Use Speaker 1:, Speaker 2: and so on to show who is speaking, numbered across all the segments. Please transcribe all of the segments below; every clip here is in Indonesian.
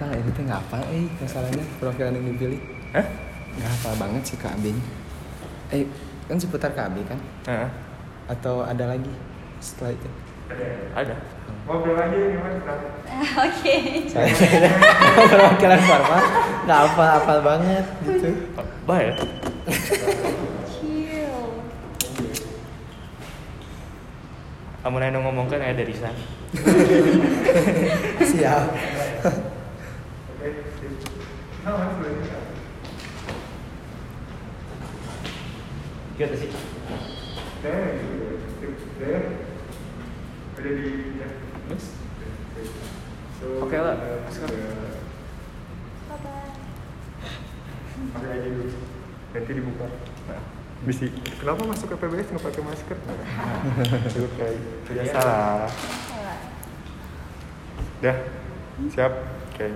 Speaker 1: Salah ini teh nggak apa eh masalahnya profil yang dipilih
Speaker 2: Hah?
Speaker 1: nggak apa banget sih Kak Abing. Eh kan seputar Kak Abing kan?
Speaker 2: Heeh.
Speaker 1: Atau ada lagi setelah itu?
Speaker 2: Ada.
Speaker 3: Ngobrol aja ini mas.
Speaker 4: Oke.
Speaker 3: Iya.
Speaker 1: Saya perwakilan formal nggak apa apa banget gitu.
Speaker 2: Baik.
Speaker 4: Chill.
Speaker 2: Kamu nanya ngomong kan ada di sana.
Speaker 1: Siap.
Speaker 3: Oke. sip. Nah, mas boleh ini, Kak.
Speaker 2: Gitu sih.
Speaker 3: Saya gitu. Sip. Saya ada di. ya.
Speaker 2: Terus?
Speaker 3: Sip. So,
Speaker 2: Oke lah,
Speaker 3: eh,
Speaker 2: sekarang.
Speaker 3: eh,
Speaker 4: Bye-bye.
Speaker 3: pakai aja dulu. Nanti dibuka. Bisi. Kenapa masuk ke PBS nggak pakai masker? Cukup kayak tidak salah.
Speaker 4: Salah.
Speaker 3: Dah. Siap. Oke.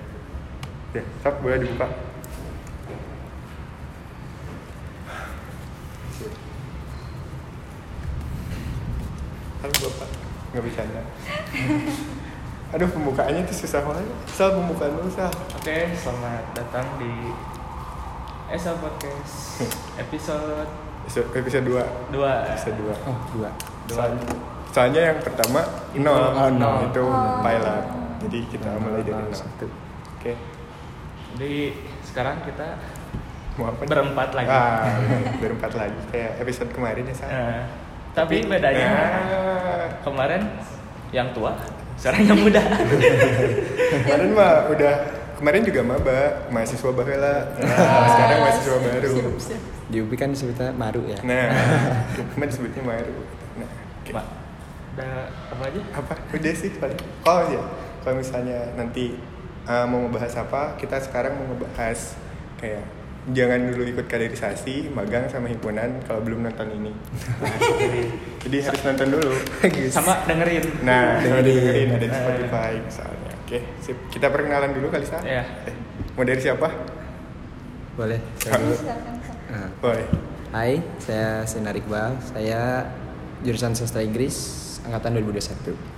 Speaker 3: Ya, siap boleh dibuka. Halo Bapak. Nggak bisa Anda. Aduh, pembukaannya tuh susah banget. Sal, pembukaan dulu, Sal.
Speaker 2: Oke, selamat datang di Esa Podcast episode
Speaker 3: Episode- Episode 2.
Speaker 2: 2.
Speaker 3: Episode 2.
Speaker 1: Oh dua.
Speaker 3: Soalnya, soalnya yang pertama
Speaker 2: Itu
Speaker 3: nol,
Speaker 2: nol.
Speaker 3: nol. itu
Speaker 4: Oh.
Speaker 3: pilot. Jadi kita mulai dari
Speaker 1: Nol,
Speaker 3: nol.
Speaker 1: satu.
Speaker 3: Oke,
Speaker 2: Jadi sekarang kita
Speaker 3: mau apa? nih?
Speaker 2: Berempat lagi.
Speaker 3: Ah, berempat lagi kayak episode kemarin ya saya.
Speaker 2: eh, tapi bedanya
Speaker 3: Ah.
Speaker 2: kemarin yang tua, sekarang yang muda.
Speaker 3: kemarin mah udah kemarin juga maba mahasiswa bahela. Nah,
Speaker 4: Ah,
Speaker 3: sekarang mahasiswa
Speaker 4: sip,
Speaker 3: baru.
Speaker 4: sip, sip.
Speaker 1: Di UPI kan sebetulnya baru ya.
Speaker 3: Nah, kemarin disebutnya baru. Nah, oke.
Speaker 2: Pak, udah apa aja?
Speaker 3: apa udah sih paling oh ya kalau misalnya nanti uh, mau ngebahas apa kita sekarang mau ngebahas kayak jangan dulu ikut kaderisasi magang sama himpunan kalau belum nonton ini jadi harus nonton dulu
Speaker 2: Sama dengerin.
Speaker 3: Gitu. nah
Speaker 1: Dengerin.
Speaker 3: kalau dengerin ada di
Speaker 2: Eh.
Speaker 3: Spotify misalnya oke sip kita perkenalan dulu kali Sa.
Speaker 2: Iya.
Speaker 3: Eh, mau dari siapa
Speaker 1: Boleh.
Speaker 3: Kak.
Speaker 4: Ini silakan, Kak.
Speaker 1: Nah.
Speaker 3: boleh
Speaker 1: Hai, saya Sinar Iqbal. Saya jurusan sastra Inggris angkatan 2021.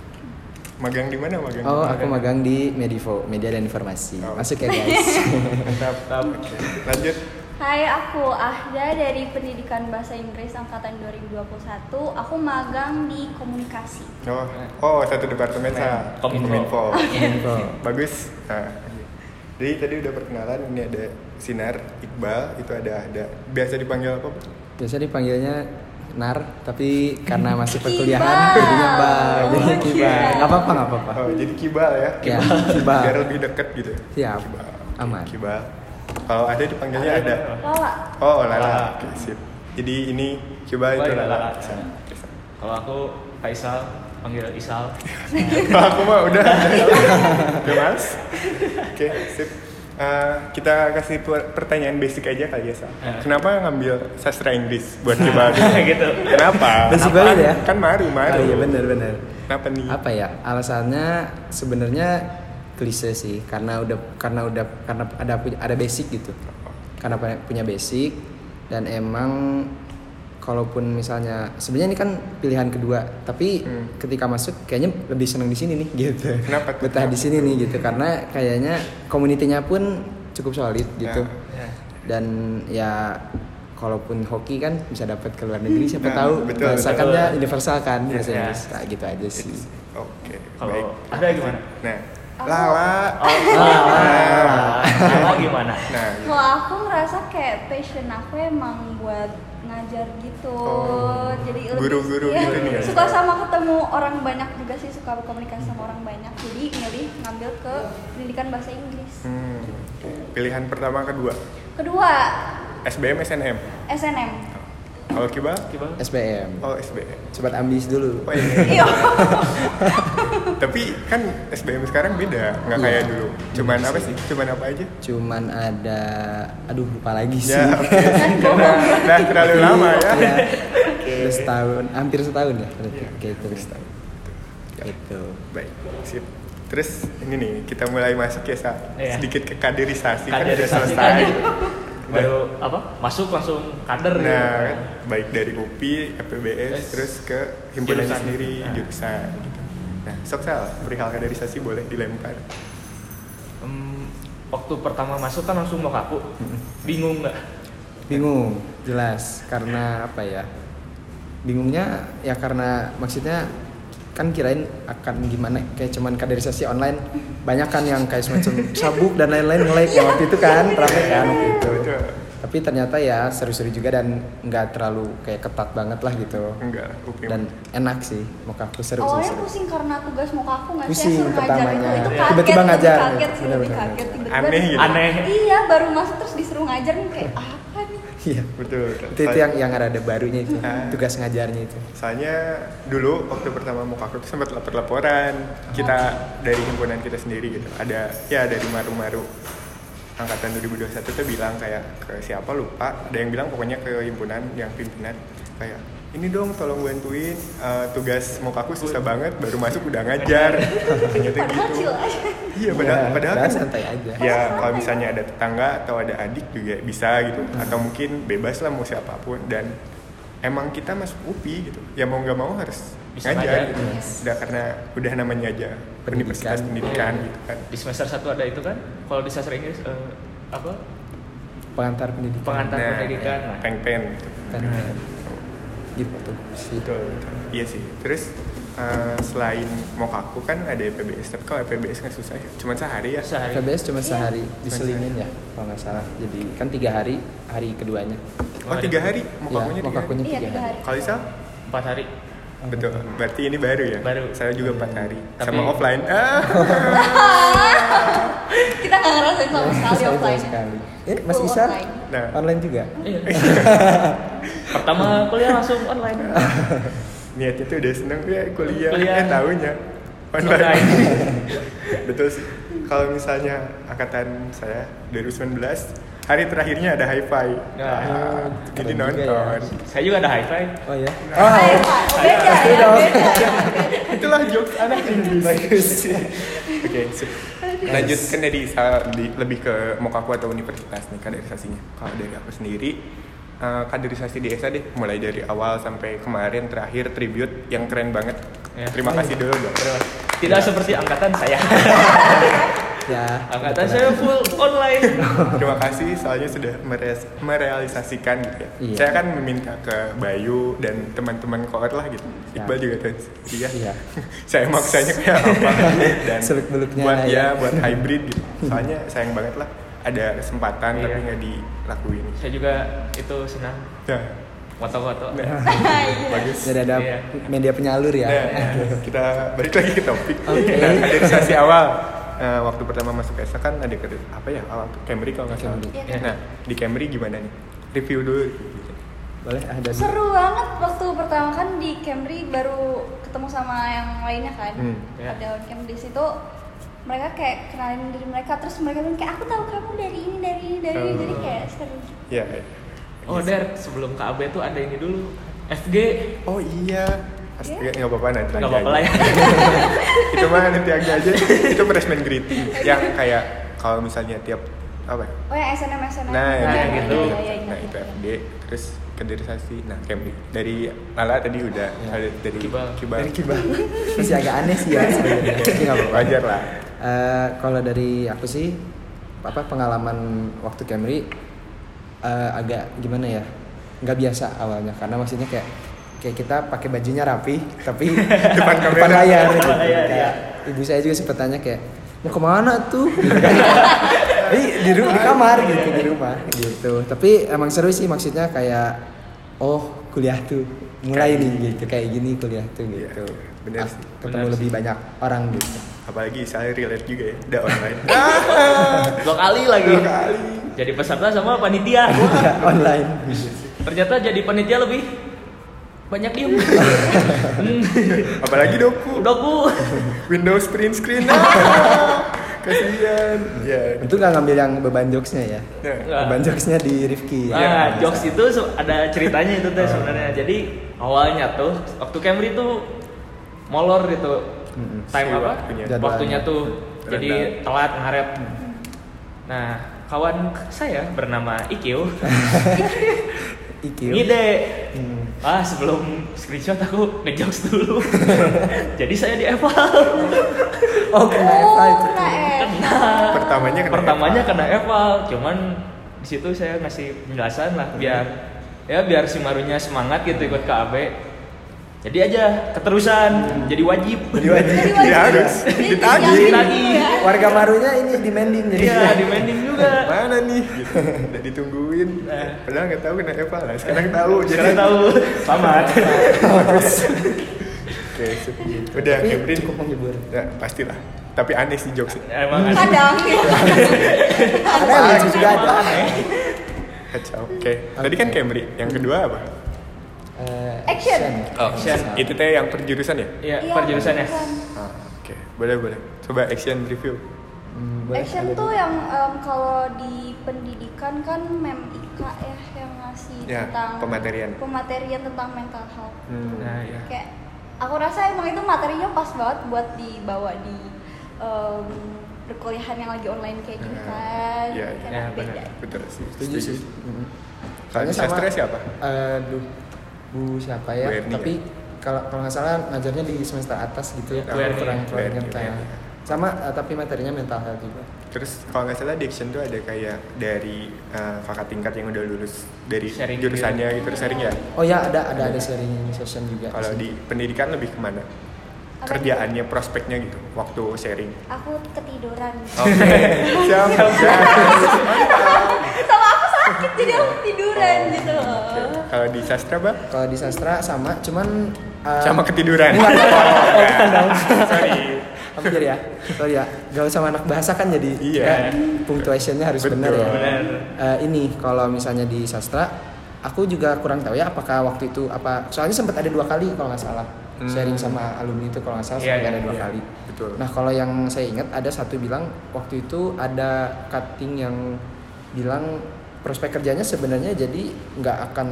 Speaker 3: magang di mana magang di
Speaker 1: Oh,
Speaker 3: mana?
Speaker 1: aku magang di Medivo, Media dan Informasi.
Speaker 3: Oh.
Speaker 1: Masuk ya, guys.
Speaker 2: Mantap, mantap.
Speaker 3: Nah, lanjut
Speaker 4: Hai, aku Ahda dari Pendidikan Bahasa Inggris Angkatan 2021. Aku magang di komunikasi.
Speaker 3: oh oh satu departemen Sa.
Speaker 2: Kominfo.
Speaker 1: Info.
Speaker 3: bagus nah, jadi tadi udah perkenalan ini ada sinar iqbal itu ada ada biasa dipanggil apa Bu?
Speaker 1: Biasa dipanggilnya Nar, tapi karena masih
Speaker 4: Kibal.
Speaker 1: perkuliahan, jadinya Bal.
Speaker 4: Oh,
Speaker 1: Jadi Kibal.
Speaker 4: Kibal.
Speaker 1: Nggak apa-apa, nggak apa-apa.
Speaker 3: oh, jadi kibal ya
Speaker 1: Ya,
Speaker 3: biar
Speaker 1: Kibal.
Speaker 3: lebih deket gitu
Speaker 1: Siap, aman.
Speaker 3: kibal kalau ada dipanggilnya Ya,
Speaker 2: Iya.
Speaker 3: ada
Speaker 4: Lala,
Speaker 3: oh lala
Speaker 2: Lala.
Speaker 3: Oke, sip jadi ini
Speaker 2: Kibal
Speaker 3: kibal itu
Speaker 2: itu
Speaker 3: lala
Speaker 2: Lala. Kalau aku Faisal, panggil Isal.
Speaker 3: Kalau aku mah udah udah mas oke sip Eh, kita kasih per- pertanyaan basic aja kali ya Sa.
Speaker 2: Eh.
Speaker 3: Kenapa ngambil sastra Inggris buat kibal?
Speaker 2: gitu.
Speaker 3: Kenapa?
Speaker 1: Basic
Speaker 3: Kenapa?
Speaker 1: banget ya?
Speaker 3: Kan maru, maru.
Speaker 1: Oh, iya, benar-benar.
Speaker 3: Kenapa nih?
Speaker 1: Apa ya? Alasannya sebenarnya klise sih, karena udah karena udah karena ada punya- ada basic gitu. Karena punya- punya basic dan emang kalaupun misalnya sebenarnya ini kan pilihan kedua, tapi
Speaker 3: Hmm.
Speaker 1: ketika masuk kayaknya lebih seneng di sini nih gitu.
Speaker 3: Kenapa tuh?
Speaker 1: Betah di sini nih gitu karena kayaknya komunitinya pun cukup solid gitu.
Speaker 2: Ya.
Speaker 1: Dan ya kalaupun hoki kan bisa dapat ke luar negeri siapa
Speaker 3: Nah,
Speaker 1: tahu
Speaker 3: betul,
Speaker 1: bahasa kan
Speaker 2: betul.
Speaker 1: ya universal kan
Speaker 2: Iya,
Speaker 1: bahasa
Speaker 2: iya.
Speaker 1: Inggris Nah, gitu aja sih
Speaker 3: Oke, baik.
Speaker 2: Kalau ada gimana?
Speaker 3: Nah,
Speaker 4: Oh.
Speaker 3: Lala. Ah.
Speaker 2: Lala. Lala gimana?
Speaker 3: Nah,
Speaker 4: kalau aku ngerasa kayak passion aku emang buat ngajar gitu.
Speaker 3: Oh,
Speaker 4: Jadi
Speaker 3: guru-guru
Speaker 4: iya,
Speaker 3: gitu nih ya.
Speaker 4: Suka sama ketemu orang banyak juga sih, suka berkomunikasi sama orang banyak. Jadi milih ngambil ke pendidikan bahasa Inggris.
Speaker 3: hmm, pilihan pertama kedua
Speaker 4: Kedua,
Speaker 3: SBM SNM.
Speaker 4: SNM.
Speaker 3: Kalau Kiba?
Speaker 2: Gimana?
Speaker 1: SPM
Speaker 3: Oh SBM.
Speaker 1: sobat ambis dulu
Speaker 3: Oh,
Speaker 4: Iya.
Speaker 3: iya. Tapi kan SBM sekarang beda, nggak
Speaker 1: Iya.
Speaker 3: kayak dulu. Cuman apa sih? Cuman apa aja?
Speaker 1: cuman ada aduh lupa lagi sih
Speaker 3: Ya, oke. Nah, nah, terlalu lama ya.
Speaker 1: Iya. Udah setahun hampir setahun ya berarti
Speaker 3: Iya,
Speaker 1: kayak itu Gitu.
Speaker 3: habis tahu.
Speaker 1: itu
Speaker 3: Baik, sip. Terus ini nih, kita mulai masuk ya, Sa.
Speaker 2: Iya.
Speaker 3: Sedikit ke kaderisasi, kan udah
Speaker 2: Kaderisasi
Speaker 3: selesai.
Speaker 2: tadi. Baru apa? Masuk langsung kader gitu.
Speaker 3: Nah, kan, baik dari UPI,
Speaker 2: Terus
Speaker 3: APBS, terus ke himpunan
Speaker 2: jurusan.
Speaker 3: sendiri,
Speaker 2: Nah.
Speaker 3: jurusan gitu. Nah, Nah, sok sel, perihal kaderisasi boleh dilempar.
Speaker 2: Em, waktu pertama masuk kan langsung mau kaku. Bingung nggak?
Speaker 1: bingung jelas karena apa ya bingungnya ya karena maksudnya kan kirain akan gimana kayak cuman kaderisasi online banyak kan yang kayak semacam sabuk dan lain-lain nge-like yang waktu itu kan
Speaker 3: Iya,
Speaker 1: rame kan waktu itu
Speaker 3: Betul.
Speaker 1: tapi ternyata ya seru-seru juga dan nggak terlalu kayak ketat banget lah gitu
Speaker 3: Enggak, oke. Oh,
Speaker 1: dan enak sih mau kaku seru sih
Speaker 4: Awalnya
Speaker 1: seru
Speaker 4: pusing karena tugas mau kaku nggak sih?
Speaker 1: Pusing
Speaker 4: Saya suruh ngajar
Speaker 1: pertamanya.
Speaker 4: itu,
Speaker 1: Iya.
Speaker 4: itu kaget,
Speaker 1: Tiba-tiba
Speaker 4: lebih
Speaker 1: ngajar,
Speaker 4: kaget sih, lebih
Speaker 1: benar-benar.
Speaker 4: kaget tiba-tiba.
Speaker 3: Aneh gitu.
Speaker 2: Aneh.
Speaker 4: Iya, baru masuk terus disuruh ngajar nih kayak apa nih?
Speaker 1: iya
Speaker 3: Betul. betul.
Speaker 1: itu, itu yang yang ada ada barunya itu
Speaker 3: Ah.
Speaker 1: tugas ngajarnya itu
Speaker 3: Soalnya dulu waktu pertama mau kakak tuh sempat lapor-laporan kita dari himpunan kita sendiri gitu. Ada ya dari maru-maru angkatan 2021 tuh bilang kayak ke siapa lupa. Ada yang bilang pokoknya ke himpunan yang pimpinan kayak ini dong tolong bantuin eh, tugas mau kaku susah banget baru masuk udah ngajar. Ternyata
Speaker 4: Padahal
Speaker 3: gitu.
Speaker 4: chill aja.
Speaker 3: Iya padahal
Speaker 1: Ya,
Speaker 3: padahal kan-
Speaker 1: santai aja
Speaker 3: Ya, kalau misalnya ada tetangga atau ada adik juga bisa gitu, atau mungkin bebas lah mau siapapun dan emang kita masuk UPI gitu, ya mau nggak mau harus
Speaker 2: Bisa ngajar,
Speaker 3: ngajar gitu.
Speaker 2: yes.
Speaker 3: Udah karena udah namanya aja universitas pendidikan
Speaker 2: Iya.
Speaker 3: gitu kan.
Speaker 2: Di semester 1 ada itu kan? Kalau di sastra Inggris eh, apa?
Speaker 1: pengantar pendidikan
Speaker 2: Pengantar
Speaker 3: Nah,
Speaker 2: pendidikan. Nah,
Speaker 3: Peng-pen gitu.
Speaker 1: Kan. gitu sih
Speaker 3: Betul, betul. Iya sih. Terus eh, selain Mokaku kan ada EPBS, tapi kalau EPBS nggak susah ya, cuma sehari ya.
Speaker 2: sehari.
Speaker 1: KBS cuma sehari diselingin
Speaker 3: sehari.
Speaker 1: ya kalau nggak salah jadi kan tiga hari hari keduanya
Speaker 3: Oh tiga hari,
Speaker 1: ya
Speaker 3: Mokakunya
Speaker 1: mau
Speaker 3: tiga hari.
Speaker 1: kakunya
Speaker 4: Iya,
Speaker 1: tiga
Speaker 4: tiga
Speaker 1: hari
Speaker 4: hari.
Speaker 3: Kalau Isal?
Speaker 2: Empat hari.
Speaker 3: Betul, berarti ini baru ya?
Speaker 2: Baru.
Speaker 3: Saya juga empat hari.
Speaker 2: Tapi-
Speaker 3: Sama offline. Ah.
Speaker 4: Kita nggak ngerasain sama sekali
Speaker 1: Sama
Speaker 4: offline.
Speaker 1: Iya, sekali. Eh, Mas
Speaker 4: Full
Speaker 1: Isar
Speaker 4: online.
Speaker 3: Nah.
Speaker 1: online juga
Speaker 2: Iya. Pertama kuliah langsung online.
Speaker 3: niatnya tuh udah seneng ya kuliah,
Speaker 2: Kuliah.
Speaker 3: eh tahunya online,
Speaker 2: Online.
Speaker 3: betul sih kalau misalnya angkatan saya 2019 hari terakhirnya ada hi-fi
Speaker 2: Ya.
Speaker 3: Ah,
Speaker 1: Keren
Speaker 3: jadi
Speaker 1: juga
Speaker 3: nonton
Speaker 1: ya.
Speaker 2: Saya juga ada hi-fi.
Speaker 1: oh Iya, ya
Speaker 3: Nah.
Speaker 4: Eh, Pak, beda ya, beda.
Speaker 3: itulah jokes anak Indonesia oke sip. lanjut kan dari sa- di- lebih ke mokaku atau universitas nih kaderisasinya kalau dari aku sendiri eh, kaderisasi di ESA deh mulai dari awal sampai kemarin terakhir tribute yang keren banget
Speaker 2: Ya.
Speaker 3: terima kasih dulu dok Iya.
Speaker 2: Tidak seperti angkatan saya.
Speaker 1: ya
Speaker 2: angkatan saya full online.
Speaker 3: Terima kasih soalnya sudah meres- merealisasikan gitu ya.
Speaker 1: Iya.
Speaker 3: Saya kan meminta ke Bayu dan teman-teman koor lah gitu.
Speaker 1: Ya.
Speaker 3: Iqbal juga tuh. Iya.
Speaker 1: Iya.
Speaker 3: saya maksanya kayak apa dan
Speaker 1: Seluk-beluknya
Speaker 3: buat
Speaker 1: ya.
Speaker 3: ya. buat hybrid gitu. Soalnya sayang banget lah ada kesempatan tapi
Speaker 2: Iya.
Speaker 3: nggak dilakuin.
Speaker 2: Saya juga itu senang
Speaker 3: Nah,
Speaker 2: foto-foto.
Speaker 3: nah,
Speaker 4: Iya.
Speaker 3: bagus.
Speaker 1: jadi ada
Speaker 2: Iya.
Speaker 1: media penyalur ya
Speaker 3: Nah, kita balik lagi ke topik.
Speaker 1: Oke.
Speaker 3: Nah, kaderisasi awal. Nah, waktu pertama masuk ESA kan ada kader- apa ya? Awal tuh, Camry kalau nggak salah.
Speaker 1: Camry.
Speaker 4: Iya.
Speaker 3: Nah, di Camry gimana nih? Review dulu.
Speaker 1: boleh ada
Speaker 4: Seru banget waktu pertama kan di Camry baru ketemu sama yang lainnya kan.
Speaker 3: Hmm,
Speaker 2: iya.
Speaker 4: Ada on cam di situ mereka kayak kenalin diri mereka terus mereka bilang kayak aku tahu kamu dari ini dari ini dari ini jadi
Speaker 3: Oh.
Speaker 4: kayak seru.
Speaker 3: Ya.
Speaker 2: Oh, Der, sebelum ke AB tuh ada ini dulu. FG.
Speaker 3: Oh iya. Astaga, nggak apa-apa nanti
Speaker 2: Enggak
Speaker 3: lagi
Speaker 2: apa-apa lah
Speaker 3: aja.
Speaker 2: ya.
Speaker 3: Itu mah nanti aja aja. Itu freshman greeting yang kayak kalau misalnya tiap apa? ya?
Speaker 4: Oh ya SNM SNM.
Speaker 3: Nah,
Speaker 2: Nah,
Speaker 3: yang
Speaker 2: gitu.
Speaker 3: itu.
Speaker 4: Iya, iya, iya.
Speaker 3: Nah, itu FD terus kaderisasi. Nah, Camry. Dari Lala tadi udah
Speaker 1: Ya.
Speaker 3: ada dari
Speaker 2: Iya. Kibal.
Speaker 3: Kibal.
Speaker 1: dari kibah masih agak aneh sih ya sebenarnya Tapi nggak apa-apa
Speaker 3: Iya. Wajar lah.
Speaker 1: Eh, kalau dari aku sih apa pengalaman waktu Camry eh, agak gimana ya nggak biasa awalnya karena maksudnya kayak kayak kita pakai bajunya rapi tapi
Speaker 3: Depan kamera.
Speaker 1: layar gitu.
Speaker 2: Depan layar,
Speaker 1: Kayak ibu saya juga sempat tanya kayak mau kemana tuh di di, ru- di kamar gitu di rumah gitu tapi emang seru sih maksudnya kayak oh kuliah tuh mulai nih gitu kayak gini kuliah tuh
Speaker 3: Iya,
Speaker 1: gitu Ah,
Speaker 3: bener sih.
Speaker 1: ketemu
Speaker 2: Bener
Speaker 1: lebih banyak orang gitu
Speaker 3: Apalagi saya relate juga ya, udah online.
Speaker 2: Dua kali lagi.
Speaker 3: Dua kali.
Speaker 2: Jadi peserta sama panitia.
Speaker 1: Iya, online
Speaker 2: Ternyata jadi panitia lebih banyak diem. Hmm,
Speaker 3: Apalagi doku.
Speaker 2: Udah ku.
Speaker 3: Windows print screen. Ah, Kasihan. Ya.
Speaker 1: itu nggak ngambil yang beban jokesnya ya
Speaker 3: Nah.
Speaker 2: Nah.
Speaker 1: beban jokesnya di Rifki
Speaker 2: Nah,
Speaker 1: ya.
Speaker 2: jokes itu se- ada ceritanya itu teh sebenarnya. Jadi awalnya tuh waktu Camry tuh molor gitu.
Speaker 1: Mm-mm.
Speaker 2: Time
Speaker 3: Si
Speaker 2: apa?
Speaker 3: waktunya.
Speaker 1: Jadwalnya.
Speaker 2: Waktunya tuh
Speaker 3: Terendam.
Speaker 2: jadi telat ngaret. Nah, kawan saya bernama Ikil
Speaker 1: IQ.
Speaker 2: Ngide. Ah, sebelum screenshot aku ngejokes dulu. Jadi saya di eval.
Speaker 1: Oh, kena Eva
Speaker 4: Oh,
Speaker 1: itu.
Speaker 4: kena F.
Speaker 3: Pertamanya Iya, kena
Speaker 2: Pertamanya
Speaker 3: Eva.
Speaker 2: kena eval, cuman di situ saya ngasih penjelasan lah
Speaker 3: Iya.
Speaker 2: biar ya biar si Marunya semangat gitu ikut KAB. Jadi aja keterusan, jadi wajib.
Speaker 3: Jadi wajib.
Speaker 4: Jadi
Speaker 3: Jadi
Speaker 4: wajib.
Speaker 3: ya, harus
Speaker 4: Jadi
Speaker 3: ditagih.
Speaker 4: dijamin,
Speaker 2: Ditagih.
Speaker 4: ya.
Speaker 1: Warga Marunya ini demanding jadi.
Speaker 2: Iya, demanding juga.
Speaker 3: Mana nih? Gitu. Udah ditungguin.
Speaker 2: Nah.
Speaker 3: Padahal nggak tahu kena Eva lah. Sekarang tahu.
Speaker 2: Sekarang tahu. Selamat.
Speaker 3: Oke, sip. udah
Speaker 1: Tapi
Speaker 3: Kevin
Speaker 1: cukup menghibur.
Speaker 3: Ya, pastilah. Tapi aneh sih jokesnya.
Speaker 2: Emang ada.
Speaker 4: Kadang ya.
Speaker 1: Ada yang lucu juga ada.
Speaker 3: Kacau. Oke. Tadi kan Camry. Yang kedua apa?
Speaker 1: Eh,
Speaker 4: Action.
Speaker 2: Oh, action.
Speaker 3: Itu teh yang perjurusan ya?
Speaker 2: Iya,
Speaker 4: Iya,
Speaker 2: perjurusannya.
Speaker 4: bukan.
Speaker 3: Ah, Oke, boleh boleh. Coba action review.
Speaker 1: Hmm, boleh
Speaker 4: Action
Speaker 1: ada
Speaker 4: tuh ya.
Speaker 1: dulu.
Speaker 4: yang em, kalau di pendidikan kan mem Ika ya yang ngasih
Speaker 3: Ya,
Speaker 4: tentang
Speaker 3: pematerian. Hmm. Ya.
Speaker 4: pematerian tentang mental health.
Speaker 2: Nah, iya.
Speaker 4: Kayak aku rasa emang itu materinya pas banget buat dibawa di em, perkuliahan yang lagi online kayak gini
Speaker 3: Ya.
Speaker 4: kan.
Speaker 3: Ya,
Speaker 4: Kayak
Speaker 2: ya,
Speaker 4: beda.
Speaker 2: benar.
Speaker 3: Betul sih.
Speaker 1: setuju sih. Mm.
Speaker 3: Kalau di
Speaker 1: sama-
Speaker 3: sastra siapa?
Speaker 1: Aduh, Bu siapa
Speaker 3: Bu
Speaker 1: ya?
Speaker 3: Erni
Speaker 1: Tapi
Speaker 3: ya?
Speaker 1: kalau kalau nggak salah ngajarnya di semester atas gitu ya.
Speaker 2: Bu Erni.
Speaker 1: kurang
Speaker 3: Bu
Speaker 1: kurang
Speaker 3: Erni,
Speaker 1: ingat
Speaker 3: Bu
Speaker 1: kayak.
Speaker 3: Erni.
Speaker 1: Sama eh, tapi materinya mental health juga.
Speaker 3: Terus kalau nggak salah di action tuh ada kayak dari eh, kakak tingkat yang udah lulus dari
Speaker 2: Sharing
Speaker 3: jurusannya gitu sharing ya.
Speaker 1: Oh ya ada ada ada sharing session juga.
Speaker 3: Kalau di pendidikan lebih kemana?
Speaker 4: Apa
Speaker 3: Kerjaannya, prospeknya gitu, waktu sharing.
Speaker 4: Aku ketiduran.
Speaker 3: Oke, siap, siap,
Speaker 4: Sama aku sakit jadi aku ketiduran
Speaker 1: Oh.
Speaker 4: gitu loh.
Speaker 3: Kalau di sastra, Bang?
Speaker 1: kalau di sastra sama, cuman eh,
Speaker 3: Sama ketiduran.
Speaker 1: Enggak, enggak,
Speaker 3: Sorry.
Speaker 1: Hampir ya. Sorry ya. Gaul sama anak bahasa kan jadi
Speaker 3: Iya.
Speaker 1: ya, punctuationnya harus
Speaker 3: Betul.
Speaker 1: benar ya.
Speaker 2: Benar.
Speaker 1: Eh, ini kalau misalnya di sastra aku juga kurang tahu ya apakah waktu itu apa soalnya sempat ada dua kali kalau nggak salah
Speaker 3: Hmm.
Speaker 1: sharing sama alumni itu kalau nggak salah
Speaker 2: Iya,
Speaker 1: sempat
Speaker 2: iya,
Speaker 1: ada dua
Speaker 3: iya.
Speaker 1: kali.
Speaker 3: Betul.
Speaker 1: Nah kalau yang saya ingat ada satu bilang waktu itu ada cutting yang bilang prospek kerjanya sebenarnya jadi nggak akan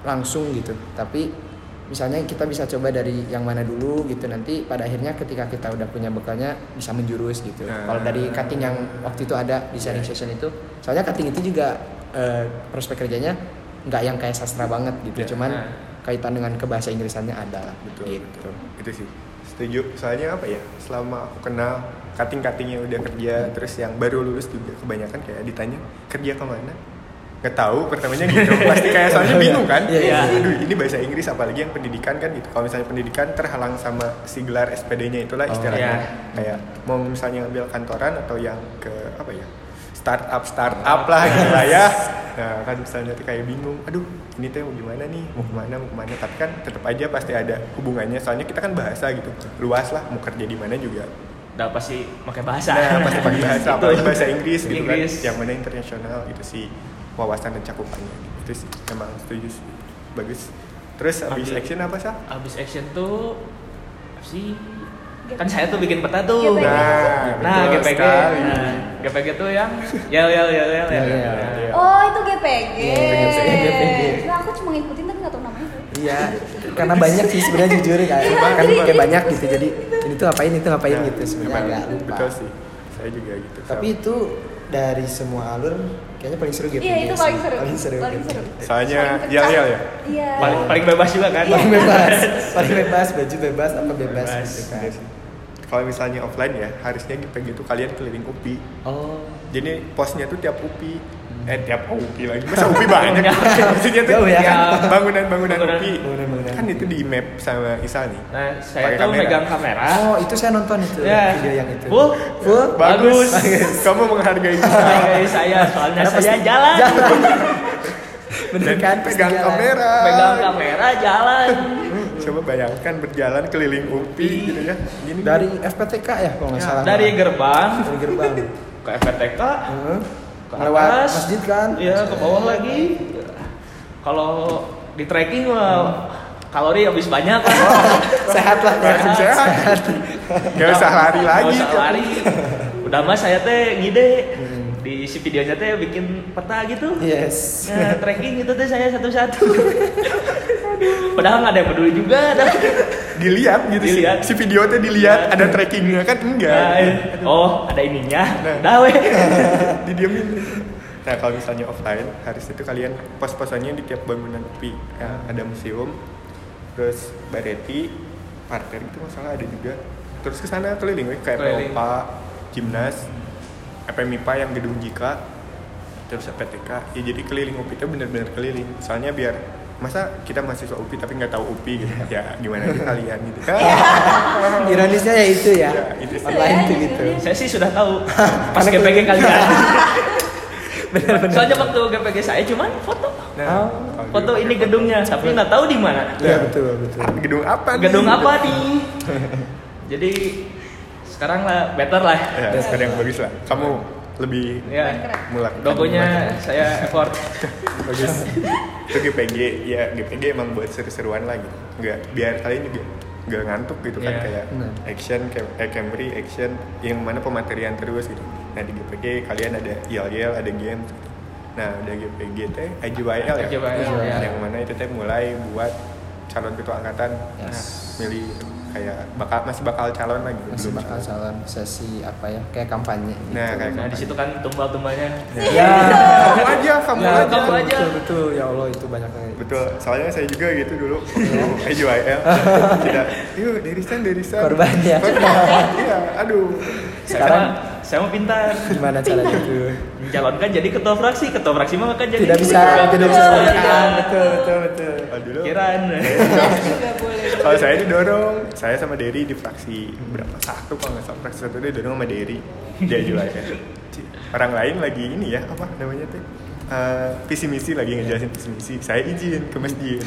Speaker 1: langsung gitu tapi misalnya kita bisa coba dari yang mana dulu gitu nanti pada akhirnya ketika kita udah punya bekalnya bisa menjurus gitu
Speaker 3: Nah.
Speaker 1: kalau dari cutting yang waktu itu ada di
Speaker 3: Iya.
Speaker 1: sharing session itu soalnya cutting itu juga eh, prospek kerjanya nggak yang kayak sastra banget gitu
Speaker 3: Ya.
Speaker 1: cuman
Speaker 2: Nah.
Speaker 1: kaitan dengan ke bahasa Inggrisannya ada lah
Speaker 3: Betul,
Speaker 1: gitu.
Speaker 3: betul. Itu sih. Setuju. Soalnya apa ya? Selama aku kenal kating-kating yang udah kerja, terus yang baru lulus juga kebanyakan kayak ditanya kerja kemana? Nggak tahu. Pertamanya gitu. Pasti kayak soalnya bingung kan?
Speaker 1: Iya, iya.
Speaker 3: Aduh, ini bahasa Inggris apalagi yang pendidikan kan gitu. Kalau misalnya pendidikan terhalang sama si gelar SPD-nya itulah
Speaker 1: Oh,
Speaker 3: istilahnya.
Speaker 2: iya.
Speaker 3: Kayak mau misalnya ambil kantoran atau yang ke apa ya? startup startup
Speaker 1: Oh,
Speaker 3: lah gitu lah ya nah kan misalnya tuh kayak bingung aduh ini teh mau gimana nih mau kemana mau kemana tapi kan tetap aja pasti ada hubungannya soalnya kita kan bahasa gitu luas lah mau kerja di mana juga
Speaker 2: Udah pasti pakai bahasa.
Speaker 3: nah pasti pakai bahasa
Speaker 2: Gitu.
Speaker 3: apalagi bahasa Inggris gitu
Speaker 2: Inggris.
Speaker 3: kan yang mana internasional gitu sih wawasan dan cakupannya itu sih emang setuju sih bagus terus abis
Speaker 2: Ambil.
Speaker 3: action apa sih
Speaker 2: Abis action tuh apa sih? Kan saya tuh bikin peta tuh.
Speaker 4: GPG.
Speaker 2: Nah,
Speaker 3: betul
Speaker 2: GPG.
Speaker 3: sekali.
Speaker 2: Nah, GPG tuh yang yel yel yel yel.
Speaker 1: Yel,
Speaker 3: Iya,
Speaker 2: yel.
Speaker 1: yel.
Speaker 2: Nah,
Speaker 4: Oh itu GPG.
Speaker 1: Ya. Iya, GPG.
Speaker 4: Nah aku cuma ngikutin tapi nggak tahu namanya.
Speaker 1: Iya, karena banyak sih sebenarnya jujur kayak
Speaker 4: Iya,
Speaker 1: kan
Speaker 4: jadi-
Speaker 1: pakai banyak gitu. Jadi ini tuh ngapain itu ngapain
Speaker 2: Iya,
Speaker 3: Nah,
Speaker 1: gitu sebenarnya
Speaker 3: emang
Speaker 1: agak lupa.
Speaker 3: betul sih saya juga gitu
Speaker 1: Tapi itu dari semua alur kayaknya paling seru gitu.
Speaker 4: Iya itu paling seru.
Speaker 1: Paling seru. gitu.
Speaker 4: Paling seru.
Speaker 3: Soalnya
Speaker 4: Paling
Speaker 3: yel yel ya
Speaker 4: pecah. Iya.
Speaker 2: Paling paling bebas juga kan?
Speaker 1: Paling bebas, paling bebas, baju bebas, apa bebas,
Speaker 2: Bebas.
Speaker 1: gitu kan.
Speaker 3: Bener sih. Kalau misalnya offline ya, harusnya GPG itu kalian keliling UPI.
Speaker 1: Oh,
Speaker 3: Jadi posnya tuh tiap UPI. Eh, tiap UPI lagi. Masa UPI banyak? Maksudnya tuh
Speaker 1: Jauh ya.
Speaker 2: Iya.
Speaker 3: ya, bangunan-bangunan
Speaker 2: Bangunan.
Speaker 3: UPI.
Speaker 1: Bangunan-bangunan.
Speaker 3: Kan itu di map sama Isal nih.
Speaker 2: Nah, saya
Speaker 3: Pakai
Speaker 2: tuh
Speaker 3: kamera.
Speaker 2: megang kamera.
Speaker 1: oh itu saya nonton itu
Speaker 2: Ya.
Speaker 1: video yang itu.
Speaker 2: Full?
Speaker 1: full.
Speaker 3: Bagus.
Speaker 1: Bagus.
Speaker 3: Kamu menghargai kita.
Speaker 2: Sebagai saya, soalnya
Speaker 1: Karena
Speaker 2: saya
Speaker 1: pasti-
Speaker 2: jalan.
Speaker 1: Jalan. Bener
Speaker 3: Dan
Speaker 1: kan? Pasti
Speaker 3: pegang
Speaker 1: jalan.
Speaker 3: kamera.
Speaker 2: Pegang kamera jalan.
Speaker 3: Coba bayangkan berjalan keliling UPI gitu ya. Gini.
Speaker 1: Dari FPTK ya kalau nggak salah.
Speaker 2: Iya, Dari gerbang
Speaker 1: Dari gerbang.
Speaker 2: ke FPTK,
Speaker 1: Heeh.
Speaker 2: ke
Speaker 1: Lewat
Speaker 2: atas.
Speaker 1: masjid kan?
Speaker 2: Iya, ke bawah lagi. Kalau di trekking mah kalori habis banyak kan.
Speaker 1: Sehat lah.
Speaker 3: Langsung sehat. Gak usah lari lagi.
Speaker 2: Gak usah lari. Udah mas saya teh ngide di si videonya teh bikin peta gitu.
Speaker 1: Iya. Yes.
Speaker 2: Ya, tracking gitu teh saya satu-satu. Padahal nggak ada yang peduli juga. Ada.
Speaker 3: Dilihat gitu sih.
Speaker 2: Dilihat. iya.
Speaker 3: Si video tuh dilihat ada trackingnya kan enggak.
Speaker 2: Nah, oh ada eh. ininya.
Speaker 3: Nah.
Speaker 2: Dah weh.
Speaker 3: didiemin. Nah kalau misalnya offline, harus itu kalian pos-posannya di tiap bangunan PI. Ya, ada museum, terus bareti, parter itu gitu masalah ada juga. Terus ke sana keliling weh, ke
Speaker 2: Keliling.
Speaker 3: FPOPA, Gimnas, FMIPA yang gedung Jika, terus PTK. Ya jadi keliling UPI itu bener-bener keliling. Soalnya biar masa kita mahasiswa UPI tapi nggak tahu UPI gitu ya gimana aja kalian gitu
Speaker 1: Ironisnya ya itu ya.
Speaker 3: Ya, itu sih.
Speaker 1: Online tuh
Speaker 4: Ya,
Speaker 1: gitu.
Speaker 4: jujur
Speaker 2: Saya sih sudah tahu pas
Speaker 1: Karena
Speaker 2: ya. GPG kalian.
Speaker 1: Benar-benar.
Speaker 2: Soalnya waktu GPG saya cuman foto.
Speaker 1: Oh.
Speaker 3: nah, kalau di-
Speaker 2: Foto ini gedungnya, tapi nggak tahu di mana.
Speaker 1: Iya betul betul.
Speaker 3: gedung apa nih?
Speaker 2: Gedung apa nih? Jadi sekarang lah better lah.
Speaker 3: ya, sekarang yang bagus lah kamu lebih
Speaker 2: Ya.
Speaker 3: mulai
Speaker 2: Logonya saya effort.
Speaker 3: bagus itu GPG ya GPG emang buat seru-seruan lah gitu nggak biar kalian juga nggak ngantuk gitu kan
Speaker 2: Iya,
Speaker 3: kayak
Speaker 1: benar.
Speaker 3: action cam- eh, Camry action yang mana pematerian terus gitu nah di GPG kalian ada YL ada games gitu. nah ada GPG teh IJYL ya
Speaker 2: IJYL,
Speaker 1: ya.
Speaker 3: yang mana itu teh mulai buat calon ketua angkatan
Speaker 1: Yes.
Speaker 3: nah, milih kayak bakal masih bakal calon lagi gitu,
Speaker 1: Masih
Speaker 3: belum
Speaker 1: bakal
Speaker 3: calon.
Speaker 1: calon sesi apa ya? Kayak kampanye. Gitu.
Speaker 3: nah kayak
Speaker 2: Nah di situ kan tumbal-tumbalnya
Speaker 1: Ya.
Speaker 3: kamu aja kamu
Speaker 2: Nah,
Speaker 3: aja
Speaker 2: kamu aja.
Speaker 1: Betul betul ya Allah itu banyak banget.
Speaker 3: Betul, soalnya saya juga gitu dulu waktu IJYL Tidak, yuk derisan, derisan
Speaker 1: Korbannya.
Speaker 3: Korban, iya, aduh
Speaker 1: Sekarang-
Speaker 2: Sekarang saya mau pintar.
Speaker 1: Gimana caranya itu?
Speaker 2: Mencalonkan jadi ketua fraksi, ketua fraksi mah kan jadi
Speaker 1: Tidak bisa tidak bisa
Speaker 4: Betul.
Speaker 1: mengatakan.
Speaker 3: Betul, betul, betul Kalau dulu,
Speaker 2: Kiraan.
Speaker 4: Nggak boleh.
Speaker 3: kalau saya didorong Saya sama Derry di fraksi berapa? Satu kalau nggak salah, fraksi satu dia didorong sama Derry Di IJYL Ci, ya. Orang lain lagi ini ya, apa namanya tuh? Eh, visi misi lagi ngejelasin visi misi saya izin ke masjid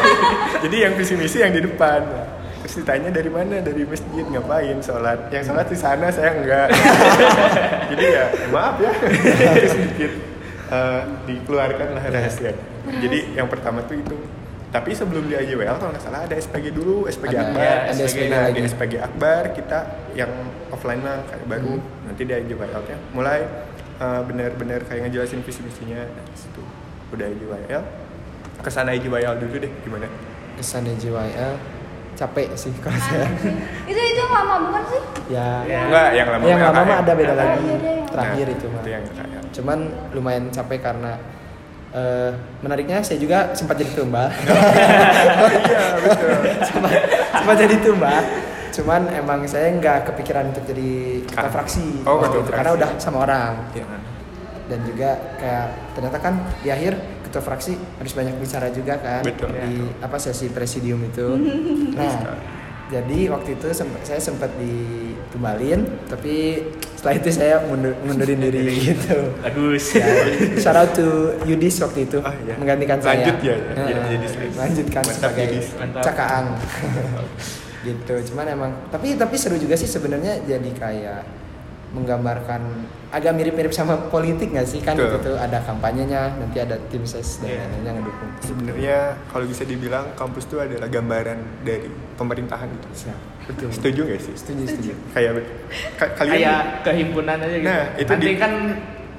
Speaker 3: jadi yang visi misi yang di depan terus ditanya dari mana dari masjid ngapain sholat yang sholat di sana saya enggak jadi ya maaf ya Terus sedikit eh, dikeluarkan lah rahasia jadi yang pertama tuh itu tapi sebelum di IJWL kalau nggak salah ada SPG dulu SPG
Speaker 1: Ada-
Speaker 3: Akbar
Speaker 2: ya, ada SPG
Speaker 3: nah, di
Speaker 1: lagi.
Speaker 3: SPG Akbar kita yang offline lah kayak baru
Speaker 1: Hmm.
Speaker 3: nanti di IJWL nya mulai eh, benar-benar kayak ngejelasin visi misinya nah, di situ udah IJWL kesana IJWL dulu deh gimana
Speaker 1: Kesan JYL capek sih kalau saya.
Speaker 4: Itu itu yang lama bukan sih?
Speaker 1: Ya.
Speaker 2: Ya.
Speaker 3: Enggak, yang lama
Speaker 1: Yang lama
Speaker 3: LKM.
Speaker 1: mah ada beda
Speaker 4: Ada
Speaker 1: lagi.
Speaker 4: beda yang-
Speaker 1: Terakhir
Speaker 3: Nah,
Speaker 1: itu mah.
Speaker 3: yang LKM.
Speaker 1: Cuman lumayan capek karena eh, menariknya saya juga sempat jadi tumbal.
Speaker 3: iya betul
Speaker 1: sempat, sempat jadi tumbal cuman emang saya nggak kepikiran untuk jadi ketua
Speaker 3: Ah.
Speaker 1: fraksi
Speaker 3: Oh,
Speaker 1: waktu
Speaker 3: ketua
Speaker 1: itu, karena
Speaker 3: fraksi.
Speaker 1: udah sama orang
Speaker 3: Iya.
Speaker 1: dan juga kayak ternyata kan di akhir ketua fraksi harus banyak bicara juga kan
Speaker 3: Betul. Iya.
Speaker 1: di apa sesi presidium itu nah jadi waktu itu semp- saya sempat ditumbalin tapi setelah itu saya mundur, mundurin diri gitu
Speaker 2: Bagus.
Speaker 1: Shout out to Yudis waktu itu
Speaker 3: Ah, iya.
Speaker 1: menggantikan saya.
Speaker 3: Lanjut ya, ya.
Speaker 1: Heeh.
Speaker 3: Jadi Yudis lagi.
Speaker 1: Lanjutkan
Speaker 3: Mantap,
Speaker 1: sebagai
Speaker 3: Yudis.
Speaker 2: Mantap.
Speaker 1: cakaang. gitu. Cuman emang tapi tapi seru juga sih sebenarnya jadi kayak menggambarkan agak mirip-mirip sama politik nggak sih kan
Speaker 3: Betul.
Speaker 1: gitu ada kampanyenya nanti ada tim ses dan
Speaker 3: Iya.
Speaker 1: lain-lain yang ngedukung
Speaker 3: sebenarnya kalau bisa dibilang kampus itu adalah gambaran dari pemerintahan itu
Speaker 1: Siap. betul
Speaker 3: setuju gak sih
Speaker 1: setuju setuju
Speaker 3: kayak ka- kalian
Speaker 2: Kayak kehimpunan aja gitu.
Speaker 3: Nah, itu
Speaker 2: Nanti
Speaker 3: di-
Speaker 2: kan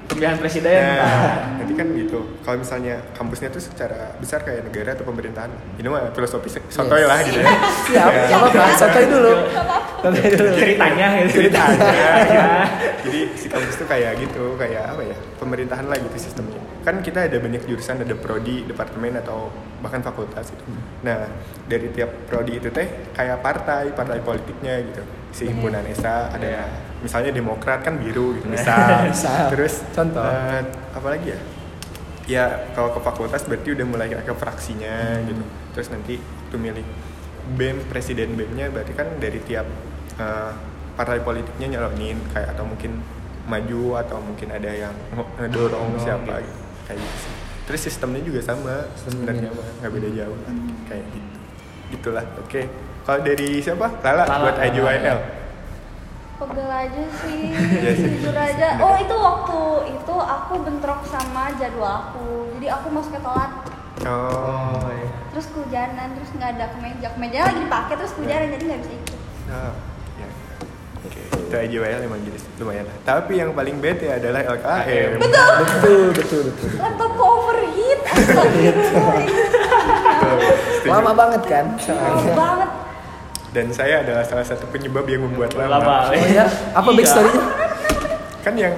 Speaker 2: pemilihan presiden.
Speaker 3: Nah, nanti kan gitu. Kalau misalnya kampusnya tuh secara besar kayak negara atau pemerintahan, ini mah filosofi se- sotoy
Speaker 1: Yes.
Speaker 3: lah gitu ya.
Speaker 1: siap
Speaker 3: Ya.
Speaker 1: sama apa santai dulu santai dulu
Speaker 2: Ceritanya gitu.
Speaker 3: Ceritanya.
Speaker 2: Ya.
Speaker 3: Jadi si kampus tuh kayak gitu, kayak apa ya? Pemerintahan lah gitu sistemnya. Kan kita ada banyak jurusan, ada prodi, departemen atau bahkan fakultas gitu.
Speaker 1: Hmm.
Speaker 3: Nah, dari tiap prodi itu teh kayak partai, partai politiknya gitu. Si
Speaker 1: Iya.
Speaker 3: himpunan esa ada
Speaker 2: Iya.
Speaker 3: misalnya Demokrat kan biru gitu, misal.
Speaker 1: Misal.
Speaker 3: Terus
Speaker 1: Contoh.
Speaker 3: eh, apa lagi ya? Ya kalau ke fakultas berarti udah mulai ke fraksinya gitu. Terus nanti waktu milih BEM presiden BEM-nya berarti kan dari tiap eh, partai politiknya nyalonin kayak atau mungkin maju atau mungkin ada yang
Speaker 2: Dorong
Speaker 3: ngedorong siapa
Speaker 2: gitu.
Speaker 3: gitu. kayak gitu sih. Terus sistemnya juga sama
Speaker 1: Sistem
Speaker 3: sebenarnya
Speaker 1: mirip.
Speaker 3: mah, nggak beda jauh lah. kayak gitu. Gitulah. Oke. Kalau dari siapa? Lala,
Speaker 2: Lala.
Speaker 3: buat IJYL.
Speaker 4: Pegel aja sih,
Speaker 3: Iya sih.
Speaker 4: jujur aja. Oh itu waktu itu aku bentrok sama jadwal aku, jadi aku masuknya telat.
Speaker 3: Oh.
Speaker 2: Oh, iya.
Speaker 4: Terus kehujanan, terus nggak ada kemeja, kemeja lagi dipakai terus
Speaker 1: Ya.
Speaker 4: kehujanan jadi nggak bisa ikut.
Speaker 3: Nah, ya. Oke, itu IJWL emang jenis lumayan lah. Tapi yang paling bete adalah LKM.
Speaker 4: Betul.
Speaker 1: betul betul betul
Speaker 4: Laptop
Speaker 1: Iya.
Speaker 4: overheat, iya. astagfirullah.
Speaker 3: Betul, setuju. Iya.
Speaker 1: lama banget kan
Speaker 4: Lama
Speaker 1: soalnya
Speaker 4: banget.
Speaker 3: Dan saya adalah salah satu penyebab yang membuat lama.
Speaker 1: Oh ya,
Speaker 2: Lama.
Speaker 1: Oh, iya, apa
Speaker 2: Iya.
Speaker 1: backstory-nya?
Speaker 3: Kan yang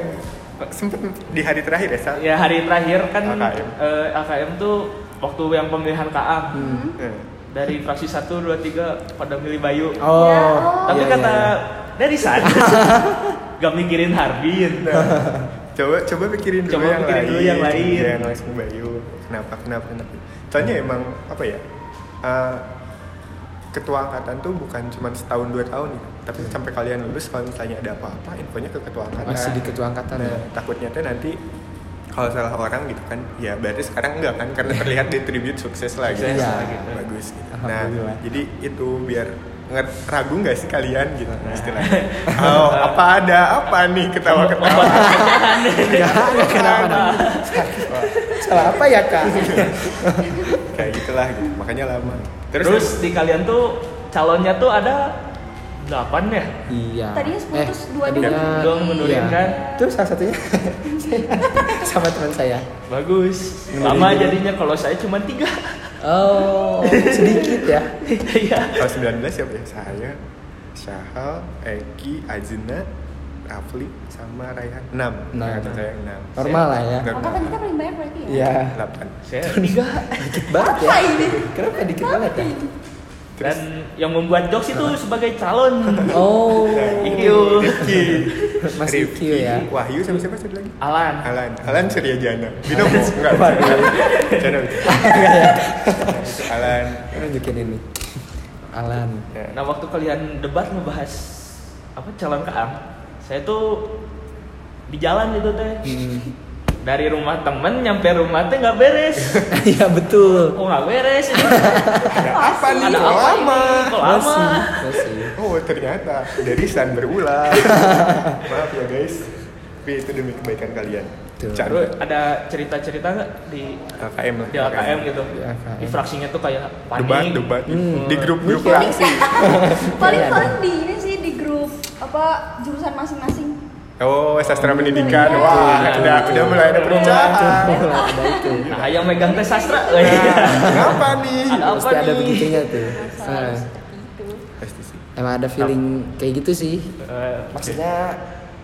Speaker 3: sempet di hari terakhir ya Sal?
Speaker 2: Ya hari terakhir kan
Speaker 3: LKM.
Speaker 2: eh, LKM tuh waktu yang pemilihan KA
Speaker 3: Hmm.
Speaker 2: dari fraksi 1 2 3 pada milih Bayu.
Speaker 1: Oh,
Speaker 4: Ya, oh.
Speaker 1: iya,
Speaker 2: Tapi
Speaker 1: iya,
Speaker 2: kata
Speaker 1: iya.
Speaker 2: dari sana gak mikirin Harbin.
Speaker 3: Nah, coba coba pikirin dulu
Speaker 2: Coba
Speaker 3: yang
Speaker 2: pikirin
Speaker 3: lain.
Speaker 2: dulu yang lain. Hmm.
Speaker 3: Jangan langsung Bayu. Kenapa kenapa kenapa? Soalnya emang apa ya? eh, ketua angkatan tuh bukan cuma setahun dua tahun ya, tapi sampai kalian lulus kalau misalnya ada apa-apa infonya ke ketua angkatan.
Speaker 1: Masih di ketua angkatan
Speaker 3: Nah,
Speaker 1: ya.
Speaker 3: takutnya tuh nanti kalau salah orang gitu kan ya berarti sekarang enggak kan karena terlihat di tribute sukses lah gitu.
Speaker 2: Sukses
Speaker 1: Iya.
Speaker 2: lah gitu.
Speaker 3: Bagus gitu. Nah,
Speaker 1: Alhamdulillah.
Speaker 3: jadi itu biar nge- ragu nggak sih kalian gitu
Speaker 1: Nah.
Speaker 3: istilahnya. Oh, apa ada apa nih ketawa-ketawa.
Speaker 1: Enggak, enggak kenapa Salah apa ya, Kak?
Speaker 3: Kayak gitulah gitu. Makanya lama.
Speaker 2: Terus, di kalian tuh calonnya tuh ada 8 ya?
Speaker 1: iya.
Speaker 4: Tadinya seputus dua
Speaker 1: tadinya-
Speaker 4: dulu.
Speaker 2: Dua
Speaker 1: iya.
Speaker 2: mundurin kan?
Speaker 1: Itu salah satunya saya sama teman saya.
Speaker 2: Bagus.
Speaker 1: Mundurin
Speaker 2: Lama
Speaker 1: dulu.
Speaker 2: jadinya kalau saya cuma 3.
Speaker 1: Oh, sedikit ya.
Speaker 2: Iya.
Speaker 3: Kalau 19 siapa ya? Saya, Syahal, Eki, Azina, Rafli, sama Raihan. Nah, 6.
Speaker 1: Enam.
Speaker 3: saya 6.
Speaker 1: Normal lah ya.
Speaker 3: Enggak
Speaker 4: Angkatan kita paling banyak berarti ya?
Speaker 1: Iya.
Speaker 3: 8.
Speaker 2: Saya 3.
Speaker 1: Dikit banget ya.
Speaker 4: Apa ini?
Speaker 1: Kenapa dikit banget ya?
Speaker 3: Terus
Speaker 2: Dan yang membuat jokes itu sebagai calon.
Speaker 1: Oh.
Speaker 2: Iyo.
Speaker 3: Rifki.
Speaker 1: Mas Rifki Iya. ya.
Speaker 3: Wahyu sama siapa satu lagi?
Speaker 2: Alan.
Speaker 3: Alan. Alan Surya Jana. Binomo enggak. Jana. Alan.
Speaker 1: Nunjukin ini. Alan.
Speaker 3: Ya.
Speaker 2: Nah waktu kalian debat ngebahas apa calon kaang, saya tuh di jalan gitu teh.
Speaker 1: Hmm.
Speaker 2: Dari rumah temen nyampe rumah teh nggak beres.
Speaker 1: Iya betul.
Speaker 2: Oh nggak beres. Ini
Speaker 3: Ada apa nih?
Speaker 2: Ada
Speaker 3: Kok
Speaker 2: apa
Speaker 3: lama?
Speaker 2: ini? Kok lama?
Speaker 1: Masih, masih.
Speaker 3: Oh ternyata dari San berulang. Maaf ya guys. Tapi itu demi kebaikan kalian.
Speaker 1: Tuh.
Speaker 3: Caro
Speaker 2: Terus ada cerita-cerita nggak di
Speaker 3: KKM lah.
Speaker 2: di LKM gitu?
Speaker 1: Di LKM.
Speaker 2: Di fraksinya tuh kayak panik.
Speaker 3: Debat, debat.
Speaker 1: Hmm.
Speaker 3: Di grup-grup
Speaker 1: Mikir.
Speaker 3: fraksi.
Speaker 4: paling
Speaker 1: Iya.
Speaker 4: paling di ini sih di grup apa jurusan masing-masing
Speaker 3: Oh, sastra
Speaker 1: Hmm.
Speaker 3: pendidikan.
Speaker 4: Iya.
Speaker 3: Wah,
Speaker 2: Iya.
Speaker 3: udah, udah mulai ada
Speaker 2: Iya.
Speaker 3: perubahan.
Speaker 1: Betul, ada itu.
Speaker 2: Nah yang megang tes sastra.
Speaker 3: Nah, Kenapa nih?
Speaker 2: Ada apa
Speaker 1: Pasti ada
Speaker 2: nih?
Speaker 1: begitunya tuh.
Speaker 4: masalah
Speaker 1: Nah,
Speaker 4: seperti itu
Speaker 3: Pasti sih.
Speaker 1: emang ada feeling kayak gitu sih.
Speaker 2: Eh,
Speaker 1: Maksudnya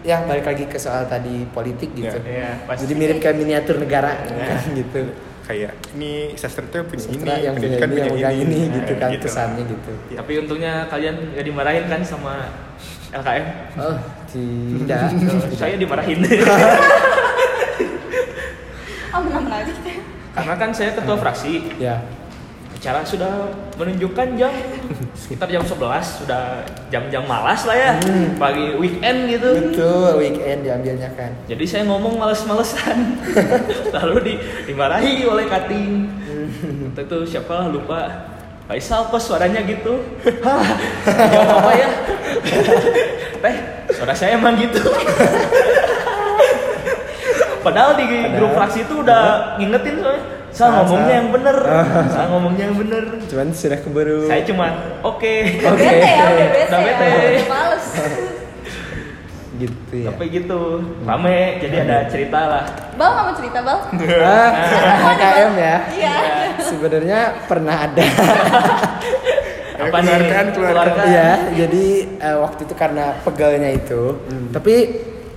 Speaker 1: ya balik lagi ke soal tadi politik gitu.
Speaker 3: Ya,
Speaker 2: Iya, pasti.
Speaker 1: Jadi mirip kayak miniatur negara
Speaker 3: Ya.
Speaker 1: gitu.
Speaker 3: kayak ini sastra tuh punya
Speaker 1: Sastra
Speaker 3: ini,
Speaker 1: yang punya
Speaker 3: pendidikan
Speaker 1: ini, yang
Speaker 3: punya
Speaker 1: megang ini, gitu
Speaker 3: Nah,
Speaker 1: kan
Speaker 3: gitu.
Speaker 1: kesannya gitu.
Speaker 2: Tapi untungnya kalian gak dimarahin kan sama LKM.
Speaker 1: Oh, tidak.
Speaker 2: Saya dimarahin.
Speaker 4: aman aman aja
Speaker 2: Karena kan saya ketua fraksi.
Speaker 1: ya.
Speaker 2: acara sudah menunjukkan jam sekitar jam 11 sudah jam-jam malas lah ya pagi weekend gitu
Speaker 1: Betul, weekend diambilnya kan.
Speaker 2: jadi saya ngomong males-malesan lalu di, dimarahi oleh kating waktu itu siapa lah lupa Faisal kok suaranya gitu Hah, nggak apa-apa ya Teh, suara saya emang gitu Padahal di grup fraksi itu udah ngingetin soalnya Sal
Speaker 1: Sal,
Speaker 2: ngomongnya
Speaker 1: Sal."
Speaker 2: yang bener Sal ngomongnya yang bener
Speaker 1: Cuman sudah keburu.
Speaker 2: saya cuma oke
Speaker 1: Oke.
Speaker 4: bete ya udah bete
Speaker 2: Udah bete.
Speaker 4: ya udah males
Speaker 1: gitu ya.
Speaker 2: tapi gitu rame jadi ada cerita lah
Speaker 4: bal kamu cerita bal
Speaker 1: Ah, KKM ya.
Speaker 4: iya
Speaker 1: Sebenarnya pernah ada.
Speaker 3: Ayo,
Speaker 2: Apa nih?
Speaker 3: keluarkan, keluarkan.
Speaker 2: Keluarkan.
Speaker 1: Iya, jadi eh, waktu itu karena pegalnya itu. Tapi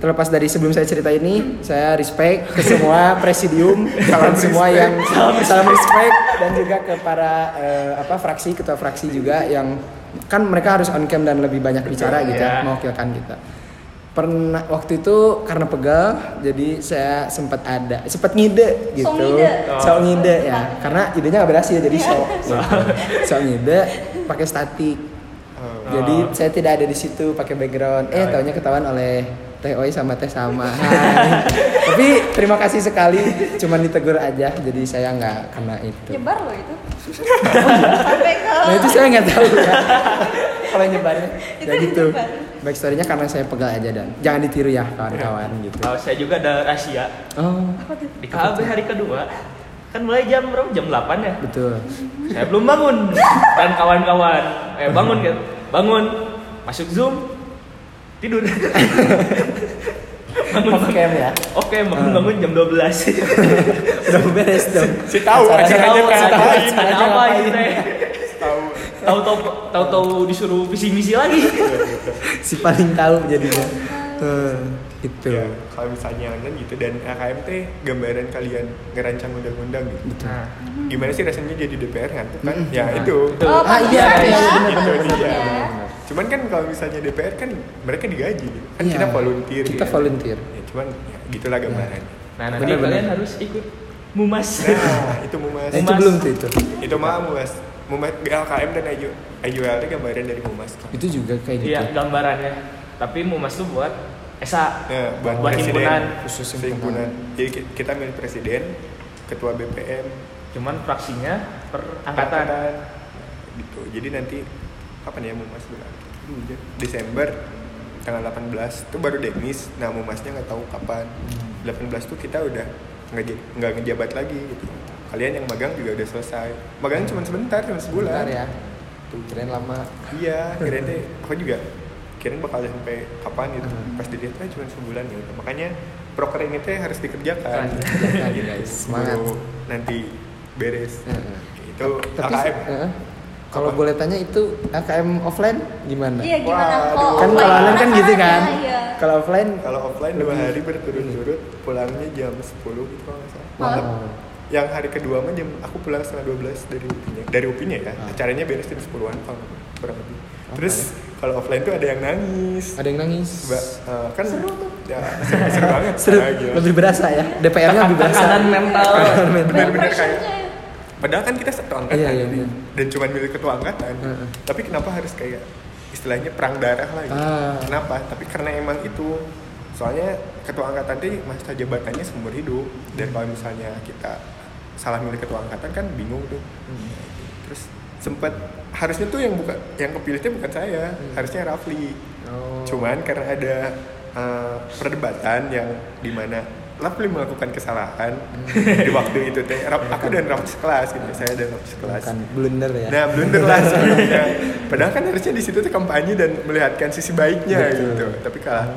Speaker 1: terlepas dari sebelum saya cerita ini, saya respect ke semua presidium dan semua yang salam respect dan juga ke para eh, apa fraksi ketua fraksi juga yang kan mereka harus on cam dan lebih banyak bicara gitu ya,
Speaker 2: Iya.
Speaker 1: mewakilkan kita. Pernah waktu itu karena pegal, jadi saya sempat ada, sempat ngide gitu.
Speaker 4: Sok ngide. Iya.
Speaker 1: Sok ngide ya, karena idenya nggak berhasil jadi sok. gitu. Sok ngide pakai statik.
Speaker 3: Oh.
Speaker 1: Jadi saya tidak ada di situ pakai background.
Speaker 4: Ah, iya.
Speaker 1: Eh, taunya ketahuan oleh Teh Oi sama Teh Sama. Hai. Tapi terima kasih sekali, cuman ditegur aja. Jadi saya nggak kena itu.
Speaker 4: nyebar loh itu sampai ke
Speaker 1: Nah itu saya nggak tahu ya. Kalau nyebarnya,
Speaker 4: Itu
Speaker 1: ya gitu.
Speaker 4: nyebar.
Speaker 1: Backstorynya karena saya pegal aja dan jangan ditiru ya kawan-kawan
Speaker 4: Iya.
Speaker 1: gitu.
Speaker 2: Oh, saya juga ada rahasia
Speaker 1: Oh,
Speaker 2: di KB hari kedua kan mulai jam berapa jam 8 ya
Speaker 1: betul.
Speaker 2: saya belum bangun dan kawan-kawan eh bangun kan bangun masuk zoom tidur bangun
Speaker 1: Off cam ya?
Speaker 2: oke bangun bangun jam 12
Speaker 1: Udah beres dong.
Speaker 3: Si tahu
Speaker 1: Acaranya
Speaker 3: acaranya
Speaker 1: tahu,
Speaker 3: kan
Speaker 1: acaranya
Speaker 3: tahu.
Speaker 1: tahu.
Speaker 2: ada apa
Speaker 1: ngapain?
Speaker 2: ini teh
Speaker 3: Tahu.
Speaker 2: tahu-tahu tahu-tahu disuruh visi misi lagi
Speaker 1: Si paling tahu jadinya. Eh, gitu
Speaker 4: Iya.
Speaker 3: Ya, kalau misalnya kan gitu dan AKMT gambaran kalian ngerancang undang-undang gitu.
Speaker 1: betul
Speaker 3: Gimana sih rasanya jadi DPR ngantuk kan?
Speaker 1: Mm-mm.
Speaker 3: Ya
Speaker 1: Nah,
Speaker 3: itu.
Speaker 4: Oh,
Speaker 1: Ah, iya,
Speaker 4: pantesan
Speaker 1: iya,
Speaker 4: ya.
Speaker 1: bener, bener,
Speaker 4: pantesan
Speaker 1: bener,
Speaker 4: ya.
Speaker 1: bener.
Speaker 3: Cuman kan kalau misalnya DPR kan mereka digaji. gitu. Kan
Speaker 1: Iya,
Speaker 3: kita volunteer.
Speaker 1: kita
Speaker 3: gitu.
Speaker 1: volunteer. Iya.
Speaker 3: Ya, cuman ya, gitulah gambaran.
Speaker 2: Nah, nanti
Speaker 1: Bener, bener.
Speaker 2: kalian harus ikut mumas.
Speaker 3: Nah, itu mumas.
Speaker 1: Nah, itu
Speaker 2: Humas.
Speaker 1: belum tuh itu
Speaker 3: Itu mah mumas. Mumas LKM dan IU IUL itu gambaran dari mumas. kan.
Speaker 1: itu juga kayak gitu
Speaker 2: Iya, gambarannya. Tapi mumas tuh buat esa.
Speaker 3: Ya, buat,
Speaker 2: Buat
Speaker 3: presiden,
Speaker 2: himpunan.
Speaker 1: Khusus himpunan.
Speaker 3: himpunan. Jadi ki- kita milih presiden, ketua BPM,
Speaker 2: Cuman fraksinya per angkatan.
Speaker 3: gitu. Jadi nanti kapan ya mumas berarti?
Speaker 4: Iya.
Speaker 3: Desember tanggal 18 itu baru demis. Nah, mumasnya nggak tahu kapan. 18 tuh kita udah nggak je- nggak ngejabat lagi gitu. Kalian yang magang juga udah selesai. Magang cuma sebentar, cuma sebulan.
Speaker 1: Bentar ya tuh keren lama
Speaker 3: Iya, kirain deh. Aku juga kirain bakal sampai kapan gitu.
Speaker 1: Hmm.
Speaker 3: Pas dilihat tuh cuma sebulan gitu. Makanya proker ini tuh harus
Speaker 1: Kan.
Speaker 3: dikerjakan.
Speaker 2: Harus
Speaker 1: dikerjakan,
Speaker 3: Gitu.
Speaker 1: guys. Iya, Semangat.
Speaker 3: Baru Nanti beres.
Speaker 1: Heeh.
Speaker 3: Itu
Speaker 1: tapi
Speaker 3: AKM.
Speaker 1: eh, kalau
Speaker 3: Apa?
Speaker 1: boleh tanya itu AKM offline gimana
Speaker 4: Iya gimana
Speaker 3: Waduh.
Speaker 4: kok?
Speaker 1: kan kalau online kan gitu kan
Speaker 4: Iya.
Speaker 1: kalau offline
Speaker 3: Kalau offline dua hari berturut-turut, pulangnya jam 10 gitu kalau nggak
Speaker 1: Iya.
Speaker 3: salah.
Speaker 4: Malam.
Speaker 3: Yang hari kedua mah jam aku pulang setengah 12 dari UPI-nya. Dari UPI-nya ya.
Speaker 1: Ah.
Speaker 3: Acaranya beres jam 10-an kalau nggak salah, kurang lebih.
Speaker 1: Oke.
Speaker 3: Terus kalau offline tuh ada yang nangis.
Speaker 1: ada yang nangis
Speaker 3: Mbak, eh, kan
Speaker 4: Seru tuh.
Speaker 3: Ya, seru, seru banget.
Speaker 1: Seru,
Speaker 3: Ah, gila.
Speaker 1: lebih berasa ya DPR-nya lebih berasa
Speaker 2: Tekanan mental.
Speaker 4: Bener
Speaker 3: Bener-bener
Speaker 4: bener
Speaker 3: kayak- Padahal kan kita satu angkatan
Speaker 1: Iya, iya,
Speaker 3: jadi-
Speaker 1: iya.
Speaker 3: dan cuma milik ketua angkatan.
Speaker 1: Heeh.
Speaker 3: Tapi kenapa harus kayak istilahnya perang darah lah gitu.
Speaker 1: Ah.
Speaker 3: Kenapa? Tapi karena emang itu soalnya ketua angkatan tadi masa jabatannya seumur hidup dan kalau misalnya kita salah milik ketua angkatan kan bingung tuh. Terus sempet harusnya tuh yang buka yang kepilihnya bukan saya,
Speaker 1: Hmm.
Speaker 3: harusnya Rafli.
Speaker 1: Oh.
Speaker 3: Cuman karena ada eh, perdebatan yang dimana Rafli melakukan kesalahan
Speaker 1: Hmm.
Speaker 3: di waktu itu teh. Raf- aku dan Rafli sekelas gitu, saya dan Rafli sekelas.
Speaker 1: Bukan blunder ya
Speaker 3: Nah blunder lah sebenarnya. Padahal kan harusnya di situ tuh kampanye dan melihatkan sisi
Speaker 1: Betul.
Speaker 3: baiknya
Speaker 1: Hmm.
Speaker 3: gitu. Tapi kalah.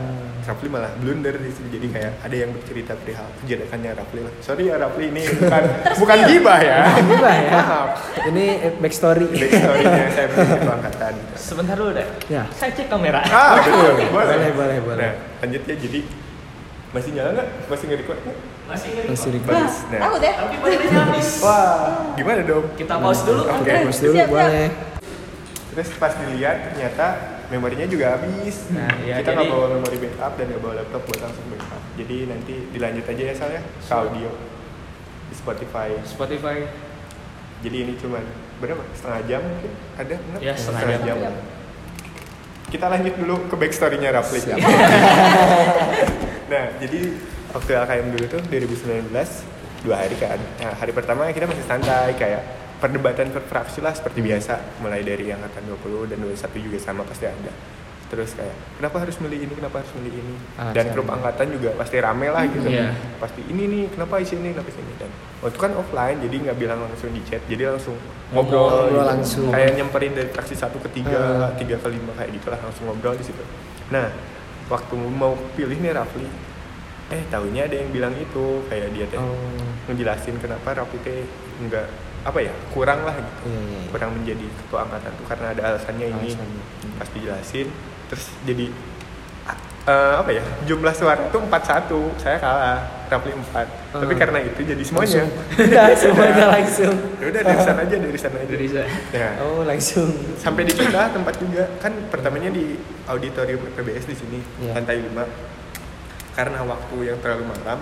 Speaker 3: Rafli malah blunder di situ. Jadi kayak ada yang bercerita perihal kejadiannya Rafli lah. Sorry ya Rafli ini bukan bukan gibah ya.
Speaker 1: Gibah ya.
Speaker 3: Maaf.
Speaker 1: ini eh, backstory
Speaker 3: Backstory-nya saya punya keangkatan. gitu.
Speaker 2: Sebentar dulu deh.
Speaker 1: Ya.
Speaker 2: Saya cek kamera.
Speaker 3: Ah betul.
Speaker 1: Boleh, boleh, boleh.
Speaker 3: Nah lanjut ya jadi masih nyala nggak? Masih nggak record nggak?
Speaker 2: Masih
Speaker 1: Masih
Speaker 2: ngeri.
Speaker 1: record.
Speaker 4: Nah,
Speaker 3: Bagus. Nah.
Speaker 4: takut
Speaker 1: Oh,
Speaker 4: ya?
Speaker 2: Tapi baterainya habis.
Speaker 3: Wah gimana dong?
Speaker 2: Kita Nah, pause dulu.
Speaker 3: Oke.
Speaker 1: Terus dulu
Speaker 4: Siap, siap.
Speaker 1: boleh
Speaker 3: Terus pas dilihat ternyata memorinya juga habis.
Speaker 2: Nah, iya,
Speaker 3: kita nggak
Speaker 2: jadi-
Speaker 3: bawa memori backup dan nggak bawa laptop buat langsung backup. Jadi nanti dilanjut aja ya Sal ya ke audio di Spotify.
Speaker 2: Spotify.
Speaker 3: Jadi ini cuman berapa? Setengah jam mungkin ada? Enggak?
Speaker 2: Ya, setengah
Speaker 4: jam.
Speaker 3: Kita lanjut dulu ke backstory-nya Rafli.
Speaker 1: Siap. Oh,
Speaker 3: nah, jadi waktu LKM dulu tuh 2019 dua hari kan. Nah, hari pertama kita masih santai kayak perdebatan per fraksi lah seperti biasa mulai dari yang angkatan 20 dan 21 juga sama pasti ada terus kayak kenapa harus milih ini kenapa harus milih ini
Speaker 1: Ah,
Speaker 3: dan
Speaker 1: sama.
Speaker 3: grup angkatan juga pasti rame lah gitu
Speaker 2: Iya.
Speaker 3: pasti ini nih kenapa isi ini kenapa isi ini dan waktu kan offline jadi nggak bilang langsung di chat jadi langsung ngobrol,
Speaker 2: Ngobrol
Speaker 3: gitu.
Speaker 1: langsung.
Speaker 3: kayak nyamperin dari fraksi satu ke tiga
Speaker 1: Ah.
Speaker 3: tiga ke lima kayak gitulah langsung ngobrol di situ nah waktu mau pilih nih Rafli eh tahunya ada yang bilang itu kayak dia teh
Speaker 1: Oh.
Speaker 3: ngejelasin kenapa Rafli teh nggak apa ya kurang lah
Speaker 1: Iya,
Speaker 3: gitu
Speaker 1: iya, iya.
Speaker 3: kurang menjadi ketua angkatan tuh karena ada alasannya ini
Speaker 1: Alasannya. Hmm.
Speaker 3: pasti jelasin terus jadi eh, apa ya jumlah suara tuh 41 saya kalah Rafli 4 tapi
Speaker 1: Eh.
Speaker 3: karena itu jadi semuanya
Speaker 1: udah semuanya langsung
Speaker 3: Ya udah dari sana aja dari sana aja
Speaker 2: Dari saya.
Speaker 3: Nah,
Speaker 1: oh langsung
Speaker 3: sampai di kita tempat juga kan pertamanya di auditorium PBS di sini
Speaker 1: Iya.
Speaker 3: lantai 5 karena waktu yang terlalu malam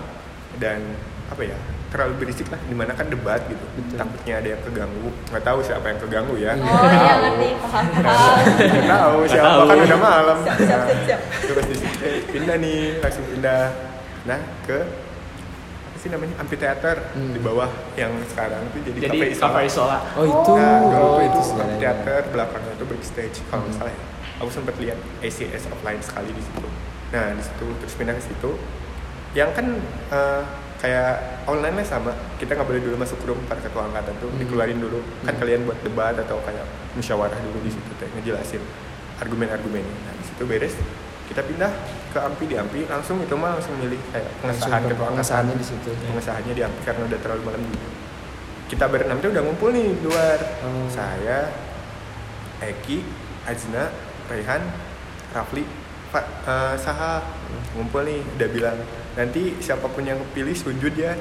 Speaker 3: dan apa ya terlalu berisik lah dimana kan debat gitu
Speaker 1: Betul.
Speaker 3: takutnya ada yang keganggu nggak tahu siapa yang keganggu
Speaker 4: Oh
Speaker 3: ya Nggak
Speaker 4: iya
Speaker 3: tahu.
Speaker 4: ngerti, paham
Speaker 3: Nggak
Speaker 4: paham.
Speaker 3: nggak tahu
Speaker 2: Nggak
Speaker 3: siapa
Speaker 2: tahu.
Speaker 3: kan udah malam
Speaker 4: Siap, siap,
Speaker 3: Nah,
Speaker 4: siap, siap.
Speaker 3: terus di situ, eh, pindah nih langsung pindah nah ke apa sih namanya amphitheater
Speaker 1: Hmm.
Speaker 3: di bawah yang sekarang tuh jadi,
Speaker 2: Jadi
Speaker 3: Isola.
Speaker 2: cover isola.
Speaker 1: oh itu
Speaker 3: Nah, dulu
Speaker 1: oh
Speaker 3: tuh
Speaker 1: itu
Speaker 3: itu
Speaker 1: sejarahnya.
Speaker 3: teater belakangnya itu backstage kalau nggak
Speaker 1: Hmm.
Speaker 3: salah ya. Aku sempat lihat ACS offline sekali di situ. Nah di situ terus pindah ke situ. Yang kan eh, kayak online lah sama. Kita nggak boleh dulu masuk room para ketua angkatan tuh
Speaker 1: Hmm.
Speaker 3: dikeluarin dulu. Kan
Speaker 1: Hmm.
Speaker 3: kalian buat debat atau kayak musyawarah dulu di situ teh ngejelasin argumen-argumennya. Nah di situ beres kita pindah ke Ampi di Ampi langsung itu mah langsung milih kayak
Speaker 1: Langsung
Speaker 3: pengesahan
Speaker 1: ke
Speaker 3: ketua angkatan
Speaker 1: pengesahannya di situ
Speaker 3: pengesahannya di Ampi karena udah terlalu malam juga. Kita berenam tuh udah ngumpul nih di luar.
Speaker 1: Oh.
Speaker 3: Saya, Eki, Azna, Raihan, Rafli, Pak eh, Saha. ngumpul nih udah bilang nanti siapapun yang kepilih sujud ya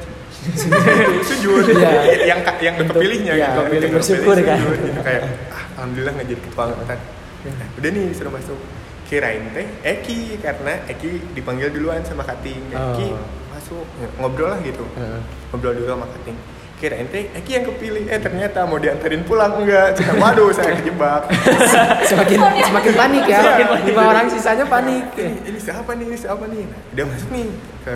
Speaker 3: sujud
Speaker 1: Iya.
Speaker 3: yang ka- yang
Speaker 1: Untuk-
Speaker 3: kepilihnya
Speaker 1: iya, untuk
Speaker 3: gitu Yang kepilih
Speaker 1: bersyukur, kan?
Speaker 3: sujud, gitu. kayak ah, alhamdulillah nggak jadi ketua angkatan Nah, udah nih disuruh masuk kirain teh Eki karena Eki dipanggil duluan sama Kating Eki
Speaker 1: Oh.
Speaker 3: masuk ngobrol lah gitu
Speaker 1: Heeh.
Speaker 3: ngobrol dulu sama Kating kirain teh Eki yang kepilih eh ternyata mau diantarin pulang enggak Cuma, waduh saya kejebak
Speaker 1: semakin
Speaker 4: Oh, iya.
Speaker 1: semakin panik ya
Speaker 3: Semakin
Speaker 2: panik.
Speaker 1: lima orang sisanya panik
Speaker 3: ini, ini siapa nih ini siapa nih Nah, udah masuk nih ke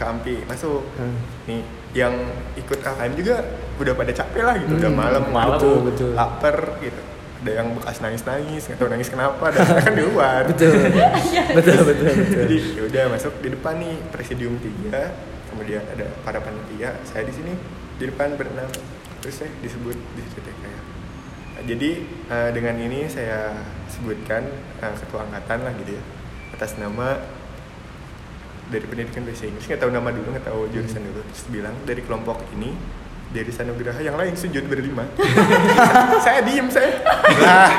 Speaker 3: ke Ampi masuk
Speaker 1: Hmm.
Speaker 3: nih yang ikut LKM juga udah pada capek lah gitu udah
Speaker 1: Hmm,
Speaker 3: malam
Speaker 2: malam,
Speaker 3: gitu,
Speaker 1: betul.
Speaker 3: lapar gitu ada yang bekas nangis nangis nggak tahu nangis kenapa dan kita kan di luar
Speaker 1: betul
Speaker 4: Iya.
Speaker 1: betul betul betul
Speaker 3: jadi ya udah masuk di depan nih presidium tiga kemudian ada para panitia saya di sini di depan berenam terus saya disebut di situ teh kayak "Nah, jadi eh, dengan ini saya sebutkan eh, ketua angkatan lah gitu ya atas nama dari pendidikan bahasa Inggris nggak tahu nama dulu nggak tahu jurusan
Speaker 1: Hmm.
Speaker 3: dulu terus bilang dari kelompok ini dari Sanugraha yang lain sujud berlima saya diem saya lah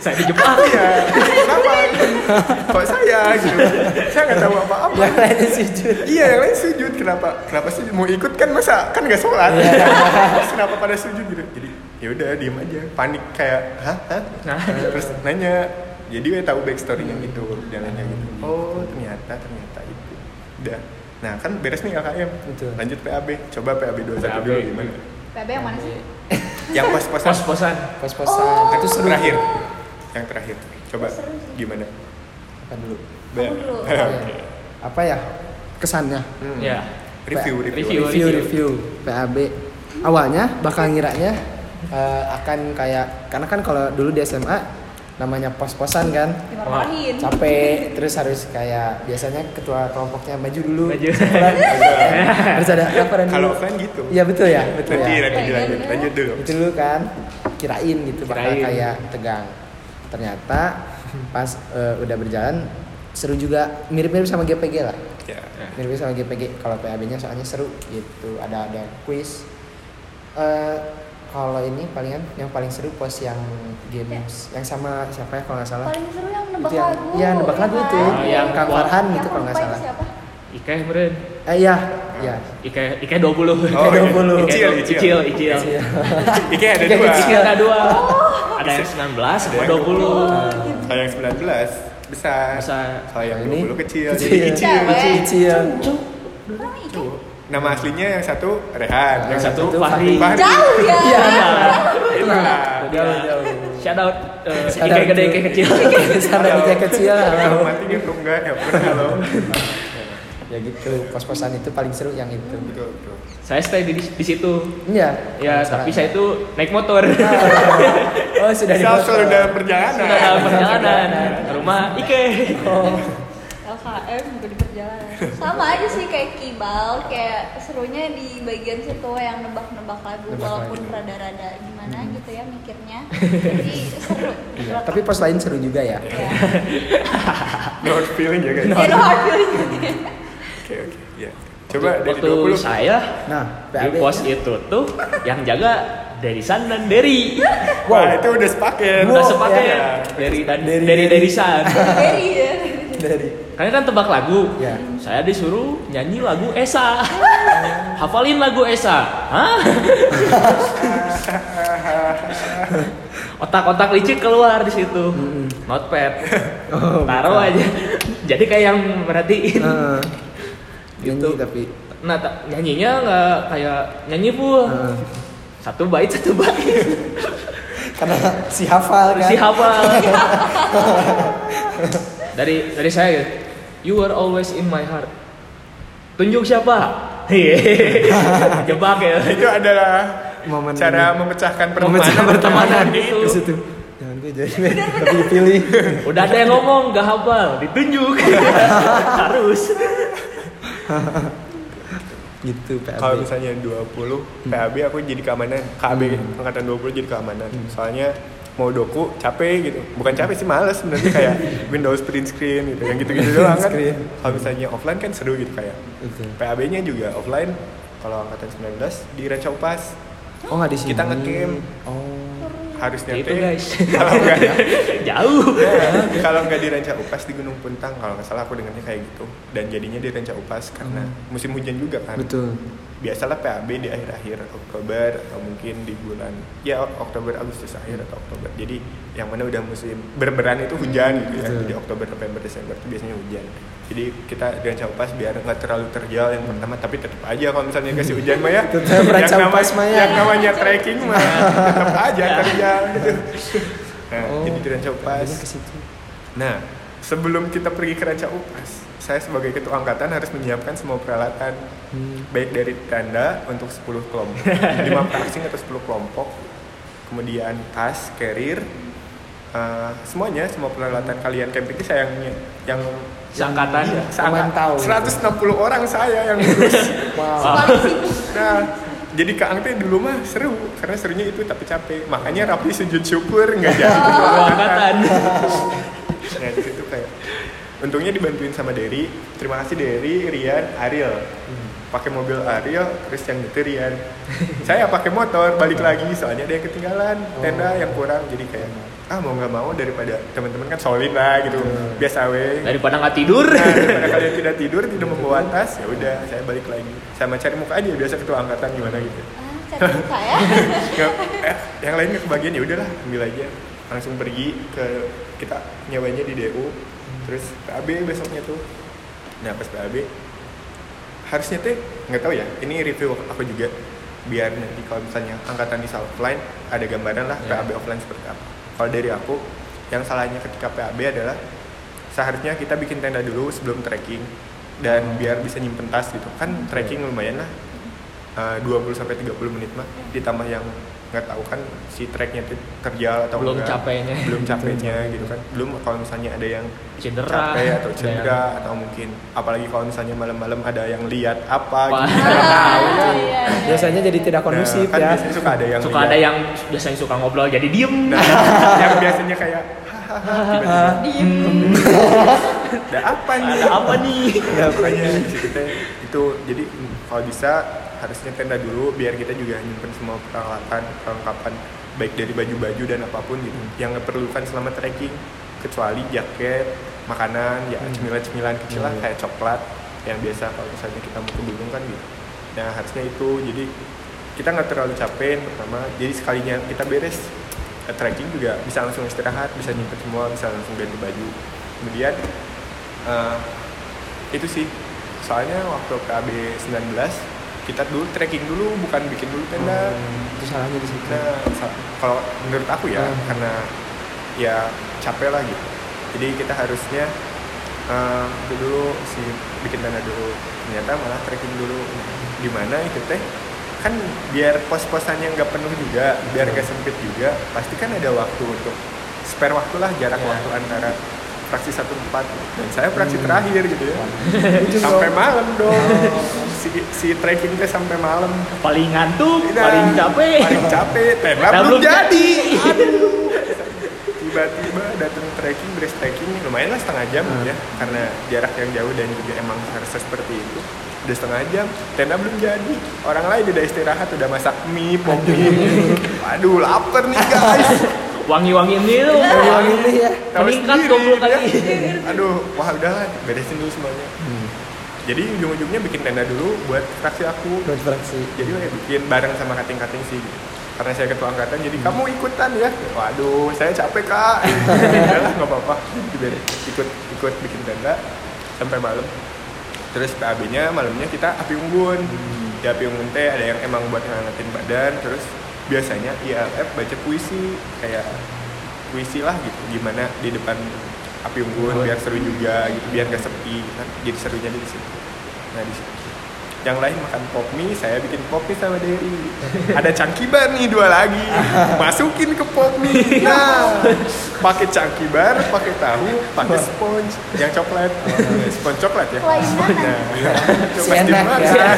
Speaker 2: Saya di Jepang.
Speaker 3: iya kenapa kok saya gitu saya nggak tahu apa-apa
Speaker 1: yang lainnya sujud
Speaker 3: iya yang lain sujud kenapa kenapa sih mau ikut kan masa kan nggak sholat Terus kenapa pada sujud gitu jadi ya udah diem aja panik kayak hah hah
Speaker 2: Nah.
Speaker 3: terus nanya jadi gue tahu backstorynya gitu jalannya gitu oh ternyata ternyata itu udah nah kan beres nih LKM
Speaker 1: Betul.
Speaker 3: lanjut PAB coba PAB 21
Speaker 2: PAB.
Speaker 3: dulu gimana
Speaker 4: PB yang mana sih?
Speaker 3: yang pas-pasan
Speaker 2: Pos-posan.
Speaker 1: pos-posan itu seru
Speaker 3: terakhir yang terakhir coba
Speaker 4: Seru sih.
Speaker 3: gimana
Speaker 1: apa dulu
Speaker 3: Bel.
Speaker 4: dulu.
Speaker 1: Apa
Speaker 3: Oke.
Speaker 1: ya? apa ya kesannya
Speaker 3: Hmm.
Speaker 2: Ya.
Speaker 3: review
Speaker 2: Review.
Speaker 3: review
Speaker 1: review review PAB awalnya bakal ngiranya eh, akan kayak karena kan kalau dulu di SMA namanya pos-posan kan
Speaker 4: Dimarahin.
Speaker 1: capek terus harus kayak biasanya ketua kelompoknya maju dulu
Speaker 2: Maju.
Speaker 1: sekolah, harus ada laporan dulu.
Speaker 3: kalau offline gitu
Speaker 1: Iya betul ya, betul
Speaker 3: nanti
Speaker 1: ya.
Speaker 3: nanti
Speaker 4: Iya,
Speaker 3: lanjut
Speaker 4: iya.
Speaker 3: lanjut dulu
Speaker 1: Itu dulu kan kirain gitu bakal
Speaker 2: Kirain.
Speaker 1: kayak tegang. Ternyata pas eh, udah berjalan seru juga mirip-mirip sama GPG lah.
Speaker 3: ya
Speaker 1: Mirip sama GPG kalau PAB-nya soalnya seru gitu. Ada ada quiz. Eh, kalau ini palingan yang paling seru pos yang games yang sama siapa ya kalau nggak salah
Speaker 4: Paling seru yang nebak
Speaker 1: itu yang
Speaker 4: lagu.
Speaker 1: iya nebak lagu
Speaker 4: kan?
Speaker 1: itu
Speaker 2: Oh, yang
Speaker 1: Kang
Speaker 2: wah.
Speaker 1: Farhan
Speaker 4: Yang
Speaker 1: gitu kalau nggak
Speaker 4: lupa itu
Speaker 1: salah
Speaker 4: Siapa?
Speaker 2: Ika yang meren.
Speaker 1: eh iya iya
Speaker 2: Ika Ika 20.
Speaker 3: Oh,
Speaker 1: Kayak
Speaker 3: iya.
Speaker 1: 20.
Speaker 3: Icil,
Speaker 2: Ika
Speaker 3: Icil.
Speaker 2: Icil, Icil.
Speaker 1: Iya.
Speaker 3: Ike ada
Speaker 1: Ike
Speaker 3: dua.
Speaker 2: Icil ada dua. Ada yang 19,
Speaker 3: Ada
Speaker 2: ada
Speaker 3: yang
Speaker 2: 20.
Speaker 4: Oh, gitu.
Speaker 3: Kalau yang 19 besar.
Speaker 2: Besar.
Speaker 3: Kalau yang
Speaker 1: Nah, Ini
Speaker 3: 20 kecil.
Speaker 1: kecil.
Speaker 3: Jadi Icil.
Speaker 4: Cewek.
Speaker 2: eh.
Speaker 1: Icil, Icil.
Speaker 4: Orang Ike.
Speaker 3: Tuh. Nama aslinya yang satu Rehan, yang
Speaker 2: Yang satu
Speaker 3: satu
Speaker 1: Itu
Speaker 2: Fahri.
Speaker 3: Fahri.
Speaker 4: Jauh ya.
Speaker 1: Iya.
Speaker 3: Itulah.
Speaker 1: Jauh, jauh.
Speaker 2: Shout out eh,
Speaker 1: Shout
Speaker 2: Ika
Speaker 1: out
Speaker 2: gede,
Speaker 1: to-
Speaker 2: Ika kecil.
Speaker 1: Sana Ike kecil.
Speaker 3: Kalau mati nggak kalau enggak ya pun halo.
Speaker 1: ya gitu pos-posan itu paling seru yang itu
Speaker 3: Betul, betul.
Speaker 2: Saya stay di, di situ.
Speaker 1: iya
Speaker 2: Ya,
Speaker 1: Salah.
Speaker 2: tapi saya itu naik motor.
Speaker 1: Ah. oh sudah di
Speaker 3: Bisa
Speaker 1: motor.
Speaker 3: selalu dalam perjalanan.
Speaker 2: Sudah dalam perjalanan ke rumah Ike.
Speaker 1: Oh.
Speaker 4: LKM juga di perjalanan. Sama aja sih kayak kibal, kayak serunya di bagian situ yang nebak-nebak
Speaker 1: Nebak
Speaker 4: lagu walaupun
Speaker 1: lagu. Hmm.
Speaker 4: rada-rada gimana gitu ya mikirnya. Jadi seru.
Speaker 1: Iya, tapi pos lain seru juga ya
Speaker 4: ya.
Speaker 3: Not feeling ya guys.
Speaker 1: Nah,
Speaker 4: Zero hard feeling gitu ya.
Speaker 3: Oke, oke. Ya. Coba dari
Speaker 2: waktu
Speaker 3: 20
Speaker 2: saya
Speaker 1: nah
Speaker 2: di
Speaker 1: PAB
Speaker 2: pos itu tuh yang jaga Derisan dan Deri.
Speaker 1: Wow.
Speaker 3: Wah, itu udah sepaket. Iya.
Speaker 1: Wow,
Speaker 2: Udah sepaket
Speaker 1: ya.
Speaker 2: Deri dan
Speaker 1: Deri,
Speaker 2: Deri,
Speaker 1: Deri.
Speaker 2: Derisan.
Speaker 4: Very ya.
Speaker 1: dari
Speaker 2: Kalian kan tebak lagu.
Speaker 1: Ya.
Speaker 2: Saya disuruh nyanyi lagu Esa. Hafalin lagu Esa. Hah? Otak-otak licik keluar di situ. Notepad.
Speaker 1: Oh,
Speaker 2: Taruh aja. Jadi kayak yang merhatiin.
Speaker 1: Eh,
Speaker 2: Gitu.
Speaker 1: nyanyi tapi
Speaker 2: Nah, ta- nyanyinya nggak kayak nyanyi full.
Speaker 1: eh,
Speaker 2: Satu bait, satu bait.
Speaker 1: karena si hafal kan
Speaker 2: Si hafal. dari dari saya gitu. You are always in my heart. Tunjuk siapa? Hehehe. Jebak ya.
Speaker 3: Itu adalah
Speaker 1: Momen ini.
Speaker 3: cara memecahkan
Speaker 1: memecah
Speaker 3: pertemanan.
Speaker 1: pertemanan
Speaker 2: Gitu.
Speaker 1: ke situ jangan gue jadi tapi pilih
Speaker 2: Udah ada yang ngomong gak hafal, ditunjuk. Harus.
Speaker 1: gitu PAB
Speaker 3: Kalau misalnya
Speaker 1: Hmm.
Speaker 3: 20 PAB aku jadi keamanan, KB angkatan 20 jadi keamanan.
Speaker 1: Hmm.
Speaker 3: Soalnya mau doku capek gitu. Bukan capek sih males sebenarnya kayak Windows print screen gitu yang gitu-gitu doang kan.
Speaker 1: Screen. Hmm.
Speaker 3: Kalau misalnya offline kan seru gitu kayak.
Speaker 1: Betul.
Speaker 3: PAB-nya juga offline kalau angkatan 19 di Rancau Pas.
Speaker 1: oh nggak di sini
Speaker 3: Kita nge-game.
Speaker 1: oh
Speaker 3: harusnya
Speaker 2: Ya itu
Speaker 3: teh
Speaker 2: guys.
Speaker 3: kalau nggak ya?
Speaker 2: Jauh.
Speaker 3: kalau nggak di Ranca Upas di Gunung Puntang kalau nggak salah aku dengarnya kayak gitu dan jadinya di Ranca Upas karena musim hujan juga kan
Speaker 1: Hmm. Betul.
Speaker 3: biasalah PAB di akhir-akhir Oktober atau mungkin di bulan ya Oktober Agustus akhir atau Oktober jadi yang mana udah musim berberan itu hujan gitu ya
Speaker 1: Betul.
Speaker 3: jadi Oktober November Desember itu biasanya hujan jadi kita dengan capas biar nggak terlalu terjal yang pertama tapi tetap aja kalau misalnya kasih hujan mah ya
Speaker 1: Tetap Ranca Upas mah ya.
Speaker 3: yang namanya trekking mah tetap aja terjal gitu nah
Speaker 1: Oh.
Speaker 3: jadi di Ranca Upas
Speaker 1: Adanya ke situ.
Speaker 3: Nah, sebelum kita pergi ke Ranca Upas, saya sebagai ketua angkatan harus menyiapkan semua peralatan baik dari tanda untuk 10 kelompok, 5 praksing atau 10 kelompok, kemudian tas, carrier, eh, semuanya semua peralatan kalian camping itu sayangnya yang iya,
Speaker 2: Seangkatan.
Speaker 3: ya?
Speaker 1: Pemantau.
Speaker 3: seangkat 160 orang saya yang ngurus.
Speaker 1: Wow.
Speaker 4: Paling sibuk.
Speaker 3: Nah, jadi Kang Ang teh dulu mah seru karena serunya itu tapi capek. Makanya Rapi sujud syukur nggak jadi
Speaker 2: Oh,
Speaker 3: ketua
Speaker 2: Angkatan.
Speaker 3: Nah, di situ kayak untungnya dibantuin sama Derry. Terima kasih Derry, Rian, Ariel. Pakai mobil Ariel, terus yang itu Rian. Saya pakai motor balik lagi soalnya ada yang ketinggalan, tenda yang kurang jadi kayak ah mau nggak mau daripada teman-teman kan solid lah gitu. Biasa we.
Speaker 2: Daripada nggak tidur.
Speaker 3: Nah, daripada kalian tidak tidur, tidak membawa tas, ya udah saya balik lagi. Sama cari muka aja biasa ketua angkatan gimana gitu.
Speaker 4: Ah, cari muka ya.
Speaker 3: Nggak- eh, yang lain nggak kebagian ya udahlah ambil aja langsung pergi ke kita nyawanya di DU terus PAB besoknya tuh nah pas PAB harusnya teh nggak tahu ya ini review aku juga biar nanti kalau misalnya angkatan di offline ada gambaran lah
Speaker 2: Ya.
Speaker 3: PAB offline seperti apa kalau dari aku yang salahnya ketika PAB adalah seharusnya kita bikin tenda dulu sebelum trekking dan biar bisa nyimpen tas gitu kan
Speaker 2: Iya.
Speaker 3: trekking lumayan lah eh, 20 sampai 30 menit mah ditambah yang nggak tahu kan si treknya itu terjal atau
Speaker 2: Belum
Speaker 3: enggak.
Speaker 2: capeknya. Iya.
Speaker 3: belum capeknya gitu kan belum kalau misalnya ada yang
Speaker 2: Cedera. Iya.
Speaker 3: capek atau
Speaker 2: Ada
Speaker 3: cedera atau mungkin apalagi kalau misalnya malam-malam ada yang lihat apa
Speaker 2: Wah.
Speaker 3: gitu
Speaker 4: Ah, iya, iya.
Speaker 1: Nah, Biasanya jadi tidak kondusif
Speaker 3: Nah, kan
Speaker 1: ya.
Speaker 3: biasanya suka ada yang
Speaker 2: Suka
Speaker 3: lihat.
Speaker 2: ada yang biasanya suka ngobrol jadi diem.
Speaker 3: Nah, yang biasanya kayak hahaha tiba-tiba
Speaker 2: Hmm.
Speaker 4: Diem.
Speaker 3: ada apa nih
Speaker 2: Ada apa nih?
Speaker 3: ya pokoknya di situ teh itu jadi mm, kalau bisa harusnya tenda dulu biar kita juga nyimpen semua peralatan perlengkapan baik dari baju-baju dan apapun gitu yang diperlukan selama trekking kecuali jaket makanan ya cemilan-cemilan kecil lah kayak coklat yang biasa kalau misalnya kita mau ke gunung kan gitu nah harusnya itu jadi kita nggak terlalu capek yang pertama jadi sekalinya kita beres eh, trekking juga bisa langsung istirahat bisa nyimpen semua bisa langsung ganti baju kemudian eh, itu sih soalnya waktu PAB 19 kita dulu trekking dulu bukan bikin dulu
Speaker 1: Oh.
Speaker 3: tenda
Speaker 1: Itu salahnya di situ.
Speaker 3: nah sa- kalau menurut aku ya
Speaker 1: Hmm.
Speaker 3: karena ya capek lah gitu jadi kita harusnya eh, itu dulu si bikin tenda dulu ternyata malah trekking dulu di mana itu teh kan biar pos-posannya nggak penuh juga biar
Speaker 1: Hmm.
Speaker 3: nggak sempit juga pasti kan ada waktu untuk spare waktu lah jarak
Speaker 1: Iya.
Speaker 2: Ya.
Speaker 3: waktu antara praksi satu empat dan saya praksi terakhir gitu ya
Speaker 1: Itu
Speaker 3: sampai
Speaker 1: Hmm. dong. Oh.
Speaker 3: malam dong si si trekking teh sampai malam
Speaker 2: Paling ngantuk,
Speaker 3: Tidak.
Speaker 2: paling capek.
Speaker 3: Nah. paling capek tenda
Speaker 2: Nah,
Speaker 3: belum
Speaker 2: belum
Speaker 3: jadi
Speaker 2: jadi.
Speaker 3: Aduh. tiba-tiba datang trekking beres trekking lumayan lah setengah jam
Speaker 2: Hmm.
Speaker 3: ya karena jarak yang jauh dan juga emang harusnya seperti itu udah setengah jam tenda belum jadi orang lain udah istirahat udah masak mie pop mie aduh lapar nih guys
Speaker 2: Wangi-wangi ini tuh.
Speaker 1: Wangi-wangi ini ya.
Speaker 3: Tahu
Speaker 2: Meningkat
Speaker 3: sendiri,
Speaker 2: goblok
Speaker 3: ya.
Speaker 2: kali. Hmm.
Speaker 3: aduh wah udahlah beresin dulu semuanya jadi ujung-ujungnya bikin tenda dulu buat fraksi aku
Speaker 1: Buat fraksi.
Speaker 3: jadi ya bikin bareng sama kating-kating sih karena saya ketua angkatan jadi kamu ikutan ya waduh saya capek kak udahlah nggak apa-apa Dibiarin. ikut ikut bikin tenda sampai malam terus PAB nya malamnya kita api unggun di api unggun teh ada yang emang buat ngehangatin badan terus biasanya ILF baca puisi kayak puisi lah gitu gimana di depan api unggun biar seru juga gitu biar gak sepi gitu kan jadi serunya di situ nah di situ yang lain makan pop mie, saya bikin pop mie sama Derry. Ada cangkibar nih dua lagi, masukin ke pop mie. Nah, pakai cangkibar, pakai tahu, pakai sponge, yang coklat, sponge coklat ya.
Speaker 4: Kelainan.
Speaker 3: Nah,
Speaker 1: Si
Speaker 3: pasti
Speaker 1: enak
Speaker 3: makan,
Speaker 1: ya.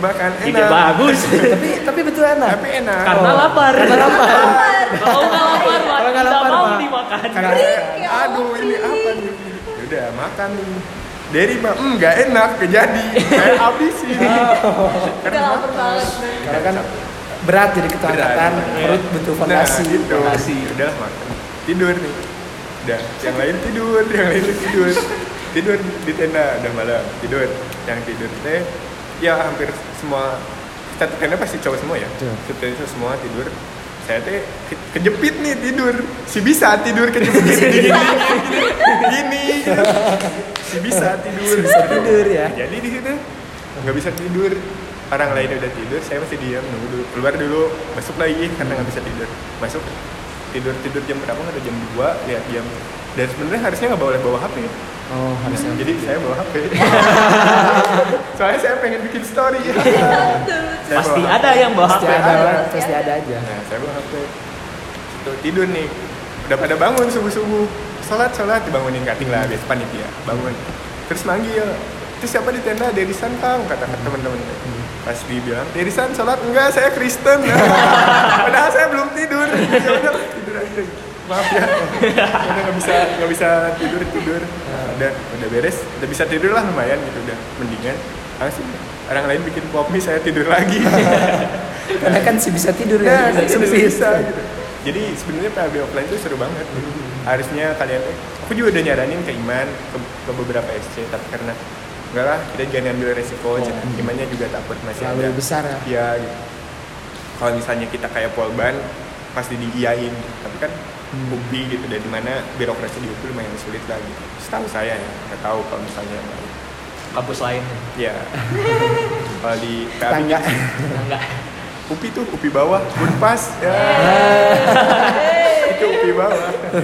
Speaker 3: makan
Speaker 2: Ide
Speaker 3: enak,
Speaker 2: bagus.
Speaker 1: tapi tapi betul enak.
Speaker 3: tapi enak.
Speaker 2: Karena lapar. Karena lapar. Kalau nggak lapar, Mak,
Speaker 1: Kalau nggak
Speaker 2: tidak
Speaker 1: lapar,
Speaker 2: mau
Speaker 1: Mak.
Speaker 2: dimakan.
Speaker 3: Karena
Speaker 4: ya
Speaker 3: eh, aduh
Speaker 4: Allah,
Speaker 3: ini
Speaker 4: Pri.
Speaker 3: apa nih? Udah makan nih. Derry mah "Hmm, enggak enak, kejadi. Saya habisin. Nah,
Speaker 4: Udah lapar banget.
Speaker 1: Nah, Karena kan berat jadi ketua angkatan
Speaker 3: Berat.
Speaker 1: perut butuh fondasi
Speaker 3: Nah, gitu.
Speaker 2: Fondasi.
Speaker 3: Udah makan. Tidur nih. Udah, yang lain tidur, yang lain tidur. tidur di tenda udah malam, tidur. Yang tidur teh ya hampir semua satu tenda pasti cowok semua ya.
Speaker 1: Betul.
Speaker 3: Satu tenda semua tidur. Saya teh ke- kejepit nih tidur. Si bisa tidur kejepit gini, gini, gini, gini. Si bisa tidur.
Speaker 1: bisa tidur ya.
Speaker 3: Jadi di situ nggak bisa tidur. Orang lain udah tidur, saya masih diam nunggu dulu. Keluar dulu, masuk lagi karena nggak bisa tidur. Masuk tidur tidur jam berapa nggak ada jam 2 lihat jam dan sebenarnya harusnya nggak boleh bawa HP
Speaker 1: oh harusnya
Speaker 3: Nah, jadi saya bawa HP soalnya saya pengen bikin story Saya
Speaker 2: Pasti
Speaker 3: bawa
Speaker 2: ada ya. yang bawa
Speaker 1: pasti
Speaker 2: HP.
Speaker 1: ada
Speaker 4: ada.
Speaker 1: lah pasti ada aja
Speaker 3: Nah, saya bawa HP. Tuh, tidur nih. Udah pada bangun subuh-subuh. Salat, salat dibangunin kating lah, biasa panitia. Bangun. Terus manggil. Terus siapa di tenda? Derisan kang, kata teman-teman. Pas dibilang, Derisan salat enggak, saya Kristen. Padahal saya belum tidur. Ya udah, tidur aja. Maaf ya, karena nggak bisa nggak bisa tidur tidur. Nah, udah udah beres, udah bisa tidur lah lumayan gitu udah mendingan. Langsung orang lain bikin pop mie, saya tidur lagi.
Speaker 1: karena kan sih bisa tidur
Speaker 3: Nah,
Speaker 1: ya
Speaker 3: bisa,
Speaker 1: langsung
Speaker 3: bisa,
Speaker 1: sih.
Speaker 3: bisa, gitu. Jadi sebenarnya PAB offline itu seru banget. Harusnya kalian eh, aku juga udah nyaranin ke Iman ke, ke beberapa SC tapi karena enggak lah kita jangan ambil resiko aja. Imannya juga takut masih
Speaker 1: Oh, iya. terlalu
Speaker 3: ada.
Speaker 1: besar ya
Speaker 3: Iya gitu. Kalau misalnya kita kayak polban pasti diiyain tapi kan
Speaker 1: Hmm.
Speaker 3: bukti gitu dari mana birokrasi di UPI lumayan sulit lah gitu. Setahu saya ya, nggak tahu kalau misalnya yang lain.
Speaker 2: Kampus lain.
Speaker 3: Ya. kalau di PAB
Speaker 1: tangga
Speaker 2: Enggak.
Speaker 3: UPI tuh UPI bawah, Unpas. Ya. itu UPI bawah. gitu.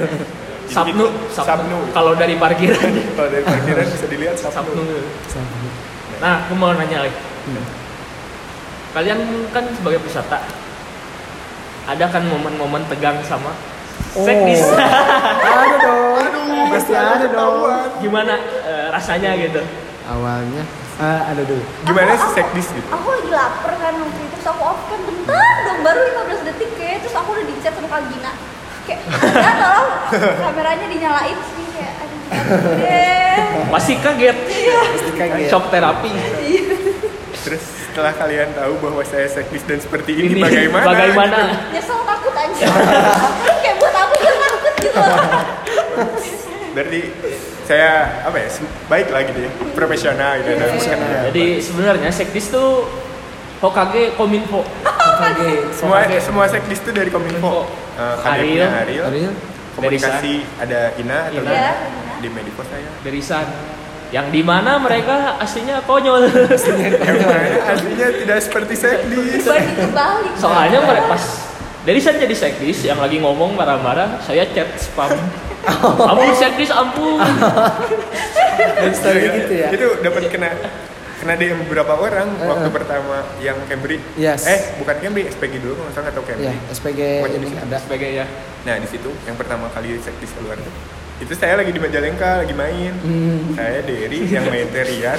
Speaker 2: Sabnu,
Speaker 3: Sabnu.
Speaker 2: Kalau dari parkiran
Speaker 3: Kalau dari parkiran bisa dilihat Sabnu.
Speaker 2: Sabnu. Nah, aku mau nanya lagi. Kalian kan sebagai peserta ada kan momen-momen tegang sama seknis.
Speaker 1: Oh. ada dong
Speaker 3: Aduh,
Speaker 1: pasti ada dong
Speaker 3: ketahuan.
Speaker 2: Gimana eh, rasanya gitu?
Speaker 1: awalnya ah, ada dulu
Speaker 3: Gimana
Speaker 4: Aku-
Speaker 3: sih
Speaker 4: aku-
Speaker 3: sekdis gitu?
Speaker 4: Aku lagi lapar kan waktu itu, terus aku off kan bentar dong, baru 15 detik kayaknya Terus aku udah dicat sama Kak Gina Kayak, Gina tolong kameranya dinyalain sih Kayak, aduh, deh
Speaker 2: Masih kaget.
Speaker 1: pasti kaget
Speaker 2: Shock terapi.
Speaker 3: Terus setelah kalian tahu bahwa saya sekdis dan seperti ini,
Speaker 2: Ini
Speaker 3: bagaimana?
Speaker 2: bagaimana?
Speaker 4: Nyesel takut aja Kayak buat aku dia takut gitu
Speaker 3: Berarti saya apa ya? se- Baik lah gitu ya. Profesional gitu. ya,
Speaker 1: Profesional.
Speaker 3: dalam
Speaker 2: Jadi sebenarnya sektis tuh Hokage Kominfo.
Speaker 1: kaget
Speaker 3: semua
Speaker 2: Oke.
Speaker 3: semua sekdis itu dari
Speaker 2: Kominfo.
Speaker 3: Kominfo. Eh, Kadepnya
Speaker 2: Ariel.
Speaker 3: Ariel.
Speaker 1: Ariel
Speaker 3: Komunikasi ada Ina atau
Speaker 2: Ina.
Speaker 3: Ina.
Speaker 4: Iya.
Speaker 3: di Mediko saya.
Speaker 2: dari San yang dimana mereka aslinya konyol
Speaker 3: Yang mana aslinya tidak seperti sekdis.
Speaker 4: Dibanding kebalik
Speaker 2: soalnya mereka pas dari San jadi sekdis yang lagi ngomong marah-marah saya chat spam ampun sekdis ampun
Speaker 1: dan story
Speaker 3: Iya,
Speaker 1: gitu ya
Speaker 3: Itu dapat kena kena DM beberapa orang waktu pertama yang Cambridge.
Speaker 1: Yes.
Speaker 3: Eh, bukan Cambridge, SPG dulu kalau nggak salah atau
Speaker 1: ya
Speaker 3: Cambridge.
Speaker 1: SPG
Speaker 3: Pokoknya
Speaker 1: ini
Speaker 3: bisa.
Speaker 1: ada
Speaker 2: sebagai ya
Speaker 3: Nah, di situ yang pertama kali sektis keluar tuh. Itu saya lagi di Majalengka, lagi main.
Speaker 1: Hmm.
Speaker 3: Saya Derry yang main Terian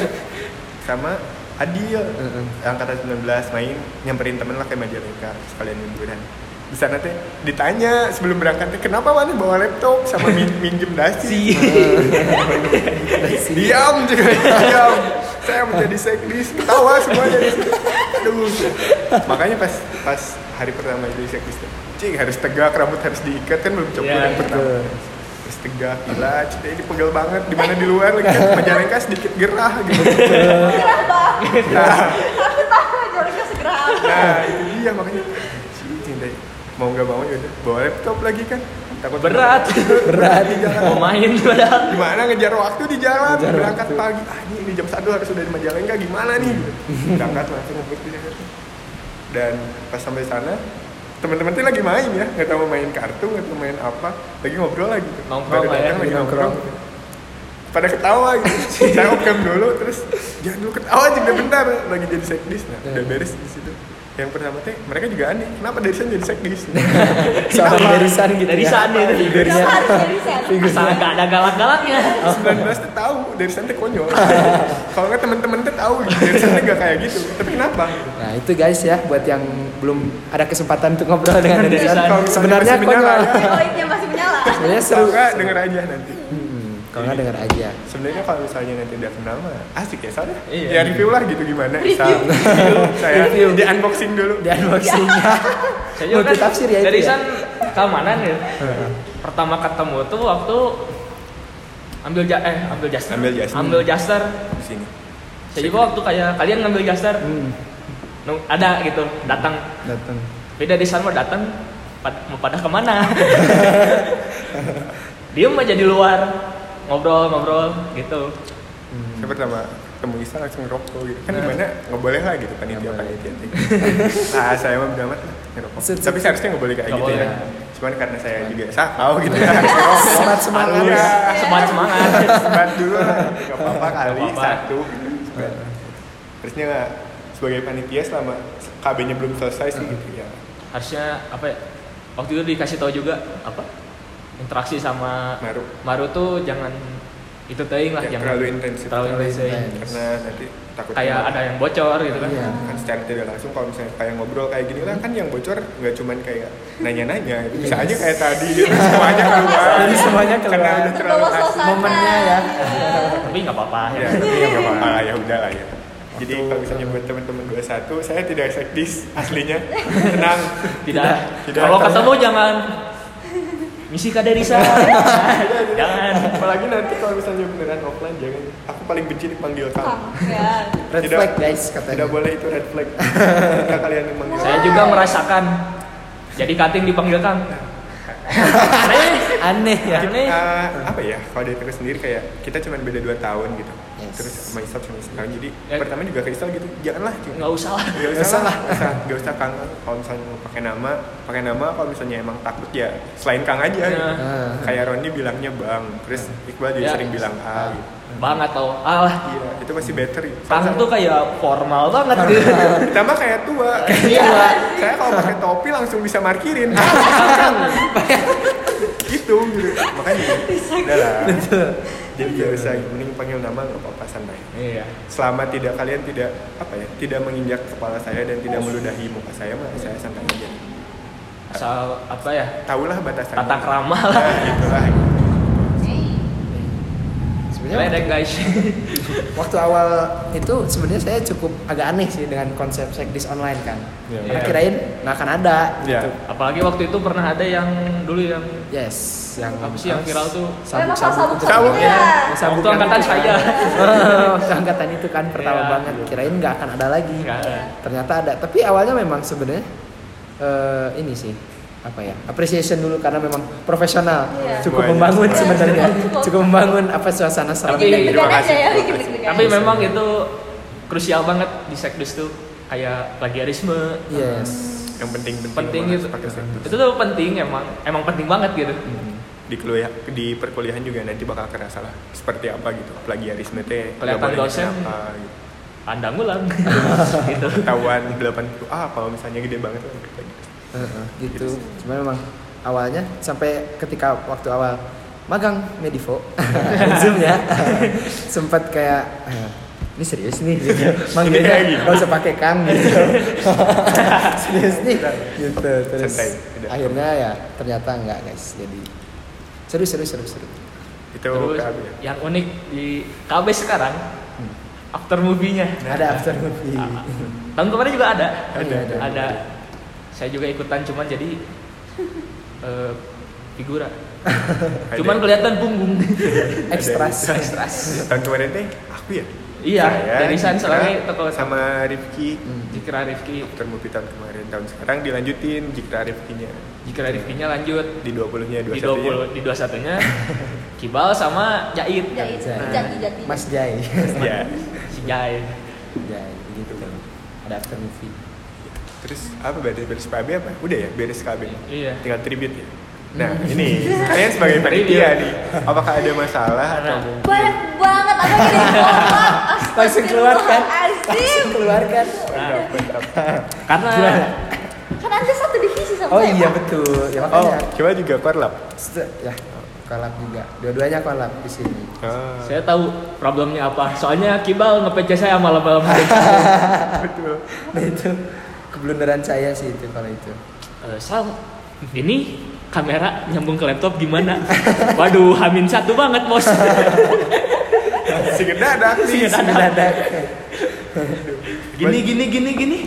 Speaker 3: sama Adil
Speaker 1: Mm-mm.
Speaker 3: angkatan 19 main nyamperin temen lah ke Majalengka sekalian liburan di sana teh ditanya sebelum berangkat teh kenapa mana bawa laptop sama min minjem dasi diam juga diam saya menjadi sekdis ketawa semuanya di situ. aduh makanya pas pas hari pertama jadi sekdis tuh, cing harus tegak rambut harus diikat kan belum coba
Speaker 2: Iya,
Speaker 3: yang pertama
Speaker 1: betul.
Speaker 3: harus tegak gila cita ini pegel banget di mana di luar lagi kan majalengka sedikit gerah gitu
Speaker 4: Gerah banget
Speaker 3: nah,
Speaker 4: Aku tahu aja orangnya segera
Speaker 3: nah itu dia makanya cing deh mau nggak mau ya udah bawa laptop lagi kan takut
Speaker 2: Berat.
Speaker 3: berat di jalan
Speaker 2: mau main padahal
Speaker 3: gimana ngejar waktu di jalan
Speaker 1: Ngejar
Speaker 3: berangkat
Speaker 1: waktu.
Speaker 3: pagi ah ini, ini jam satu harus udah di Majalengka gimana nih berangkat langsung ngebut di Jakarta. dan pas sampai sana teman-teman tuh lagi main ya nggak tahu main kartu nggak tahu main apa lagi ngobrol lagi
Speaker 2: Nongkrong
Speaker 3: Baru
Speaker 2: lah ya,
Speaker 3: datang, lagi
Speaker 1: nongkrong.
Speaker 3: nongkrong pada ketawa gitu saya okem dulu terus jangan dulu ketawa juga bentar lagi jadi sekdis nah
Speaker 1: Iya.
Speaker 3: udah beres di situ yang pertama teh mereka juga aneh kenapa dari sana jadi sekdis Iya.
Speaker 1: seorang barisan gitu
Speaker 2: dari
Speaker 1: ya
Speaker 2: sana itu
Speaker 4: Kenapa harus jadi selfie?
Speaker 2: asal nggak ada galak-galaknya
Speaker 3: 19 tuh tahu dari sana tuh konyol kalau nggak teman-teman tuh tahu gitu. dari sana nggak kayak gitu tapi kenapa
Speaker 1: Nah itu guys ya buat yang belum ada kesempatan untuk ngobrol dengan
Speaker 2: Bener,
Speaker 1: Denisan.
Speaker 2: San.
Speaker 1: Sebenarnya
Speaker 3: misalnya ya. masih menyala,
Speaker 1: konyol.
Speaker 4: Lighnya masih menyala
Speaker 1: Sebenarnya
Speaker 3: ya,
Speaker 1: seru.
Speaker 3: maka denger aja nanti
Speaker 1: Hmm, Kalau nggak denger aja.
Speaker 3: Sebenarnya kalau misalnya nanti udah kenal mah asik ya soalnya.
Speaker 2: Iya.
Speaker 3: Ya review lah gitu gimana.
Speaker 4: Review.
Speaker 3: Isal. Review. Saya
Speaker 1: Review. Ya.
Speaker 3: di unboxing dulu.
Speaker 1: Di unboxing.
Speaker 2: Saya juga
Speaker 1: Multi
Speaker 2: kan
Speaker 1: tafsir ya itu
Speaker 2: dari
Speaker 1: ya?
Speaker 2: San keamanan ya. Pertama ketemu tuh waktu ambil ja eh ambil jaster.
Speaker 3: Ambil jaster.
Speaker 2: Ambil jaster.
Speaker 3: Di sini.
Speaker 2: Saya juga waktu kayak kalian ngambil jaster.
Speaker 1: Hmm,
Speaker 2: nung- Ada gitu datang.
Speaker 1: datang.
Speaker 2: Beda di sana datang pad- mau pada kemana? Diem aja di luar ngobrol-ngobrol gitu.
Speaker 3: Saya pertama ketemu Isa langsung ngerokok gitu. Kan gimana? Nggak boleh lah gitu kan dia panitia. Ah, saya mah udah ngerokok.
Speaker 1: Sip, sip.
Speaker 3: Tapi seharusnya nggak boleh kayak
Speaker 2: Nggak
Speaker 3: gitu ya.
Speaker 2: boleh.
Speaker 3: Cuman karena saya juga tahu gitu kan. ngerokok.
Speaker 1: Semangat semangat.
Speaker 3: Halus.
Speaker 2: Semangat semangat.
Speaker 3: sebat dulu lah nggak apa-apa kali
Speaker 2: Nggak apa-apa.
Speaker 3: satu Sebat. terusnya nggak sebagai panitia selama KB-nya belum selesai
Speaker 1: Hmm.
Speaker 3: sih gitu ya
Speaker 2: Harusnya apa ya? Waktu itu dikasih tahu juga apa? Interaksi sama
Speaker 3: Maru.
Speaker 2: Maru tuh jangan itu teing lah,
Speaker 3: Ya,
Speaker 2: jangan
Speaker 3: terlalu intensif.
Speaker 2: Terlalu
Speaker 1: Terlalu
Speaker 2: intensif.
Speaker 1: intensif.
Speaker 3: karena nanti takut
Speaker 2: Kayak ada yang bocor gitu kan.
Speaker 1: Iya.
Speaker 3: kan secara tidak langsung kalau misalnya kayak ngobrol kayak gini lah kan yang bocor nggak cuman kayak nanya-nanya gitu. bisa aja kayak tadi gitu semuanya keluar
Speaker 1: Iya. Jadi semuanya
Speaker 3: karena
Speaker 1: keluar.
Speaker 3: udah terlalu
Speaker 4: Terbawa
Speaker 3: asik
Speaker 4: suasana. Iya.
Speaker 1: Momennya ya.
Speaker 2: Tapi nggak apa-apa.
Speaker 3: ya
Speaker 2: Ya.
Speaker 3: nggak apa-apa lah, ya udah lah ya jadi
Speaker 1: Waktu-
Speaker 3: kalau misalnya buat teman-teman 21 saya tidak sekdis aslinya tenang
Speaker 2: Tidak.
Speaker 3: Tidak.
Speaker 2: Kalau ketemu jangan misi kaderisa. jangan.
Speaker 3: apalagi nanti kalau misalnya beneran offline jangan aku paling benci dipanggil
Speaker 4: Ah.
Speaker 3: kamu
Speaker 4: Sampean.
Speaker 1: Red
Speaker 3: Tidak-
Speaker 1: flag guys katanya.
Speaker 3: Tidak boleh itu red flag. Ketika kalian memanggil
Speaker 2: Saya juga merasakan. Jadi kating dipanggil Kang. Aneh.
Speaker 1: Aneh ya.
Speaker 2: Aneh.
Speaker 3: Eh, apa ya? Kalau dari aku sendiri kayak kita cuma beda 2 tahun gitu.
Speaker 1: Yes.
Speaker 3: Terus sama Isap sama Isap tahun. Jadi
Speaker 2: Ya.
Speaker 3: pertama juga ke Isap gitu. Janganlah. Cing.
Speaker 2: Nggak usah lah.
Speaker 3: Nggak
Speaker 1: Nggak
Speaker 3: usah
Speaker 1: usah
Speaker 3: lah. Nggak usah, nggak usah Kang. Kalau misalnya mau pakai nama, pakai nama kalau misalnya emang takut ya selain Kang aja.
Speaker 2: Ya.
Speaker 3: gitu.
Speaker 1: Ah.
Speaker 3: Kayak Roni bilangnya Bang. Terus Iqbal juga
Speaker 2: Ya.
Speaker 3: sering bilang A. Gitu.
Speaker 2: Banget tau. Alah.
Speaker 3: Iya, itu masih better. gitu.
Speaker 2: Ah, Kang tuh kayak formal banget gitu.
Speaker 3: Kita mah kayak tua.
Speaker 2: Iya.
Speaker 3: Saya kalau pakai topi langsung bisa markirin. gitu gitu. Makanya udah lah. Jadi gak usah mending panggil nama nggak apa-apa santai.
Speaker 2: Iya.
Speaker 3: Selama tidak kalian tidak apa ya, tidak menginjak kepala saya dan tidak meludahi muka saya mah saya santai aja.
Speaker 2: Asal apa ya?
Speaker 3: Tahulah batasan.
Speaker 2: Tata krama lah.
Speaker 3: Nah, gitulah.
Speaker 1: Sebenarnya
Speaker 2: Ledek guys.
Speaker 1: waktu awal itu sebenarnya saya cukup agak aneh sih dengan konsep sekdis online kan.
Speaker 3: Iya.
Speaker 1: Karena kirain nggak akan ada
Speaker 3: Iya.
Speaker 1: gitu.
Speaker 2: Apalagi waktu itu pernah ada yang dulu yang
Speaker 1: Yes, yang
Speaker 2: apa sih yang viral tuh? Iya.
Speaker 4: Eh, masalah
Speaker 1: Sabuk-sabuk itu. kan.
Speaker 4: sabuk-sabuk
Speaker 3: Sabuk,
Speaker 4: ya.
Speaker 1: Yang sabuk
Speaker 2: Waktu
Speaker 1: yang
Speaker 2: angkatan
Speaker 1: itu
Speaker 2: saya.
Speaker 1: kan. Waktu angkatan itu kan pertama
Speaker 2: Iya.
Speaker 1: banget kirain nggak akan ada lagi.
Speaker 2: Nggak ada.
Speaker 1: Ternyata ada. Tapi awalnya memang sebenarnya eh, ini sih apa ya appreciation dulu karena memang profesional
Speaker 4: Iya.
Speaker 1: cukup
Speaker 3: Semuanya.
Speaker 1: membangun
Speaker 4: Iya,
Speaker 1: sebenarnya
Speaker 4: cukup.
Speaker 1: cukup membangun apa suasana serem
Speaker 2: Tapi-
Speaker 4: Bikin deg-degan
Speaker 3: Terima
Speaker 4: aja
Speaker 3: kasih,
Speaker 4: ya,
Speaker 3: terima
Speaker 4: bikin
Speaker 3: kasih.
Speaker 4: deg-degan.
Speaker 2: Tapi memang itu krusial banget di sekdis tuh kayak plagiarisme.
Speaker 1: yes
Speaker 3: Yang penting-penting.
Speaker 2: Penting
Speaker 3: banget
Speaker 2: itu.
Speaker 3: Iya. Pakai Hmm. sektor.
Speaker 2: Itu tuh penting emang emang penting banget gitu.
Speaker 3: di kuliah di perkuliahan juga nanti bakal kerasa lah seperti apa gitu plagiarisme teh nggak
Speaker 2: Kelihatan
Speaker 3: boleh
Speaker 2: dosen.
Speaker 3: kenapa, gitu.
Speaker 2: Anda ngulang gitu.
Speaker 3: ketahuan 80 ah kalau misalnya gede banget lah
Speaker 1: Heeh, gitu cuma memang awalnya sampai ketika waktu awal magang Medivo zoom ya sempat kayak "Eh, ini serius nih gitu. manggilnya
Speaker 3: Iya, gitu.
Speaker 1: nggak usah pakai kang gitu serius nih gitu terus
Speaker 3: Iya. Santai, udah.
Speaker 1: akhirnya ya ternyata enggak guys jadi seru seru seru seru
Speaker 3: itu
Speaker 2: Terus
Speaker 3: KB ya. Hmm.
Speaker 2: yang unik di KB sekarang after movie-nya.
Speaker 1: ada after movie
Speaker 3: Ah,
Speaker 2: Tahun kemarin juga ada.
Speaker 3: Oh,
Speaker 1: Ada,
Speaker 3: iya,
Speaker 1: ada.
Speaker 2: Ada. Saya juga ikutan cuman jadi eh, figura.
Speaker 3: Ada.
Speaker 2: Cuman kelihatan punggung.
Speaker 1: ekstras
Speaker 3: Ada.
Speaker 1: ekstras
Speaker 3: tahun kemarin teh aku ya
Speaker 2: iya,
Speaker 3: Saya,
Speaker 2: dari San
Speaker 3: Citra,
Speaker 2: soalnya toko
Speaker 3: sama Rifki
Speaker 2: Jikra Rifki.
Speaker 3: Dokter Mupi tahun kemarin tahun sekarang dilanjutin Jikra Rifkinya
Speaker 2: Jikra Rifkinya lanjut
Speaker 3: di 20 nya 21
Speaker 2: di 20 di 21-nya Kibal sama Jait.
Speaker 4: Jahit,
Speaker 1: Jai.
Speaker 4: jati-jati.
Speaker 1: Mas Jai
Speaker 3: ya
Speaker 2: Si Jai.
Speaker 1: Jai gitu ada after movie
Speaker 3: terus apa beres beres KB apa udah ya beres KB
Speaker 2: Iya.
Speaker 3: tinggal tribute ya nah ini kalian sebagai panitia nih apakah ada masalah atau
Speaker 2: Nah.
Speaker 3: mungkin
Speaker 4: Banyak banget, aku jadi kompak.
Speaker 1: Langsung keluar, kan?
Speaker 4: Astagfirullahaladzim.
Speaker 1: keluarkan
Speaker 3: Mantap, mantap.
Speaker 2: Karena
Speaker 1: Gimana?
Speaker 4: Kan anda satu divisi sama
Speaker 1: Oh
Speaker 4: saya,
Speaker 1: iya
Speaker 4: Pak.
Speaker 1: betul. Ya
Speaker 3: Oh,
Speaker 1: makanya.
Speaker 3: coba juga korlap.
Speaker 1: Set, Ya, kolab juga. Dua-duanya kolab di sini.
Speaker 3: Ah,
Speaker 2: saya tahu problemnya apa. Soalnya Kibal nge-PC saya malam-malam.
Speaker 3: betul.
Speaker 1: Nah itu keblunderan saya sih itu kalau itu.
Speaker 2: Eh, Sal, ini kamera nyambung ke laptop gimana? Waduh, Hamin satu banget bos.
Speaker 3: Singkat dadak nih.
Speaker 2: Singkat dadak. Gini gini gini gini.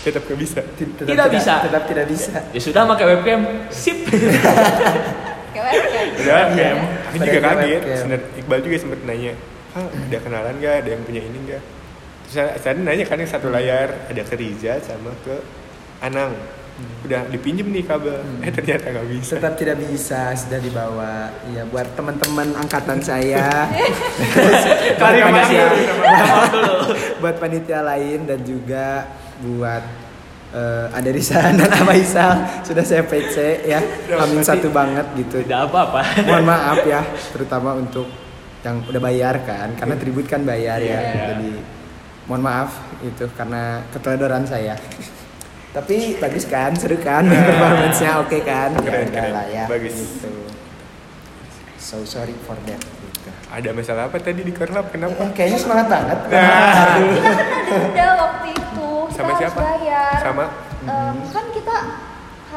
Speaker 3: Tetap gak bisa.
Speaker 1: Tetap
Speaker 2: Tidak bisa.
Speaker 1: Tetap tidak bisa.
Speaker 2: Ya sudah pakai webcam. Sip.
Speaker 4: Kayak webcam.
Speaker 1: Iya.
Speaker 3: Udah, ya. Aku
Speaker 1: Pada
Speaker 3: juga
Speaker 1: kayak
Speaker 3: kaget.
Speaker 1: webcam.
Speaker 3: Sebenernya Iqbal juga sempet nanya, ah, ada kenalan gak? Ada yang punya ini gak? Terus saya, saya nanya kan yang satu
Speaker 1: Hmm.
Speaker 3: layar, ada ke Rizal sama ke Anang. Udah dipinjem nih kabel. Eh ternyata gak bisa.
Speaker 1: Hmm. Tetap tidak bisa sudah dibawa. Iya buat teman-teman angkatan saya,
Speaker 2: Kali yang
Speaker 1: Buat
Speaker 2: mana?
Speaker 1: panitia-
Speaker 2: Maaf dulu.
Speaker 1: buat panitia lain dan juga buat eh, ada di sana dan Abaisal sudah saya PC ya. Amin
Speaker 3: berarti-
Speaker 1: satu banget gitu.
Speaker 2: Tidak apa-apa.
Speaker 1: mohon maaf ya terutama untuk yang udah bayar kan karena tribut kan bayar ya
Speaker 2: Iya, iya.
Speaker 1: jadi mohon maaf itu karena keteledoran saya tapi bagus kan seru kan performance-nya oke kan Ya
Speaker 3: Iya. Keren,
Speaker 1: udah
Speaker 3: keren.
Speaker 1: lah ya
Speaker 3: Bagus.
Speaker 1: gitu. so sorry for that gitu.
Speaker 3: Ada masalah apa tadi di Korlap?
Speaker 1: Eh,
Speaker 3: Kenapa?
Speaker 1: kayaknya semangat banget
Speaker 3: Nah.
Speaker 4: kita kena denda Kan waktu itu kita
Speaker 3: Sama
Speaker 4: harus
Speaker 3: siapa?
Speaker 4: bayar
Speaker 3: Sama?
Speaker 4: Em, kan kita H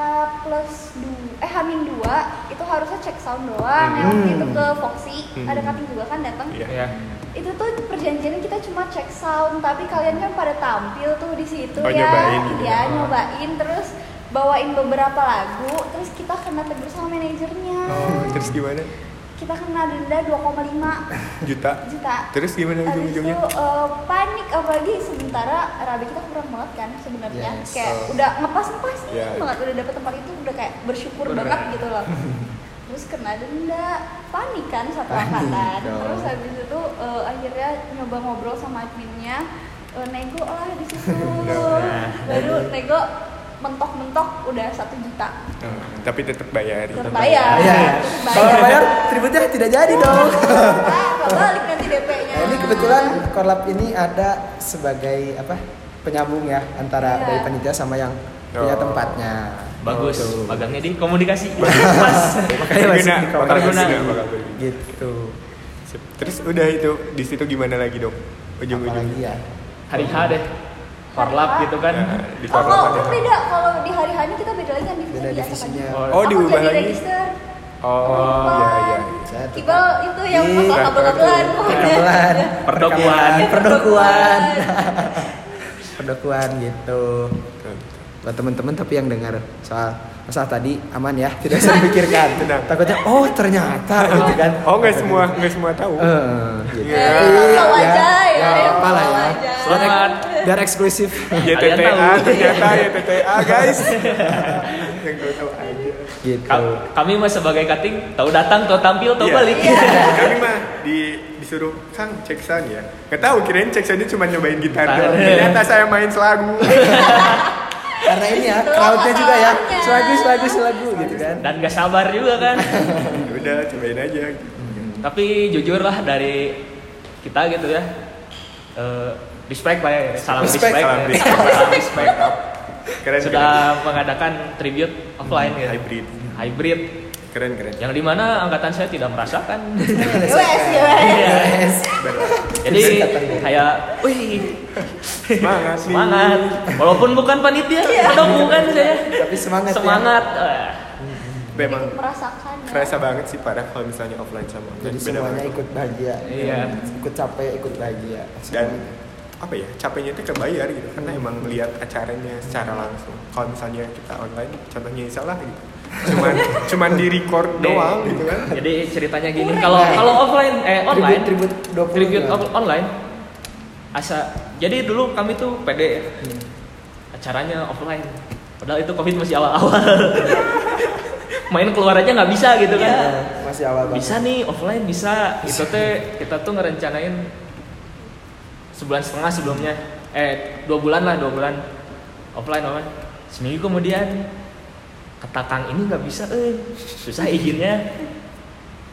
Speaker 4: plus 2 eh H min 2 itu harusnya cek sound doang yang waktu itu ke Foxy
Speaker 3: Hmm.
Speaker 4: ada kating juga kan datang
Speaker 3: Iya.
Speaker 2: Ya.
Speaker 4: itu tuh perjanjiannya kita cuma cek sound tapi kalian kan pada tampil tuh di situ
Speaker 3: Oh,
Speaker 4: ya
Speaker 3: nyobain gitu.
Speaker 4: Iya, nyobain terus bawain beberapa lagu terus kita kena tegur sama manajernya
Speaker 3: Oh, terus gimana?
Speaker 4: kita kena denda 2,5
Speaker 3: Juta?
Speaker 4: juta
Speaker 3: Terus gimana
Speaker 4: Habis itu
Speaker 3: ujung-ujungnya?
Speaker 4: eh, panik apalagi sementara Rabi kita kurang banget kan sebenarnya
Speaker 1: Yes.
Speaker 4: kayak
Speaker 3: Oh.
Speaker 4: udah ngepas ngepasin
Speaker 3: Ya.
Speaker 4: banget udah dapet tempat itu udah kayak bersyukur
Speaker 2: Bener.
Speaker 4: banget gitu loh terus kena denda panik kan satu angkatan
Speaker 1: dong.
Speaker 4: terus habis itu eh, akhirnya nyoba ngobrol sama adminnya eh, nego lah di situ
Speaker 3: Nah,
Speaker 4: baru nego mentok-mentok udah satu juta
Speaker 3: Oh, tapi tetap bayar.
Speaker 4: terbayar
Speaker 1: ya kalau nggak
Speaker 4: bayar
Speaker 1: bayar tributnya tidak jadi dong
Speaker 4: Nggak balik nanti DP-nya
Speaker 1: Nah, ini kebetulan korlap ini ada sebagai apa penyambung ya antara
Speaker 4: Iya.
Speaker 1: dari panitia sama yang punya
Speaker 3: Oh.
Speaker 1: tempatnya
Speaker 2: Bagus.
Speaker 1: Tuh.
Speaker 2: Magangnya di komunikasi. Pas.
Speaker 1: makanya masih
Speaker 3: Berguna,
Speaker 1: di kamar
Speaker 3: bakal
Speaker 2: Berguna.
Speaker 1: masih.
Speaker 3: berguna, bakal berguna.
Speaker 1: gitu
Speaker 3: Sip. Terus udah itu di situ gimana lagi dong?
Speaker 1: apalagi
Speaker 3: Ujung-ujungnya.
Speaker 1: ya
Speaker 2: Hari H deh. Parlap gitu kan.
Speaker 3: Nah, di
Speaker 4: Oh,
Speaker 3: Korlap
Speaker 4: kalau
Speaker 3: ada.
Speaker 4: kan beda kalau di hari harinya kita beda lagi kan divisi
Speaker 1: beda
Speaker 4: biasa
Speaker 1: divisinya
Speaker 4: kan.
Speaker 2: Oh,
Speaker 3: Oh,
Speaker 4: Aku
Speaker 3: diubah
Speaker 4: jadi
Speaker 3: lagi.
Speaker 4: register.
Speaker 3: Oh, iya iya.
Speaker 1: Saya tetap- Iya,
Speaker 4: Iqbal itu yang
Speaker 1: Ih,
Speaker 4: masalah kabel-kabelan
Speaker 1: perkabelan
Speaker 2: Perdokuan.
Speaker 1: perkabelan, perdokuan perdokuan gitu buat teman-teman tapi yang dengar soal masalah tadi aman ya tidak usah dipikirkan
Speaker 3: Tenang.
Speaker 1: takutnya oh ternyata gitu kan
Speaker 3: Oh, nggak semua nggak semua tahu.
Speaker 1: Eh, gitu.
Speaker 3: Iya.
Speaker 4: Tahu
Speaker 1: Iya,
Speaker 4: aja ya,
Speaker 1: nggak
Speaker 4: yang
Speaker 1: apa-apa lah
Speaker 4: tahu
Speaker 1: ya.
Speaker 4: aja.
Speaker 2: Selamat.
Speaker 1: biar eksklusif
Speaker 3: Ya
Speaker 2: Kalian
Speaker 3: TTA
Speaker 2: tahu.
Speaker 3: ternyata ya TTA guys. Yang gak tahu aja.
Speaker 1: gitu
Speaker 2: Ka- Kami mah sebagai cutting tahu datang, tahu tampil, tahu
Speaker 3: Iya.
Speaker 2: balik.
Speaker 3: Kami mah di disuruh Kang cek sound ya. Nggak tahu kirain cek soundnya cuma nyobain gitar doang.
Speaker 2: Gitar.
Speaker 3: Ternyata saya main selagu.
Speaker 1: karena ini ya
Speaker 4: Itu
Speaker 1: crowdnya juga ya
Speaker 4: Gitu, masalahnya.
Speaker 1: selagu selagu selagu gitu kan
Speaker 2: Dan gak sabar juga kan.
Speaker 3: Ya udah cobain aja.
Speaker 2: Tapi jujur lah dari kita gitu ya. Eh, respect lah ya. Salam respect.
Speaker 1: Respect.
Speaker 3: Salam
Speaker 2: ya.
Speaker 3: respect.
Speaker 2: Salam respect.
Speaker 3: Keren keren.
Speaker 2: Sudah mengadakan tribute offline gitu.
Speaker 3: Hybrid.
Speaker 2: Hybrid.
Speaker 3: Keren keren.
Speaker 2: Yang dimana angkatan saya tidak merasakan. Iya.
Speaker 4: Wes, ya,
Speaker 1: Iya.
Speaker 4: wes.
Speaker 1: Yes.
Speaker 2: Jadi kayak, wih
Speaker 3: Semangat. nih.
Speaker 2: semangat. Walaupun bukan panitia, atau bukan saya.
Speaker 1: tapi Iya. semangat ya.
Speaker 2: Semangat. Eh,
Speaker 3: Memang
Speaker 4: Ikut merasakan ya.
Speaker 3: kerasa banget sih parah kalau misalnya offline sama online.
Speaker 1: jadi
Speaker 3: Beda
Speaker 1: semuanya
Speaker 3: banget.
Speaker 1: ikut bahagia
Speaker 2: Iya.
Speaker 1: ikut capek ikut bahagia
Speaker 3: dan apa ya capeknya itu kebayar gitu karena emang melihat acaranya secara langsung kalau misalnya kita online contohnya salah gitu cuman cuman di record doang gitu kan
Speaker 2: Jadi ceritanya gini, kalau kalau offline eh
Speaker 1: Iya.
Speaker 2: online
Speaker 1: tribut tribut 20
Speaker 2: tribute
Speaker 1: kan?
Speaker 2: on- online asa jadi dulu kami tuh pede ya.
Speaker 1: Gitu
Speaker 2: acaranya offline padahal itu covid masih awal-awal main keluar aja nggak bisa gitu kan
Speaker 1: Iya, masih awal banget
Speaker 2: bisa nih offline bisa itu teh kita tuh ngerencanain sebulan setengah sebelumnya eh dua bulan lah dua bulan offline offline seminggu kemudian kata kang ini nggak bisa eh susah izinnya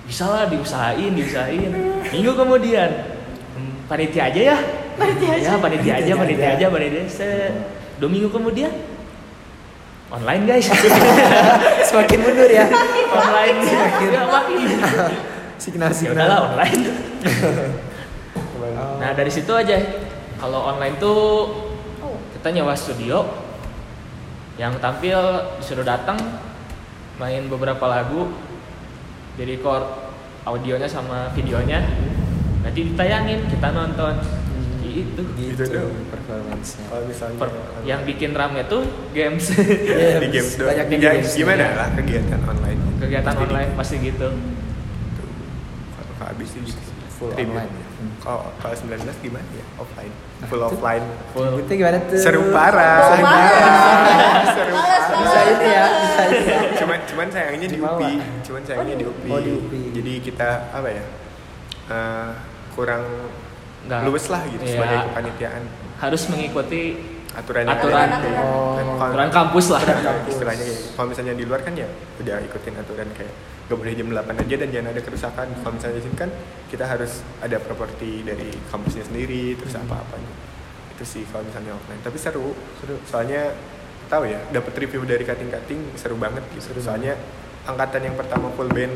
Speaker 2: bisa lah diusahain diusahain minggu kemudian "Hmm, panitia aja ya
Speaker 4: Iya,
Speaker 1: Iya.
Speaker 2: panitia aja ya panitia aja panitia aja panitia Se- dua minggu kemudian online guys
Speaker 1: semakin mundur ya
Speaker 2: online ya makin
Speaker 1: signal
Speaker 2: ya
Speaker 1: signal
Speaker 2: udahlah online
Speaker 1: Oh.
Speaker 2: nah dari situ aja kalau online tuh
Speaker 4: Oh,
Speaker 2: kita nyewa studio yang tampil disuruh datang main beberapa lagu di record audionya sama videonya nanti ditayangin kita nonton itu
Speaker 1: gitu
Speaker 3: dong.
Speaker 1: performance
Speaker 3: Kalau misalnya
Speaker 2: Per- yang bikin rame tuh games
Speaker 3: di games doang.
Speaker 1: banyak di
Speaker 3: Ya,
Speaker 1: games
Speaker 3: Gimana lah kegiatan online?
Speaker 2: kegiatan
Speaker 3: Jadi,
Speaker 2: online pasti gitu
Speaker 3: Kalau kalau habis itu
Speaker 1: Full
Speaker 3: tribute.
Speaker 1: online.
Speaker 3: Hmm. gitu. Kalau kalau 19 gimana ya? Offline. Full offline.
Speaker 2: full
Speaker 1: Itu gimana tuh?
Speaker 3: Seru parah.
Speaker 4: Seru banget.
Speaker 3: Seru
Speaker 4: Males,
Speaker 3: parah.
Speaker 1: Bisa ini ya, bisa ini ya.
Speaker 3: cuman cuman sayangnya di
Speaker 1: Dibawa.
Speaker 3: UPI cuman sayangnya di UPI.
Speaker 1: Oh, di UPI.
Speaker 3: jadi kita apa ya eh, kurang
Speaker 2: Nggak.
Speaker 3: luwes lah gitu
Speaker 2: Iya.
Speaker 3: sebagai kepanitiaan
Speaker 2: harus mengikuti
Speaker 3: aturan
Speaker 2: Aturan.
Speaker 1: Oh.
Speaker 3: Kalau-
Speaker 2: aturan kampus lah
Speaker 1: kampus.
Speaker 3: istilahnya kayak gitu. kalau misalnya di luar kan ya udah ikutin aturan kayak gak boleh jam 8 aja dan jangan ada kerusakan kalau misalnya di sini kan kita harus ada properti dari kampusnya sendiri terus
Speaker 2: Hmm.
Speaker 3: apa-apanya itu sih kalau misalnya offline tapi seru seru soalnya tahu ya dapat review dari kating-kating seru banget gitu soalnya angkatan yang pertama full band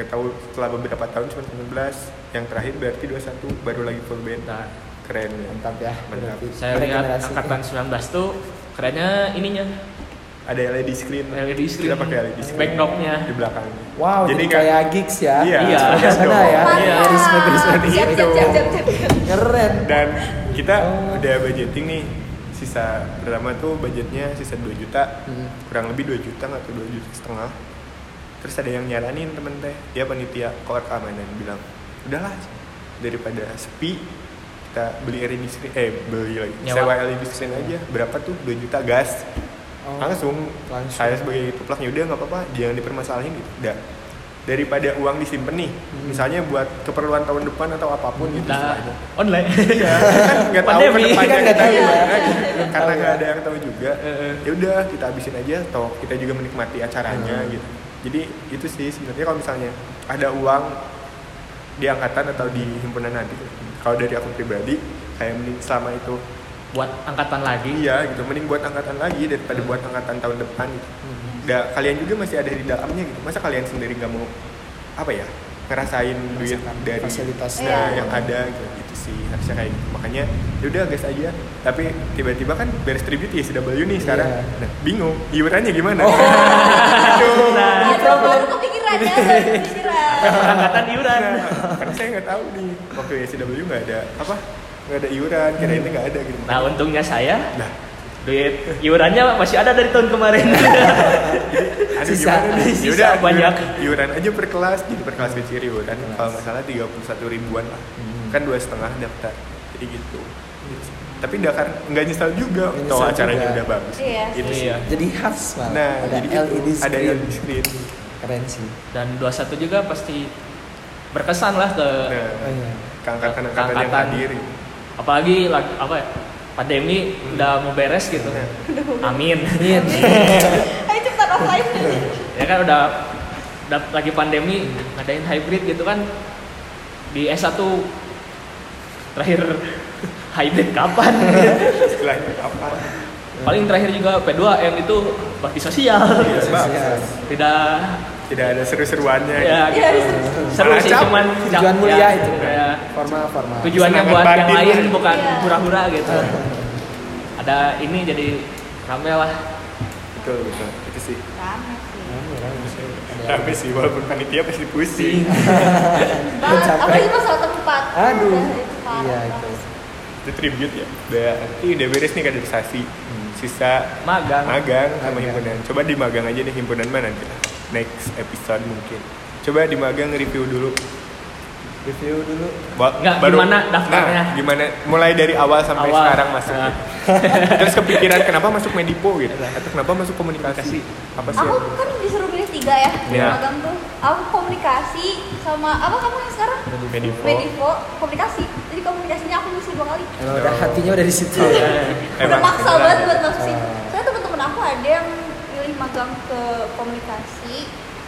Speaker 3: nggak tahu setelah beberapa tahun cuma 19 yang terakhir berarti 21 baru lagi full band
Speaker 2: Nah,
Speaker 3: keren ya
Speaker 1: Mantap ya.
Speaker 3: Mantap.
Speaker 1: berarti.
Speaker 2: saya
Speaker 1: Ada
Speaker 2: lihat
Speaker 1: generasi.
Speaker 2: angkatan 19 tuh kerennya ininya
Speaker 3: ada LED screen
Speaker 2: LED screen
Speaker 3: kita pakai LED screen
Speaker 2: backdropnya
Speaker 3: di belakang kan
Speaker 1: Wow, jadi, kayak gigs ya.
Speaker 3: Iya,
Speaker 2: Iya.
Speaker 1: Sana ya.
Speaker 2: Iya.
Speaker 1: Respect, respect,
Speaker 4: Mantap. Siap,
Speaker 1: respect.
Speaker 4: siap, siap, siap, siap.
Speaker 1: Keren.
Speaker 3: gitu. dan kita
Speaker 1: Oh.
Speaker 3: udah budgeting nih sisa pertama tuh budgetnya sisa 2 juta
Speaker 1: Hmm.
Speaker 3: kurang lebih 2 juta atau 2 juta setengah terus ada yang nyaranin temen teh dia panitia kor keamanan bilang udahlah daripada sepi kita beli LED screen eh beli lagi
Speaker 2: Nyewa.
Speaker 3: sewa LED screen aja berapa tuh 2 juta gas
Speaker 1: Oh.
Speaker 3: langsung,
Speaker 1: Langsung.
Speaker 3: saya sebagai peplak ya udah nggak apa-apa jangan dipermasalahin gitu udah daripada uang disimpan nih
Speaker 1: Hmm.
Speaker 3: misalnya buat keperluan tahun depan atau apapun gitu
Speaker 2: Nah,
Speaker 3: istilahnya.
Speaker 2: online
Speaker 1: Iya.
Speaker 3: kan nggak tahu
Speaker 2: Pandemi.
Speaker 3: ke depannya
Speaker 1: Kan nggak
Speaker 3: kita
Speaker 1: tahu ya.
Speaker 3: gimana gitu.
Speaker 1: Nggak
Speaker 3: karena
Speaker 1: tahu
Speaker 3: nggak
Speaker 1: ya.
Speaker 3: ada yang tahu juga
Speaker 2: Heeh.
Speaker 3: ya udah kita habisin aja toh kita juga menikmati acaranya
Speaker 1: Hmm.
Speaker 3: gitu jadi itu sih sebenarnya kalau misalnya ada uang di angkatan atau di himpunan nanti kalau dari aku pribadi kayak mending selama itu
Speaker 2: buat angkatan lagi
Speaker 3: iya gitu mending buat angkatan lagi daripada buat angkatan tahun depan gitu. Nggak, kalian juga masih ada di dalamnya gitu masa kalian sendiri nggak mau apa ya ngerasain duit
Speaker 1: Merasakan
Speaker 3: dari
Speaker 1: fasilitasnya.
Speaker 3: Nah,
Speaker 4: Iya.
Speaker 3: yang ada gitu, gitu sih harusnya kayak gitu. makanya yaudah gas aja tapi tiba-tiba kan beres tribute ya sudah beli nih sekarang
Speaker 1: Iya.
Speaker 3: Nah, bingung iurannya gimana
Speaker 1: Oh.
Speaker 3: Nah,
Speaker 4: Ada baru kepikiran ya, baru kepikiran.
Speaker 2: angkatan iuran
Speaker 3: Nah, karena saya nggak tahu nih waktu SCW nggak ada apa nggak ada iuran kirainnya nggak ada gitu
Speaker 2: nah untungnya saya
Speaker 3: nah
Speaker 2: duit iurannya masih ada dari tahun kemarin
Speaker 3: Aduh,
Speaker 1: Sisa.
Speaker 3: gimana nih?
Speaker 2: Sisa
Speaker 3: Yaudah,
Speaker 2: banyak.
Speaker 3: iuran- Iuran aja per kelas, jadi per kelas kecil iuran. Kalau nggak salah 31 ribuan lah.
Speaker 1: Hmm.
Speaker 3: Kan dua setengah daftar. Jadi gitu. Tapi nggak kan nggak nyesal juga.
Speaker 1: Nggak
Speaker 3: Tahu
Speaker 1: nyesal
Speaker 3: acaranya
Speaker 1: juga.
Speaker 3: udah bagus.
Speaker 4: Iya.
Speaker 3: Itu sih.
Speaker 2: iya
Speaker 1: Ya. Jadi khas malah.
Speaker 3: Nah,
Speaker 1: ada
Speaker 3: jadi gitu.
Speaker 1: LED screen.
Speaker 3: Ada LED screen. Iya,
Speaker 1: Keren sih.
Speaker 2: dan 21 juga pasti berkesan lah ke
Speaker 3: Nah,
Speaker 1: Oh, iya.
Speaker 3: keangkatan-angkatan yang
Speaker 2: Keangkatan.
Speaker 3: hadir.
Speaker 2: apalagi lag- apa ya pandemi
Speaker 1: Hmm.
Speaker 2: udah mau beres gitu
Speaker 1: Iya.
Speaker 3: Nah.
Speaker 2: amin
Speaker 1: Amin.
Speaker 4: Ayo cepetan offline.
Speaker 3: Nah,
Speaker 2: ya kan udah, udah lagi pandemi ngadain hybrid gitu kan di S1 terakhir hybrid kapan
Speaker 3: Istilahnya apa?
Speaker 2: paling terakhir juga P2M itu bakti sosial
Speaker 3: Iya, bagus.
Speaker 2: tidak
Speaker 3: Tidak ada seru-seruannya.
Speaker 2: ya
Speaker 4: Iya,
Speaker 2: gitu. seru
Speaker 3: Malah
Speaker 2: sih
Speaker 3: cap.
Speaker 2: cuman
Speaker 1: Tujuan
Speaker 2: ya,
Speaker 1: mulia itu.
Speaker 2: ya,
Speaker 1: Formal formal.
Speaker 2: tujuannya
Speaker 3: Semangat
Speaker 2: buat yang
Speaker 3: batin
Speaker 2: lain
Speaker 3: lah.
Speaker 2: bukan
Speaker 4: Iya.
Speaker 2: hura-hura gitu ada ini jadi rame lah
Speaker 3: Betul, betul. Itu sih.
Speaker 4: Rame sih.
Speaker 3: Tapi sih, walaupun panitia pasti pusing.
Speaker 4: Banget,
Speaker 1: Capek.
Speaker 4: apalagi masalah tempat. gitu.
Speaker 1: Aduh.
Speaker 4: Udah, itu parah
Speaker 1: Iya
Speaker 4: banget.
Speaker 1: itu.
Speaker 3: Itu tribute ya. Berarti udah beres nih kaderisasi. Sisa
Speaker 2: magang
Speaker 3: magang sama
Speaker 1: Magang.
Speaker 3: himpunan. Coba di magang aja deh himpunan mana nanti lah. Next episode mungkin. Coba di magang review dulu.
Speaker 1: Review dulu.
Speaker 3: Ba-
Speaker 2: Nggak, gimana daftarnya?
Speaker 3: Nah, gimana? Mulai dari awal sampai
Speaker 2: Awal.
Speaker 3: sekarang masuk.
Speaker 2: Nah.
Speaker 3: Terus kepikiran kenapa masuk Medipo gitu? Atau kenapa masuk komunikasi? Apa sih?
Speaker 4: Aku kan disuruh milih tiga ya,
Speaker 3: Iya.
Speaker 4: magang tuh. Aku komunikasi sama apa kamu yang sekarang?
Speaker 3: Medipo.
Speaker 4: Medivo, komunikasi. Jadi komunikasinya aku misi dua kali.
Speaker 1: Emang udah hatinya udah di situ.
Speaker 4: Udah
Speaker 3: Emang
Speaker 4: maksa
Speaker 3: beneran.
Speaker 4: banget buat masuk
Speaker 3: Oh.
Speaker 4: sini.
Speaker 1: Ah.
Speaker 4: Soalnya temen-temen aku ada yang milih magang ke komunikasi,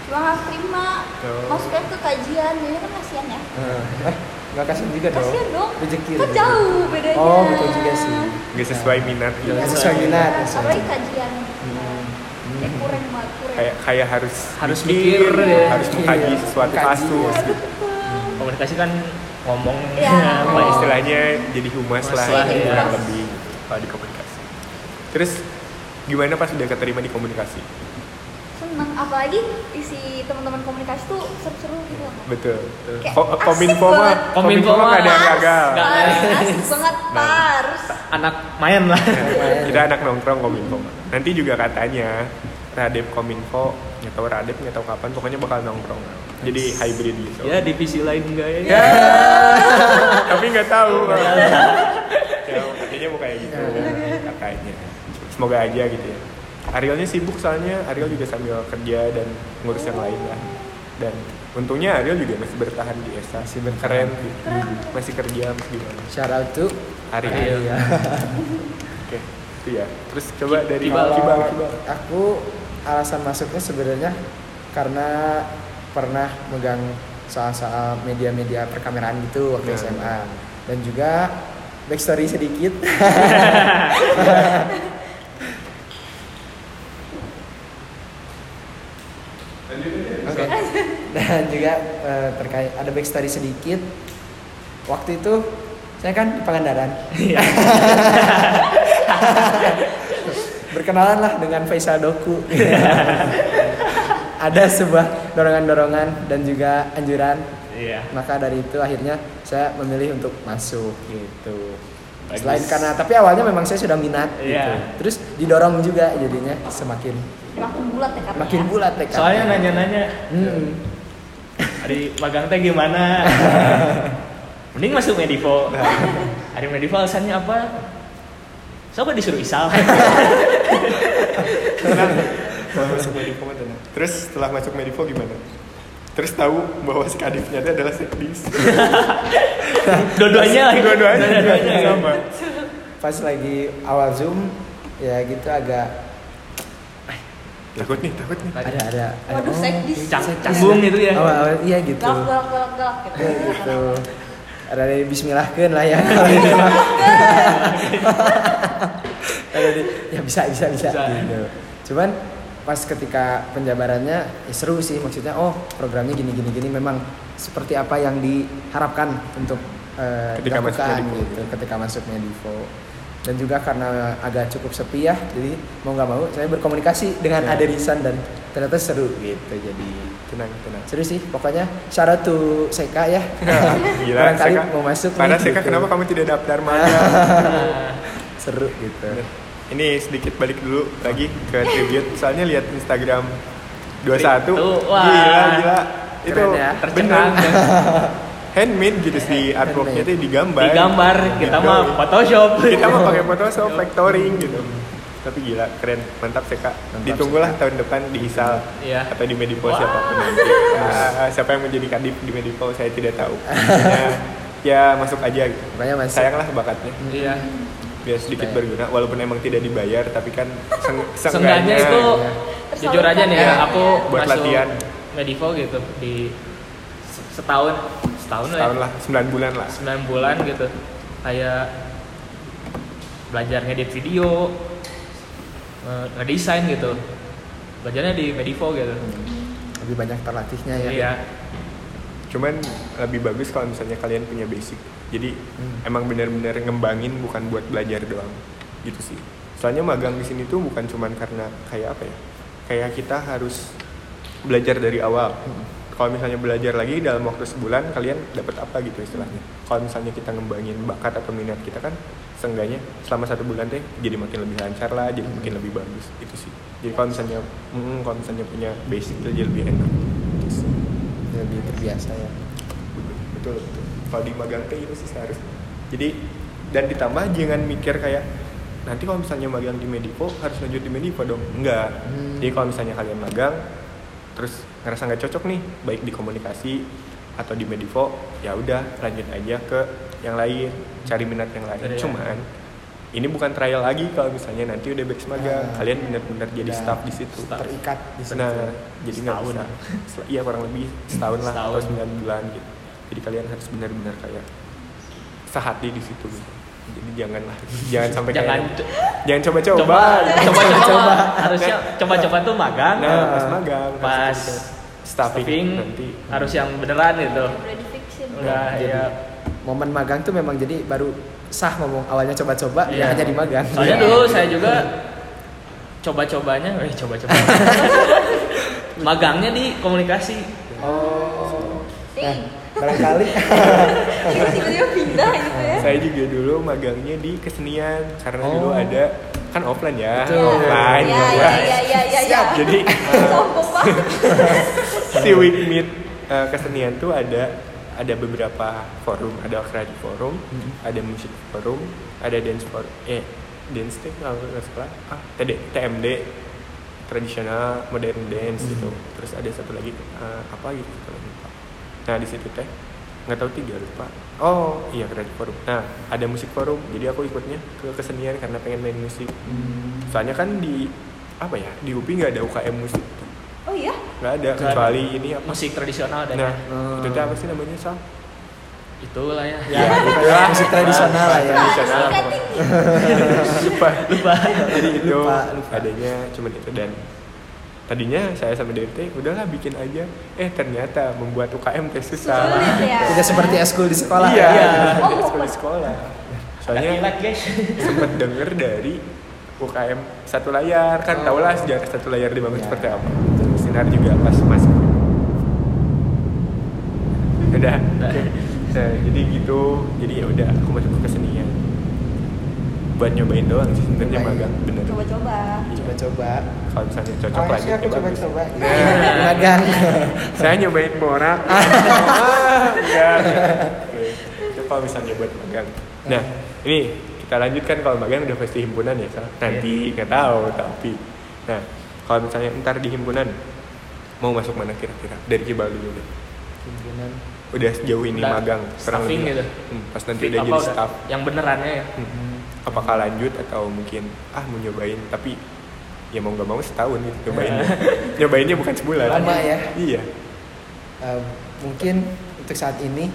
Speaker 4: cuma nggak terima.
Speaker 3: Tuh.
Speaker 4: Masuknya ke kajian, jadi kan kasihan ya.
Speaker 1: Eh, Nggak kasihan juga dong.
Speaker 4: Kasihan dong.
Speaker 1: Rezeki.
Speaker 4: Kan
Speaker 1: rezeki.
Speaker 4: jauh bedanya.
Speaker 1: Oh, betul juga sih.
Speaker 3: Nggak sesuai minat gitu.
Speaker 1: Nggak sesuai minat. nggak sesuai.
Speaker 4: Apalagi kan- kajian. Kayak kurang banget, kurang.
Speaker 3: Kayak kayak harus
Speaker 2: Harus mikir, ya.
Speaker 3: harus mengkaji
Speaker 1: Iya,
Speaker 3: sesuatu
Speaker 1: mengkaji.
Speaker 3: kasus. gitu.
Speaker 4: Iya, betul.
Speaker 2: komunikasi kan ngomong
Speaker 4: Iya.
Speaker 2: apa
Speaker 3: Nah,
Speaker 2: ya, istilah
Speaker 3: istilahnya jadi humas lah,
Speaker 2: Humas lah,
Speaker 3: kurang
Speaker 2: iya.
Speaker 3: lebih eh, kalau di komunikasi. Terus gimana pas udah keterima di komunikasi?
Speaker 4: Seneng. seneng apalagi isi teman-teman komunikasi tuh seru-seru gitu loh.
Speaker 3: Betul. betul.
Speaker 4: Kayak
Speaker 3: Ko-
Speaker 4: asik
Speaker 3: Kominfo mah,
Speaker 4: banget.
Speaker 2: Kominfo
Speaker 3: kominfo
Speaker 2: mah.
Speaker 3: mah nggak ada yang gagal.
Speaker 2: Nggak
Speaker 4: Pars,
Speaker 2: nice.
Speaker 4: asik banget pars.
Speaker 2: anak main lah
Speaker 3: Iya. Kita anak nongkrong kominfo mah. Nanti juga katanya Radep Kominfo, nggak tahu Radep nggak tahu kapan, pokoknya bakal nongkrong. Jadi hybrid gitu.
Speaker 2: ya divisi lain enggak ya
Speaker 3: Tapi nggak tahu. ya, katanya mau kayak gitu katanya. Semoga aja gitu ya. Arielnya sibuk soalnya Ariel juga sambil kerja dan ngurus yang lain lah. Dan untungnya Ariel juga masih bertahan di Esa.
Speaker 1: Masih bertahan.
Speaker 3: Keren gitu. Masih kerja masih gimana.
Speaker 1: Shout out to
Speaker 3: Ariel.
Speaker 2: Ariel.
Speaker 1: Iya.
Speaker 3: Oke, itu ya. Terus coba dari Gitu.
Speaker 2: Kibal.
Speaker 3: Kibal, Kibal.
Speaker 1: Aku alasan masuknya sebenarnya karena pernah megang soal-soal media-media perkameraan gitu waktu
Speaker 3: Hmm.
Speaker 1: SMA dan juga backstory sedikit. Oke.
Speaker 4: Eh,
Speaker 1: Dan juga eh, terkait ada backstory sedikit. Waktu itu saya kan di Pangandaran.
Speaker 2: Iya.
Speaker 1: Berkenalan lah dengan Faisal Doku. ada sebuah dorongan-dorongan dan juga anjuran.
Speaker 2: iya
Speaker 1: Maka dari itu akhirnya saya memilih untuk masuk gitu.
Speaker 2: Bagus.
Speaker 1: Selain karena tapi awalnya memang saya sudah minat gitu.
Speaker 2: Iya.
Speaker 1: Terus didorong juga jadinya semakin
Speaker 4: Makin bulat ya karena
Speaker 1: makin
Speaker 4: ya.
Speaker 1: bulat tekadnya.
Speaker 2: soalnya nanya-nanya
Speaker 1: Hmm.
Speaker 2: Ari magang teh gimana? Mending masuk Medivo. Ari Medivo alasannya apa? Siapa disuruh isal?
Speaker 3: Setelah masuk Medivo mah tenang. Terus setelah masuk Medivo gimana? Terus tahu bahwa si kadifnya itu adalah sekdis.
Speaker 2: Dua-duanya lagi.
Speaker 3: Dua-duanya.
Speaker 2: Dua-duanya. iya.
Speaker 3: sama.
Speaker 1: pas lagi awal zoom ya gitu agak
Speaker 3: Takut nih, takut nih.
Speaker 1: ada ada ada
Speaker 4: Waduh, sekdis.
Speaker 2: Cang- canggung gitu ya.
Speaker 1: awal awal Oh, iya gitu
Speaker 4: Galak galak galak galak gitu.
Speaker 1: ya,
Speaker 3: Iya,
Speaker 1: gitu ada di Bismillahkan lah ya kalau ini mah. Ada di- ya bisa bisa bisa
Speaker 2: Bisa.
Speaker 1: gitu cuman pas ketika penjabarannya ya seru sih maksudnya oh programnya gini gini gini memang seperti apa yang diharapkan untuk eh,
Speaker 3: Ketika masuk
Speaker 1: dilakukan
Speaker 3: Medivo.
Speaker 1: gitu ketika masuknya Divo dan juga karena agak cukup sepi ya jadi mau nggak mau saya berkomunikasi dengan
Speaker 3: Ya.
Speaker 1: Aderisan dan ternyata seru gitu jadi
Speaker 3: Tenang, tenang.
Speaker 1: Seru sih, pokoknya syarat tuh Seka ya.
Speaker 3: Gila,
Speaker 1: Barangkali
Speaker 3: Seka.
Speaker 1: mau masuk
Speaker 3: Karena
Speaker 1: nih,
Speaker 3: Seka
Speaker 1: gitu.
Speaker 3: kenapa kamu tidak daftar mana?
Speaker 1: Seru gitu.
Speaker 3: Ini sedikit balik dulu lagi ke tribute. Soalnya lihat Instagram 21.
Speaker 2: Tuh, wah.
Speaker 3: Gila, gila.
Speaker 1: Keren
Speaker 3: Itu
Speaker 1: ya.
Speaker 2: Tercengang.
Speaker 3: bener. handmade gitu sih artworknya tuh digambar.
Speaker 2: Digambar kita
Speaker 3: Gitu.
Speaker 2: mah Photoshop.
Speaker 3: kita mah pakai Photoshop factoring gitu. Tapi gila, keren, mantap Seka.
Speaker 1: Mantap,
Speaker 3: Ditunggulah tahun depan di Hisal
Speaker 2: Iya.
Speaker 3: atau di Medipo
Speaker 2: Wah.
Speaker 3: siapa nanti. Ah, siapa yang menjadi kadip di Medipo saya tidak tahu. ya, ya masuk aja gitu.
Speaker 1: Pokoknya masuk.
Speaker 3: Sayanglah bakatnya.
Speaker 2: Iya.
Speaker 3: Biar sedikit
Speaker 1: Sayang.
Speaker 3: berguna walaupun emang tidak dibayar tapi kan seng-
Speaker 2: Seenggaknya itu
Speaker 1: iya.
Speaker 2: jujur aja nih
Speaker 4: Iya.
Speaker 2: ya, aku
Speaker 3: Buat
Speaker 2: masuk
Speaker 3: latihan.
Speaker 2: Medivo gitu di se- setahun setahun lah.
Speaker 3: tahun
Speaker 2: ya.
Speaker 3: lah 9 bulan lah.
Speaker 2: 9 bulan gitu kayak belajar ngedit video eh, ngedesain gitu belajarnya di Medivo gitu
Speaker 1: Lebih banyak terlatihnya ya.
Speaker 2: iya
Speaker 3: Cuman lebih bagus kalau misalnya kalian punya basic. Jadi emang benar-benar ngembangin bukan buat belajar doang. Gitu sih. Soalnya magang di sini tuh bukan cuman karena kayak apa ya? Kayak kita harus belajar dari awal. Kalau misalnya belajar lagi dalam waktu sebulan kalian dapat apa gitu istilahnya. Kalau misalnya kita ngembangin bakat atau minat kita kan seenggaknya selama satu bulan deh jadi makin lebih lancar lah, jadi makin lebih bagus itu sih. Jadi kalau misalnya, mm, kalau misalnya punya basic tuh jadi lebih enak. Gitu sih.
Speaker 1: Lebih terbiasa ya.
Speaker 3: betul betul kalau di magang teh itu sih seharusnya jadi dan ditambah jangan mikir kayak nanti kalau misalnya magang di Medipo harus lanjut di Medipo dong enggak
Speaker 1: Hmm.
Speaker 3: jadi kalau misalnya kalian magang terus ngerasa nggak cocok nih baik di komunikasi atau di Medipo ya udah lanjut aja ke yang lain cari minat yang lain
Speaker 2: Iya.
Speaker 3: cuman ini bukan trial lagi kalau misalnya nanti udah batch magang
Speaker 1: Ah.
Speaker 3: kalian benar-benar jadi
Speaker 1: Udah.
Speaker 3: staff di situ
Speaker 2: Staff.
Speaker 1: Terikat di situ.
Speaker 3: Benar, jadi nggak
Speaker 2: Setahun.
Speaker 3: bisa. Sel- Iya kurang lebih setahun lah atau
Speaker 2: Setahun.
Speaker 3: sembilan bulan gitu. Jadi kalian harus benar-benar kayak sehati di situ. Gitu. Jadi janganlah, jangan sampai
Speaker 2: jangan
Speaker 3: kayak
Speaker 2: co-
Speaker 3: jangan
Speaker 2: coba
Speaker 3: coba-coba.
Speaker 2: coba coba harusnya coba coba tuh magang eh,
Speaker 3: Nah, pas magang, harus
Speaker 2: pas
Speaker 3: coba-coba.
Speaker 2: staffing,
Speaker 3: staffing, nanti Nah,
Speaker 2: harus yang beneran gitu
Speaker 4: Brand fiction.
Speaker 2: enggak
Speaker 3: Ah,
Speaker 1: Jadi,
Speaker 3: iya.
Speaker 2: ya
Speaker 1: Momen magang tuh memang jadi baru sah ngomong awalnya coba-coba
Speaker 2: Iya.
Speaker 1: ya jadi magang.
Speaker 2: soalnya
Speaker 1: Iya.
Speaker 2: dulu saya juga coba cobanya eh coba coba magangnya di komunikasi
Speaker 1: Oh. Nah,
Speaker 4: Eh,
Speaker 1: barangkali
Speaker 4: tiba-tiba pindah gitu ya.
Speaker 3: Saya juga dulu magangnya di kesenian karena dulu
Speaker 1: Oh.
Speaker 3: ada kan offline ya,
Speaker 1: Betul.
Speaker 3: offline
Speaker 4: Ya,
Speaker 3: ya,
Speaker 4: ya, ya, ya, ya,
Speaker 3: Siap.
Speaker 4: ya.
Speaker 3: Jadi
Speaker 4: Sombong banget.
Speaker 3: si week meet uh, kesenian tuh ada ada beberapa forum, ada akradi forum, ada musik forum, ada dance forum, eh dance tech kalau nggak salah, ah TD, TMD tradisional modern dance gitu, terus ada satu lagi uh, apa gitu kalau lupa. Nah di situ teh nggak tahu tiga lupa. Oh iya akradi forum. Nah ada musik forum, jadi aku ikutnya ke kesenian karena pengen main musik.
Speaker 1: Hmm.
Speaker 3: Soalnya kan di apa ya di UPI nggak ada UKM musik,
Speaker 4: Oh iya,
Speaker 3: nggak ada
Speaker 2: Nggak ada.
Speaker 3: kecuali ini apa
Speaker 2: musik tradisional dan
Speaker 3: Nah,
Speaker 1: Hmm.
Speaker 3: itu tuh apa sih namanya, Sal?
Speaker 2: itulah ya,
Speaker 3: Ya, gitu ya.
Speaker 1: musik tradisional lah ya.
Speaker 3: Nah,
Speaker 4: Pak,
Speaker 3: sana
Speaker 4: suka
Speaker 3: apa?
Speaker 4: tinggi.
Speaker 3: Lupa.
Speaker 2: lupa
Speaker 3: Jadi itu
Speaker 1: Lupa, lupa.
Speaker 3: adanya cuman itu dan tadinya saya sama DT udahlah bikin aja. Eh, ternyata membuat UKM teh susah.
Speaker 4: Sulit ya.
Speaker 1: tidak seperti eskul di sekolah.
Speaker 3: Iya,
Speaker 1: ya.
Speaker 3: tidak
Speaker 4: Oh,
Speaker 3: seperti
Speaker 4: bukan.
Speaker 3: sekolah.
Speaker 2: soalnya
Speaker 3: Soalnya
Speaker 2: guys
Speaker 3: sempat denger dari UKM satu layar kan tau lah sejarah satu layar dibangun
Speaker 1: Ya.
Speaker 3: seperti apa sinar juga pas masuk udah Nah, jadi gitu jadi ya udah aku masuk ke kesenian buat nyobain doang sih sebenarnya
Speaker 1: Nyobain.
Speaker 3: magang bener
Speaker 4: Coba-coba.
Speaker 3: Iya.
Speaker 1: Coba-coba.
Speaker 3: kalau misalnya cocok
Speaker 1: Oh,
Speaker 3: lagi
Speaker 1: sih aku
Speaker 3: ya bagus.
Speaker 1: coba-coba.
Speaker 3: Nah,
Speaker 1: Magang.
Speaker 3: saya nyobain borak Ah, enggak Oke, itu kalau misalnya buat magang nah ini kita lanjutkan kalau magang udah pasti himpunan ya
Speaker 1: Iya.
Speaker 3: Sal? nanti nggak tahu tapi nah kalau misalnya ntar di himpunan mau masuk mana kira-kira dari Cibalu dulu deh.
Speaker 1: Himpunan.
Speaker 3: udah sejauh ini
Speaker 2: Udah
Speaker 3: magang kurang
Speaker 2: staffing
Speaker 3: lebih.
Speaker 2: gitu.
Speaker 3: Hmm, pas nanti
Speaker 2: Apa
Speaker 3: udah jadi
Speaker 2: udah?
Speaker 3: staff
Speaker 2: yang benerannya ya
Speaker 3: Hmm. apakah lanjut atau mungkin ah mau nyobain tapi ya mau nggak mau setahun gitu nyobainnya nyobainnya bukan sebulan
Speaker 1: Lama ya.
Speaker 3: iya
Speaker 1: Eh, mungkin untuk saat ini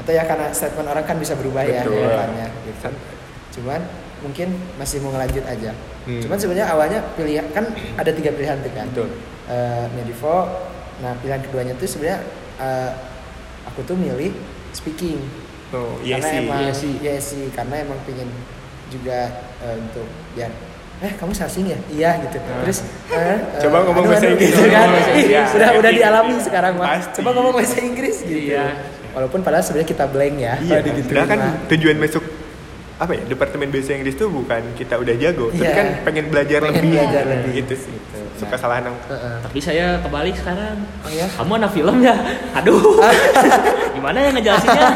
Speaker 1: atau ya karena statement orang kan bisa berubah ya
Speaker 3: Betul.
Speaker 1: depannya gitu.
Speaker 3: Kan?
Speaker 1: Cuman mungkin masih mau ngelanjut aja.
Speaker 3: Hmm.
Speaker 1: Cuman sebenarnya awalnya pilihan kan ada tiga pilihan tuh kan.
Speaker 3: Betul.
Speaker 1: Eh, Medivo. Nah pilihan keduanya tuh sebenarnya eh, aku tuh milih speaking.
Speaker 3: Oh, iya
Speaker 1: karena
Speaker 3: sih.
Speaker 1: emang
Speaker 2: Iya sih.
Speaker 1: iya sih, karena emang pingin juga eh, untuk biar eh kamu sasing ya iya gitu
Speaker 3: Nah.
Speaker 1: terus eh,
Speaker 3: Coba
Speaker 1: eh,
Speaker 3: ngomong
Speaker 1: aduh,
Speaker 3: bahasa
Speaker 1: aduh,
Speaker 3: Inggris.
Speaker 1: gitu kan.
Speaker 2: Bahasa
Speaker 1: Ih,
Speaker 3: Inggris.
Speaker 1: sudah udah
Speaker 3: Pasti.
Speaker 1: dialami sekarang mah
Speaker 3: Pasti.
Speaker 1: coba ngomong bahasa Inggris gitu
Speaker 2: Iya.
Speaker 1: walaupun padahal sebenarnya kita blank ya
Speaker 3: Iya,
Speaker 1: kalau
Speaker 3: gitu.
Speaker 1: diterima.
Speaker 3: kan tujuan masuk apa ya departemen bahasa Inggris tuh bukan kita udah jago, tapi
Speaker 1: Iya.
Speaker 3: kan pengen belajar
Speaker 1: Pengen
Speaker 3: lebih.
Speaker 1: belajar lebih.
Speaker 3: Gitu sih. Suka
Speaker 1: Nah.
Speaker 3: salah nang.
Speaker 1: Heeh.
Speaker 2: tapi saya kebalik sekarang
Speaker 1: Oh ya?
Speaker 2: kamu anak film ya aduh gimana ya ngejelasinnya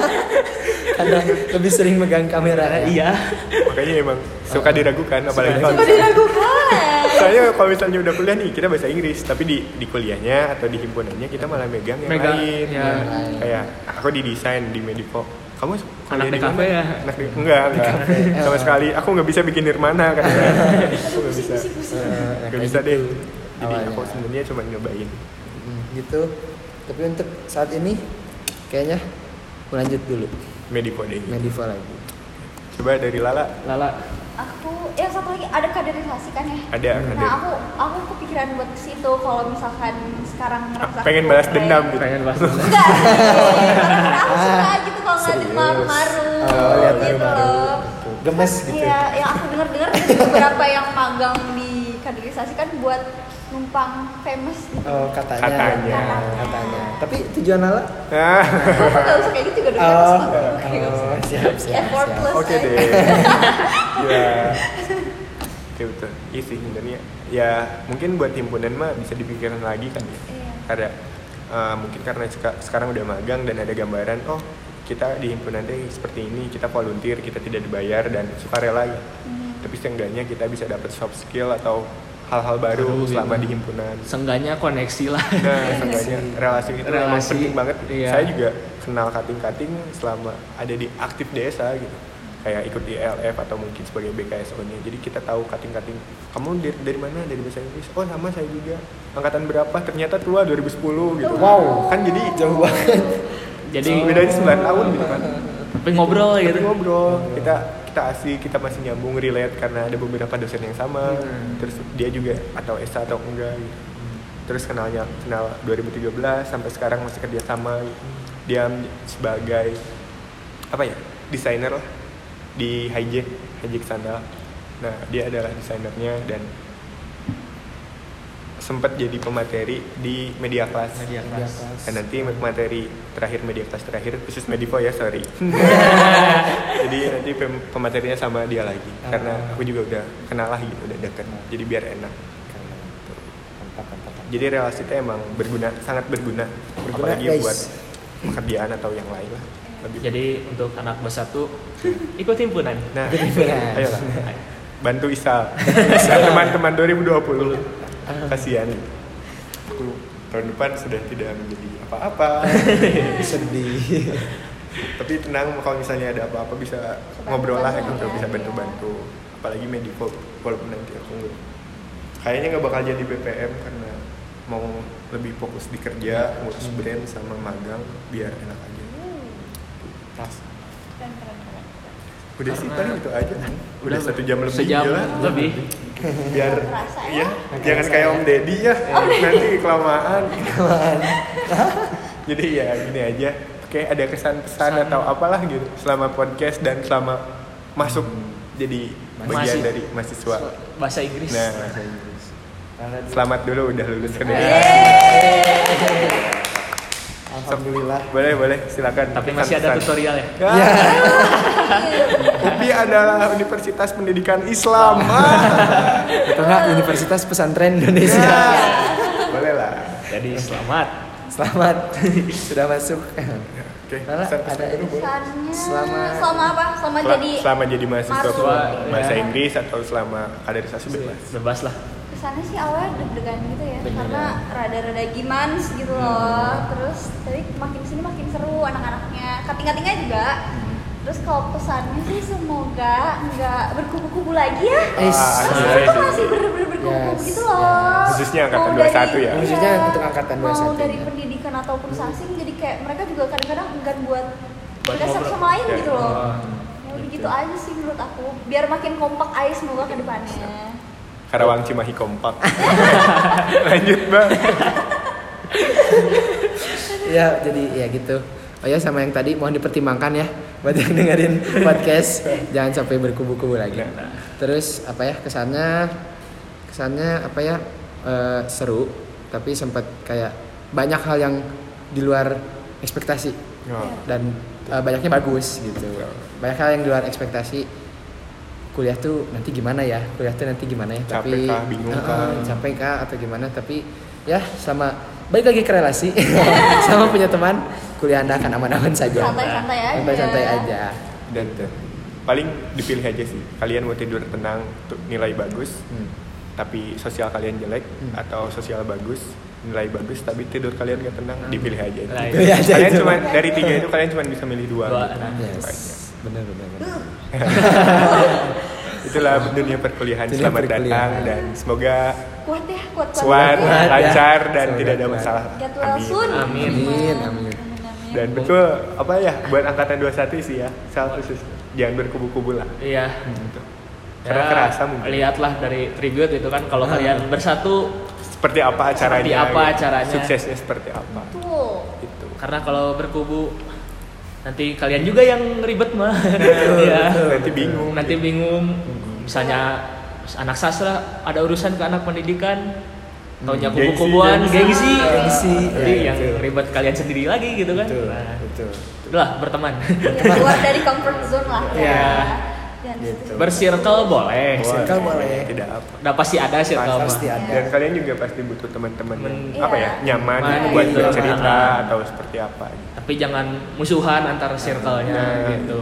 Speaker 1: karena lebih sering megang kamera ya.
Speaker 2: iya
Speaker 3: Makanya emang suka diragukan apalagi
Speaker 1: Suka
Speaker 3: kalau
Speaker 4: Coba diragukan.
Speaker 3: saya kalau misalnya udah kuliah nih kita bahasa Inggris, tapi di di kuliahnya atau di himpunannya kita malah megang yang
Speaker 2: Megang,
Speaker 3: lain. Nah,
Speaker 2: ya.
Speaker 1: Yang lain.
Speaker 3: Kayak aku di desain di Medipo. Kamu kuliah
Speaker 2: Anak
Speaker 3: di
Speaker 2: TKP
Speaker 3: mana?
Speaker 2: ya?
Speaker 3: Anak di, enggak, enggak. Sama sekali aku nggak bisa bikin nirmana kan. aku nggak bisa.
Speaker 1: Heeh, nah,
Speaker 3: Nggak
Speaker 1: kayak
Speaker 3: bisa deh.
Speaker 1: gitu
Speaker 3: Jadi aku
Speaker 1: awalnya.
Speaker 3: sebenarnya cuma nyobain.
Speaker 1: Hmm, gitu tapi untuk saat ini kayaknya lanjut dulu
Speaker 3: Medipo deh.
Speaker 1: Mediva lagi
Speaker 3: Coba dari Lala
Speaker 2: lala
Speaker 4: Aku, yang satu lagi ada kaderisasi kan ya?
Speaker 3: ada ada.
Speaker 4: Nah aku aku kepikiran buat ke situ kalau misalkan sekarang ngerasa
Speaker 3: Ah, pengen
Speaker 4: aku
Speaker 3: balas
Speaker 4: keren.
Speaker 3: dendam gitu.
Speaker 2: pengen bahas
Speaker 4: Enggak sih. Karena aku suka gitu kalau ngeliatin
Speaker 3: Serius.
Speaker 4: maru-maru
Speaker 1: Oh, lihat
Speaker 4: gitu
Speaker 1: maru-maru.
Speaker 4: loh.
Speaker 1: gemes gitu
Speaker 4: Iya, yang aku denger-denger dari beberapa yang magang di kaderisasi kan buat numpang famous gitu.
Speaker 1: Oh, katanya.
Speaker 3: Katanya.
Speaker 1: Katanya. Tapi tujuan Lala?
Speaker 3: Ah,
Speaker 4: Kamu nggak usah kayak gitu juga dong.
Speaker 1: Oh,
Speaker 4: Oke,
Speaker 3: gitu.
Speaker 4: oke.
Speaker 1: oh, siap, siap, siap.
Speaker 4: Effortless.
Speaker 3: Oke deh. ya. Oke betul. Iya sih sebenarnya. Ya mungkin buat himpunan mah bisa dipikirkan lagi kan ya.
Speaker 4: Iya.
Speaker 3: Karena eh, mungkin karena seka- sekarang udah magang dan ada gambaran oh kita di himpunan deh seperti ini kita volunteer kita tidak dibayar dan sukarela ya.
Speaker 4: Hmm.
Speaker 3: Tapi seenggaknya kita bisa dapat soft skill atau hal-hal baru
Speaker 2: Baru gitu.
Speaker 3: selama di himpunan.
Speaker 2: sengganya koneksi lah
Speaker 3: Nah,
Speaker 4: Iya,
Speaker 3: seenggaknya
Speaker 1: sih.
Speaker 3: relasi itu memang
Speaker 2: Relasi,
Speaker 3: penting banget.
Speaker 2: iya.
Speaker 3: Saya juga kenal kating-kating selama ada di aktif desa gitu. Kayak ikut ILF atau mungkin sebagai BKSO-nya. Jadi kita tahu kating-kating, kamu dari, dari mana? Dari bahasa Inggris. Oh, nama saya juga. Angkatan berapa? Ternyata tua 2010 gitu.
Speaker 1: Wow.
Speaker 3: Kan jadi jauh banget.
Speaker 1: kan
Speaker 2: jadi
Speaker 3: bedanya 9 tahun gitu kan.
Speaker 2: tapi ngobrol
Speaker 3: Tapi
Speaker 2: gitu
Speaker 3: ngobrol, kita kita asik, kita masih nyambung relate karena ada beberapa dosen yang sama.
Speaker 2: Hmm.
Speaker 3: Terus dia juga atau Esa atau enggak gitu. Terus kenalnya kenal 2013 sampai sekarang masih kerja sama. Dia men- sebagai apa ya? desainer lah di Hijack, Hijack Sandal. Nah, dia adalah desainernya dan sempat jadi pemateri di media kelas.
Speaker 2: Media kelas.
Speaker 3: Dan nanti
Speaker 1: kan
Speaker 3: materi terakhir media kelas terakhir khusus medipo ya sorry. jadi nanti pem- pematerinya sama dia lagi karena aku juga udah kenal lah gitu udah deket. Jadi biar enak.
Speaker 2: Mantap, mantap.
Speaker 3: Jadi relasi itu emang berguna sangat berguna.
Speaker 1: Berguna,
Speaker 3: Apalagi
Speaker 1: guys.
Speaker 3: buat pekerjaan atau yang lain lah. Lebih.
Speaker 2: Jadi untuk anak kelas 1 ikut himpunan.
Speaker 3: Nah,
Speaker 1: Berguna.
Speaker 3: ayolah. Bantu Isal. Isal teman-teman 2020. Kasihan. Aku tahun depan sudah tidak menjadi apa-apa.
Speaker 1: sedih
Speaker 3: Tapi tenang kalau misalnya ada apa-apa bisa ngobrol lah aku tuh, bisa bantu-bantu. Apalagi medical walaupun nanti aku kayaknya nggak bakal jadi BPM karena mau lebih fokus di kerja, ngurus
Speaker 2: Hmm.
Speaker 3: brand sama magang biar enak aja.
Speaker 4: Keren, keren, keren.
Speaker 3: Udah sih
Speaker 2: Karena-
Speaker 3: paling itu aja. kan? Udah, satu jam lebih
Speaker 2: Sejam
Speaker 3: gila.
Speaker 2: lebih.
Speaker 3: biar
Speaker 4: Kerasa
Speaker 3: ya
Speaker 4: ya.
Speaker 3: jangan kayak Om Deddy ya nanti kelamaan jadi ya gini aja oke ada kesan pesan
Speaker 2: Pesan.
Speaker 3: atau apalah gitu selama podcast dan selama masuk jadi bagian
Speaker 2: Masih-
Speaker 3: dari mahasiswa
Speaker 2: Bahasa Inggris.
Speaker 3: nah selamat dulu udah lulus kan ya? kedua
Speaker 4: Yeay.
Speaker 1: alhamdulillah
Speaker 3: boleh boleh silakan
Speaker 2: Tapi masih ada
Speaker 3: Pesan-pesan.
Speaker 2: tutorial ya.
Speaker 3: Ya. UPI adalah Universitas Pendidikan Islam.
Speaker 1: atau enggak Universitas Pesantren Indonesia
Speaker 3: Ya. Boleh lah.
Speaker 2: Jadi selamat.
Speaker 1: selamat sudah masuk
Speaker 3: Oke,
Speaker 1: Lala,
Speaker 3: pesan-pesan
Speaker 1: ada
Speaker 3: dulu boleh.
Speaker 4: Pesannya
Speaker 1: Selama-
Speaker 4: selama apa? Selama
Speaker 3: Sel-
Speaker 4: Oh, jadi
Speaker 3: selama jadi mahasiswa
Speaker 4: mahasiswa,
Speaker 3: full bahasa
Speaker 1: ya.
Speaker 3: Inggris atau selama kaderisasi bebas
Speaker 2: Bebas lah.
Speaker 4: kesannya sih awalnya deg-degan gitu ya
Speaker 1: Deg-degan.
Speaker 4: karena rada-rada gimans gitu
Speaker 1: Hmm.
Speaker 4: loh terus tapi makin sini makin seru anak-anaknya kating-katingnya juga
Speaker 1: Hmm.
Speaker 4: terus kalau pesannya sih semoga nggak berkubu-kubu lagi ya
Speaker 1: Is.
Speaker 3: Ah,
Speaker 4: Terus
Speaker 3: iya,
Speaker 4: itu
Speaker 3: iya.
Speaker 4: masih ber-ber berkubu-kubu
Speaker 1: Yes,
Speaker 4: gitu loh
Speaker 1: yes.
Speaker 3: Khususnya angkatan
Speaker 4: Mau dari-
Speaker 3: 21 ya?
Speaker 4: iya,
Speaker 1: Khususnya untuk angkatan
Speaker 4: mau
Speaker 1: 21,
Speaker 4: dari
Speaker 1: ya.
Speaker 4: pendidikan ataupun sasing jadi kayak mereka juga kadang-kadang enggan buat
Speaker 2: Buat
Speaker 4: bergeser
Speaker 2: ngobrol.
Speaker 4: sama lain
Speaker 3: Ya.
Speaker 4: gitu loh
Speaker 2: Ah,
Speaker 4: ya udah gitu aja sih menurut aku biar makin kompak aja semoga ke depannya
Speaker 3: Karawang Cimahi kompak lanjut bang
Speaker 1: ya jadi ya gitu oh ya sama yang tadi mohon dipertimbangkan ya buat yang dengerin podcast jangan sampai berkubu-kubu lagi terus apa ya kesannya kesannya apa ya eh, seru tapi sempat kayak banyak hal yang di luar ekspektasi
Speaker 3: Oh,
Speaker 1: dan eh, banyaknya bagus gitu banyak hal yang di luar ekspektasi kuliah tuh nanti gimana ya kuliah tuh nanti gimana ya
Speaker 3: Capek
Speaker 1: tapi
Speaker 3: kah? Bingung kah?
Speaker 1: Eh, capek kah atau gimana tapi ya sama balik lagi ke relasi sama punya teman kuliah anda akan aman-aman saja
Speaker 4: santai-santai aja
Speaker 1: santai-santai aja
Speaker 3: Iya, dan paling dipilih aja sih kalian mau tidur tenang tuh nilai bagus
Speaker 1: Hmm.
Speaker 3: tapi sosial kalian jelek
Speaker 1: Hmm.
Speaker 3: atau sosial bagus nilai bagus tapi tidur kalian gak tenang
Speaker 1: Hmm.
Speaker 3: dipilih aja itu.
Speaker 2: Nah,
Speaker 1: Pilih aja
Speaker 3: kalian
Speaker 1: itu.
Speaker 3: cuma dari tiga itu kalian cuma bisa milih dua,
Speaker 2: Dua,
Speaker 3: gitu.
Speaker 2: nah.
Speaker 1: yes
Speaker 3: Baiknya.
Speaker 1: benar benar benar.
Speaker 3: itulah dunia perkulihan
Speaker 1: Dunia
Speaker 3: selamat
Speaker 1: perkuliahan.
Speaker 3: datang dan semoga
Speaker 4: kuat ya kuat kuat,
Speaker 1: Kuat
Speaker 3: kuat
Speaker 1: ya.
Speaker 3: lancar dan
Speaker 1: Semoga
Speaker 3: tidak ada
Speaker 1: kuat.
Speaker 3: masalah
Speaker 4: Get well soon.
Speaker 2: Amin.
Speaker 1: Amin, amin.
Speaker 4: amin.
Speaker 3: dan
Speaker 2: Iya.
Speaker 3: betul apa ya buat angkatan 21 sih ya salah khusus jangan berkubu-kubu lah
Speaker 2: Iya.
Speaker 3: gitu.
Speaker 2: Ya,
Speaker 3: karena kerasa mungkin
Speaker 2: Lihatlah dari tribute itu kan kalau kalian bersatu
Speaker 3: seperti apa acaranya
Speaker 2: Seperti apa
Speaker 3: gitu.
Speaker 2: acaranya. Hmm.
Speaker 3: suksesnya seperti apa
Speaker 4: betul
Speaker 3: gitu
Speaker 2: karena kalau berkubu nanti kalian juga yang ribet mah. Iya.
Speaker 3: nanti bingung
Speaker 2: Nanti bingung misalnya anak sastra ada urusan ke anak pendidikan taunya
Speaker 3: Gengsi,
Speaker 2: kubu-kubuan
Speaker 3: gengsi.
Speaker 2: gengsi,
Speaker 1: Gengsi,
Speaker 2: Jadi
Speaker 1: ya,
Speaker 2: yang
Speaker 1: betul.
Speaker 2: ribet kalian sendiri lagi gitu kan
Speaker 1: betul
Speaker 2: Nah,
Speaker 1: betul
Speaker 2: udahlah berteman
Speaker 4: Ya, keluar dari comfort zone lah ya
Speaker 2: Iya.
Speaker 4: dan
Speaker 1: Gitu.
Speaker 2: bersirkel boleh
Speaker 1: circle
Speaker 3: Boleh,
Speaker 1: boleh.
Speaker 3: tidak apa
Speaker 2: udah pasti ada circle mah.
Speaker 1: pasti ada
Speaker 3: dan kalian juga pasti butuh teman-teman yang
Speaker 2: Hmm.
Speaker 3: apa ya
Speaker 4: Iya.
Speaker 3: nyaman
Speaker 2: Nyaman,
Speaker 3: buat
Speaker 2: gitu.
Speaker 3: bercerita
Speaker 2: Nyaman.
Speaker 3: atau seperti apa gitu.
Speaker 2: tapi jangan musuhan antar circle-nya
Speaker 3: Nah,
Speaker 2: gitu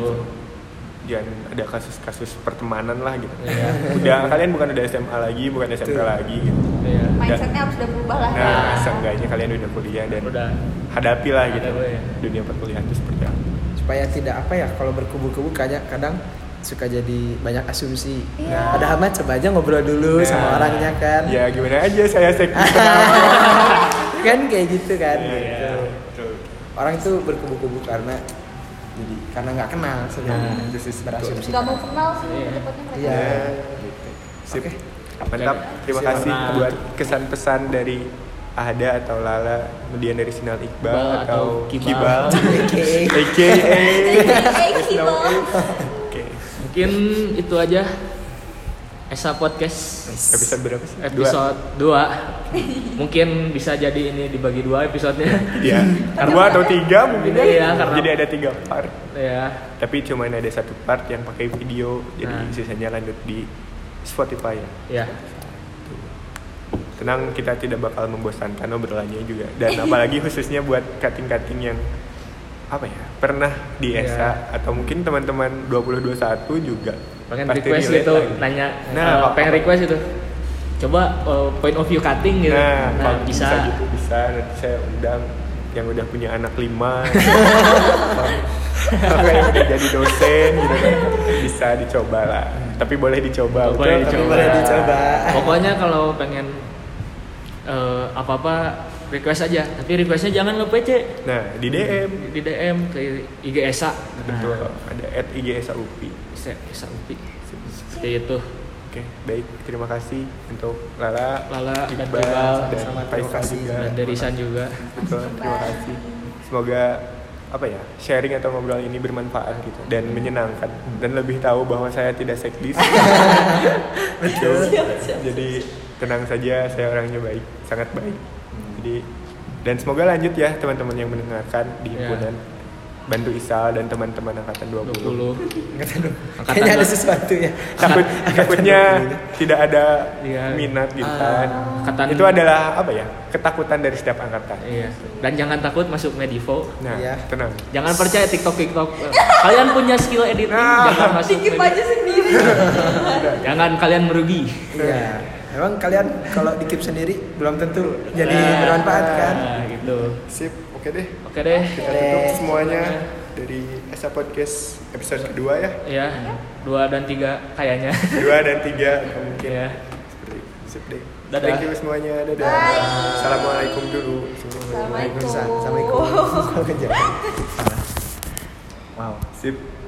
Speaker 3: jangan ada kasus-kasus pertemanan lah gitu
Speaker 2: Iya.
Speaker 3: udah kalian bukan udah SMA lagi bukan SMP
Speaker 1: Betul.
Speaker 3: lagi gitu
Speaker 2: Iya.
Speaker 4: mindsetnya harus udah berubah lah ya.
Speaker 3: nah seenggaknya kalian udah kuliah dan
Speaker 2: udah
Speaker 3: hadapilah gitu
Speaker 2: Hadapi, ya.
Speaker 3: dunia perkuliahan itu seperti apa
Speaker 1: supaya tidak apa ya kalau berkubu-kubu kayaknya kadang suka jadi banyak asumsi
Speaker 4: Iya.
Speaker 1: padahal mah coba aja ngobrol dulu
Speaker 3: Nah.
Speaker 1: sama orangnya kan
Speaker 3: ya gimana aja saya sekti
Speaker 1: kan kayak gitu kan
Speaker 3: Iya,
Speaker 1: gitu.
Speaker 3: betul.
Speaker 1: orang itu berkubu-kubu karena jadi karena nggak kenal sebenarnya
Speaker 2: Nah.
Speaker 1: This is berasumsi
Speaker 4: nggak mau kenal sih
Speaker 2: Iya.
Speaker 4: tepatnya mereka
Speaker 1: iya
Speaker 3: Iya.
Speaker 1: gitu.
Speaker 3: Sip.
Speaker 1: oke
Speaker 3: mantap terima
Speaker 1: Siap.
Speaker 3: kasih
Speaker 2: Karena-
Speaker 3: buat kesan pesan dari Ahada atau Lala kemudian dari Sinal Iqbal
Speaker 2: Iqbal
Speaker 3: atau
Speaker 2: atau
Speaker 3: Kibal
Speaker 2: Kibal.
Speaker 1: Oke.
Speaker 3: AKA
Speaker 2: Iya.
Speaker 4: Hey, hey, Kibo.
Speaker 3: Oke
Speaker 2: mungkin itu aja Esa Podcast
Speaker 3: Episode berapa sih? Dua.
Speaker 2: episode 2 Mungkin bisa jadi ini dibagi dua episodenya
Speaker 3: Iya. Dua atau tiga mungkin
Speaker 2: Iya,
Speaker 3: ya.
Speaker 2: karena-
Speaker 3: Jadi ada tiga part.
Speaker 2: Ya
Speaker 3: Tapi cuman ada satu part yang pakai video. Jadi
Speaker 2: Nah.
Speaker 3: sisanya lanjut di Spotify ya.
Speaker 2: Ya
Speaker 3: Tenang, kita tidak bakal membosankan obrolannya juga. Dan apalagi khususnya buat kating-kating yang apa ya pernah di
Speaker 2: Iya.
Speaker 3: ESA atau mungkin teman-teman 2021 juga
Speaker 2: pengen
Speaker 3: pasti
Speaker 2: request
Speaker 3: relate
Speaker 2: gitu
Speaker 3: lagi.
Speaker 2: nanya
Speaker 3: Nah,
Speaker 2: eh,
Speaker 3: apa-
Speaker 2: pengen request itu coba eh, point of view cutting gitu
Speaker 3: Nah,
Speaker 2: nah,
Speaker 3: kalau bisa.
Speaker 2: bisa
Speaker 3: gitu bisa nanti saya undang yang udah punya anak lima atau yang udah jadi dosen gitu kan bisa dicoba lah tapi boleh dicoba
Speaker 2: Coba
Speaker 3: betul?
Speaker 2: dicoba.
Speaker 1: boleh dicoba.
Speaker 2: pokoknya kalau pengen apa apa request aja tapi requestnya jangan nge PC
Speaker 3: nah di DM
Speaker 2: di DM ke IG Esa
Speaker 3: betul
Speaker 2: Hmm. Nah,
Speaker 3: ada at IG SAUPI.
Speaker 2: Esa Esa Upi seperti itu
Speaker 3: oke baik terima kasih untuk Lala
Speaker 2: Lala dan
Speaker 3: Iqbal,
Speaker 2: Iqbal.
Speaker 3: dan
Speaker 1: Sama-sama, terima
Speaker 3: Faisal
Speaker 1: kasih.
Speaker 3: juga
Speaker 2: dan dari San juga
Speaker 3: Betul, terima kasih semoga apa ya sharing atau ngobrol ini bermanfaat gitu dan
Speaker 2: Iya.
Speaker 3: menyenangkan dan lebih tahu bahwa saya tidak sekdis betul
Speaker 2: Iya,
Speaker 3: jadi tenang saja saya orangnya baik sangat baik
Speaker 2: Hmm.
Speaker 3: jadi dan semoga lanjut ya teman-teman yang mendengarkan di
Speaker 2: Ya.
Speaker 3: himpunan bantu Isal dan teman-teman angkatan 20,
Speaker 2: 20 Angkatan
Speaker 1: Kayaknya ada
Speaker 2: dua-
Speaker 1: sesuatu ya.
Speaker 3: takut takutnya tidak ada
Speaker 2: Iya.
Speaker 3: minat gitu kan
Speaker 2: angkatan
Speaker 3: itu adalah apa ya ketakutan dari setiap angkatan
Speaker 2: iya dan jangan takut masuk Medivo
Speaker 3: nah
Speaker 1: Iya.
Speaker 3: tenang
Speaker 2: Jangan percaya TikTok TikTok. Kalian punya skill editing,
Speaker 3: Nah.
Speaker 2: jangan masuk.
Speaker 4: Dikip
Speaker 2: media.
Speaker 4: aja sendiri.
Speaker 2: Jangan kalian merugi.
Speaker 1: Iya. Emang kalian kalau dikip sendiri belum tentu jadi
Speaker 2: Iya.
Speaker 1: bermanfaat kan?
Speaker 2: Nah, gitu.
Speaker 3: sip oke deh
Speaker 2: Oke deh.
Speaker 3: kita
Speaker 1: Oke.
Speaker 3: tutup semuanya dari Esa Podcast episode kedua ya
Speaker 2: Ya, dua dan tiga kayaknya.
Speaker 3: dua dan tiga mungkin
Speaker 2: Ya.
Speaker 3: seperti sip deh
Speaker 2: Dadah.
Speaker 3: thank you semuanya dadah
Speaker 4: Bye.
Speaker 3: assalamualaikum dulu
Speaker 4: Assalamualaikum.
Speaker 1: Waalaikumsalam. Assalamualaikum. Salah. Wow.
Speaker 3: sip